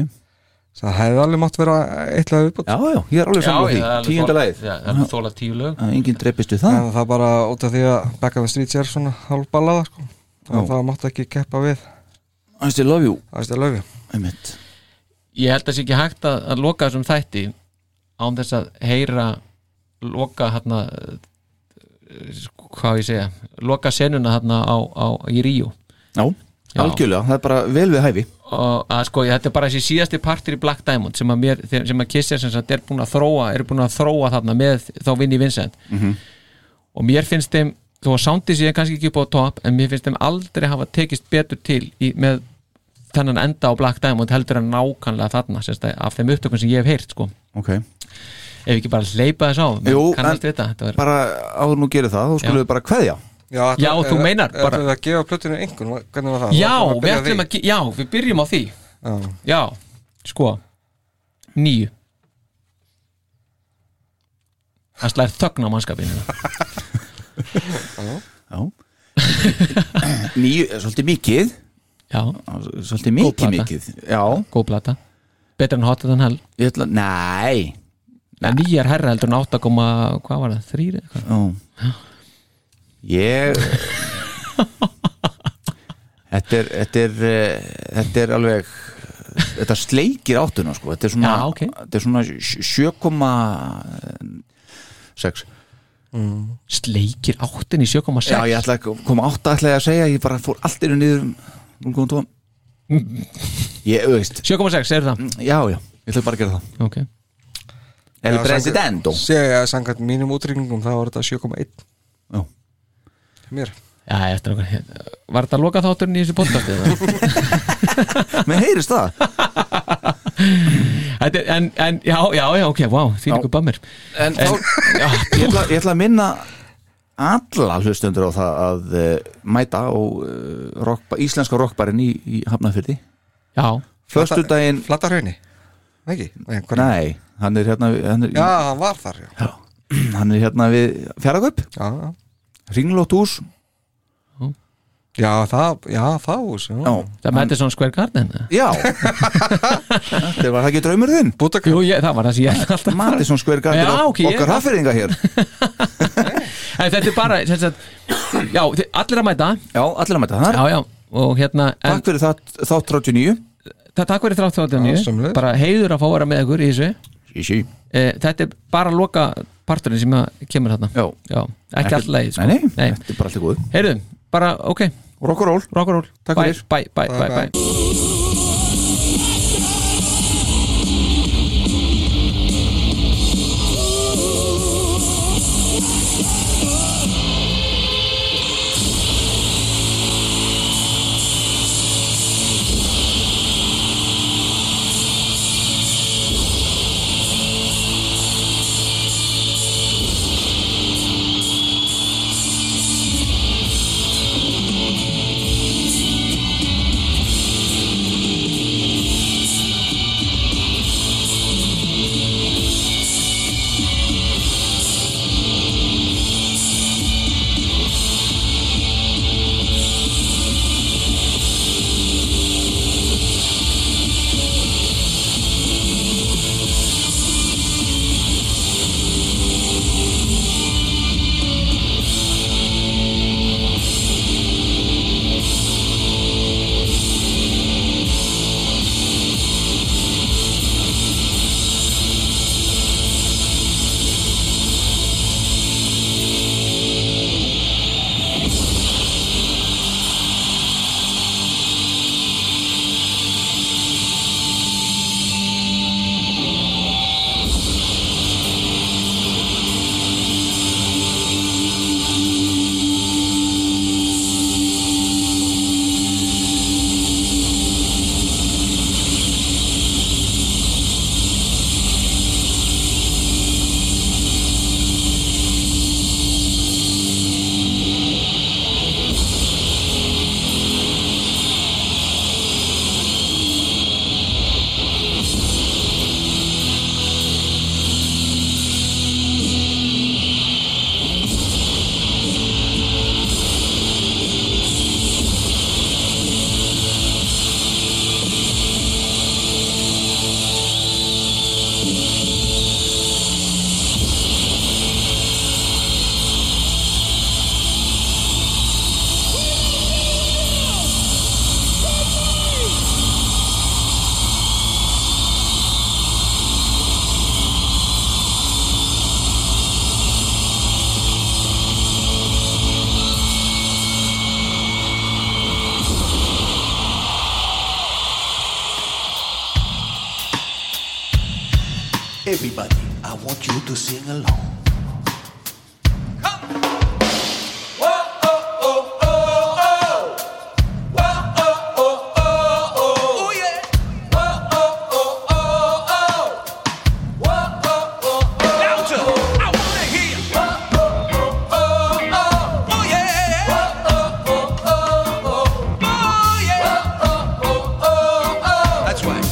það hefði alveg mátt vera eitt lag viðbútt Já, já, ég er alveg sammála því. Tíunda lagið. þóla tíu lög að enginn dreipist við það það en það bara út af því að Back of the Streets er svona hálfballaða sko. Já. og það mátt ekki keppa við I still love you I still love you Einmitt. ég held að sé ekki hægt að, að loka þessum þætti án þess að heyra loka hérna eh, sko, hvað á ég að segja loka senuna hérna á, á, í Ríu Já, algjörlega, það er bara vel við hæfi og að sko, þetta er bara þessi síðasti partur í Black Diamond sem að, mér, sem að Kiss er sem sagt er búin að þróa, er búin að þróa þarna með þá vinn í Vincent Mhm. og mér finnst þeim, þó að soundið sé kannski ekki upp á top, en mér finnst þeim aldrei hafa tekist betur til í, með þennan enda á Black Diamond heldur en nákvæmlega þarna, sérst að af þeim upptökum sem ég hef heyrt, sko Ok. Ef ekki bara hleypa þess á, menn Jú, kannast en við þetta, þetta var- bara áður nú gerir það, þá skulum Já. við bara kveðja Já, ætla- Já, þú er- meinar er- bara- Ætlum við að gefa plötinu einhvern, hvernig var það? Já, Ætlum að við byrja ætlum því? að, ge- já, við byrjum á því Já. Já, sko Nýju Það slæðir þögn á mannskapinu Já Nýju, svolítið mikið Já Svolítið mikið mikið Já Góð plata Betra en Hotter than Hell Ég ætla, næ Nei, nýjar herra heldur en 8, hvað var það, þrýri? Já Ég Þetta er, þetta er eh, Þetta er alveg Þetta sleikir áttuna sko Þetta er svona, Já, ok. þetta er svona 7,6 Mm. Sleikir áttin í 7,6 Já, ég ætla ekki að koma átta ætla ég að segja Ég bara fór allt einu niður um 0,2 Ég, þú veist 7,6, segir það Já, já, ég ætla bara að gera það Ok El Já, Presidento samkvæmt- Segja, samkvæmt mínum útrygningum, þá var þetta 7,1 Já Mér Já, ég ætla okkur Var þetta loka þátturinn í þessu podcasti? [laughs] eða? Mér heyrist það Þetta er- en, en, já, já, já, ok, wow, því líka bammir En þá, ég, ætla, ég ætla að minna alla hlustundur á það að uh, mæta og uh, rock, íslenska rockbarinn í, í Hafnafyrði Já Föstudaginn Flatahrauni? Ekki? Nei, hvernig? Nei, hann er hérna hann er, Já, hann var þar, já hann er hérna við Fjaragöp Já Ringlótt hús Já, það, já, það hús Já, já Það mætti svona Square Garden eða? Já Þetta var það ekki draumur þinn Bútakar Jú, ég, það var það sem ég [laughs] ætlaði alltaf Mati svona skver Já, gardir ok, ég- okkar hafnfyrðinga hér En þetta er bara, sem sagt Já, þið- allir að mæta Já, allir að mæta þar Já, já, og hérna en, Takk fyrir það, þá 39 það, Takk fyrir þrátt Já, þáttunni sömuleiðis. Bara heiður að fá að vera með ykkur í þessu Sí, sí e, Þetta er bara loka parturinn sem að kemur þarna Já, já ekki alltaf leið sko. Nei, nei, þetta er bara allir góð Heyrðu, bara, ok Rockaról Rockaról Takk Bye, fyrir. bye, Bye, bye, bye, bye. Thank you. Everybody, I want you to sing along. That's right.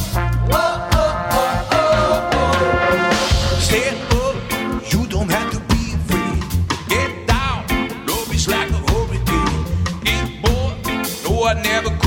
Stand up, you don't have to be afraid. Get down, love is like a hurricane. It boy, no, I never Uh-uh,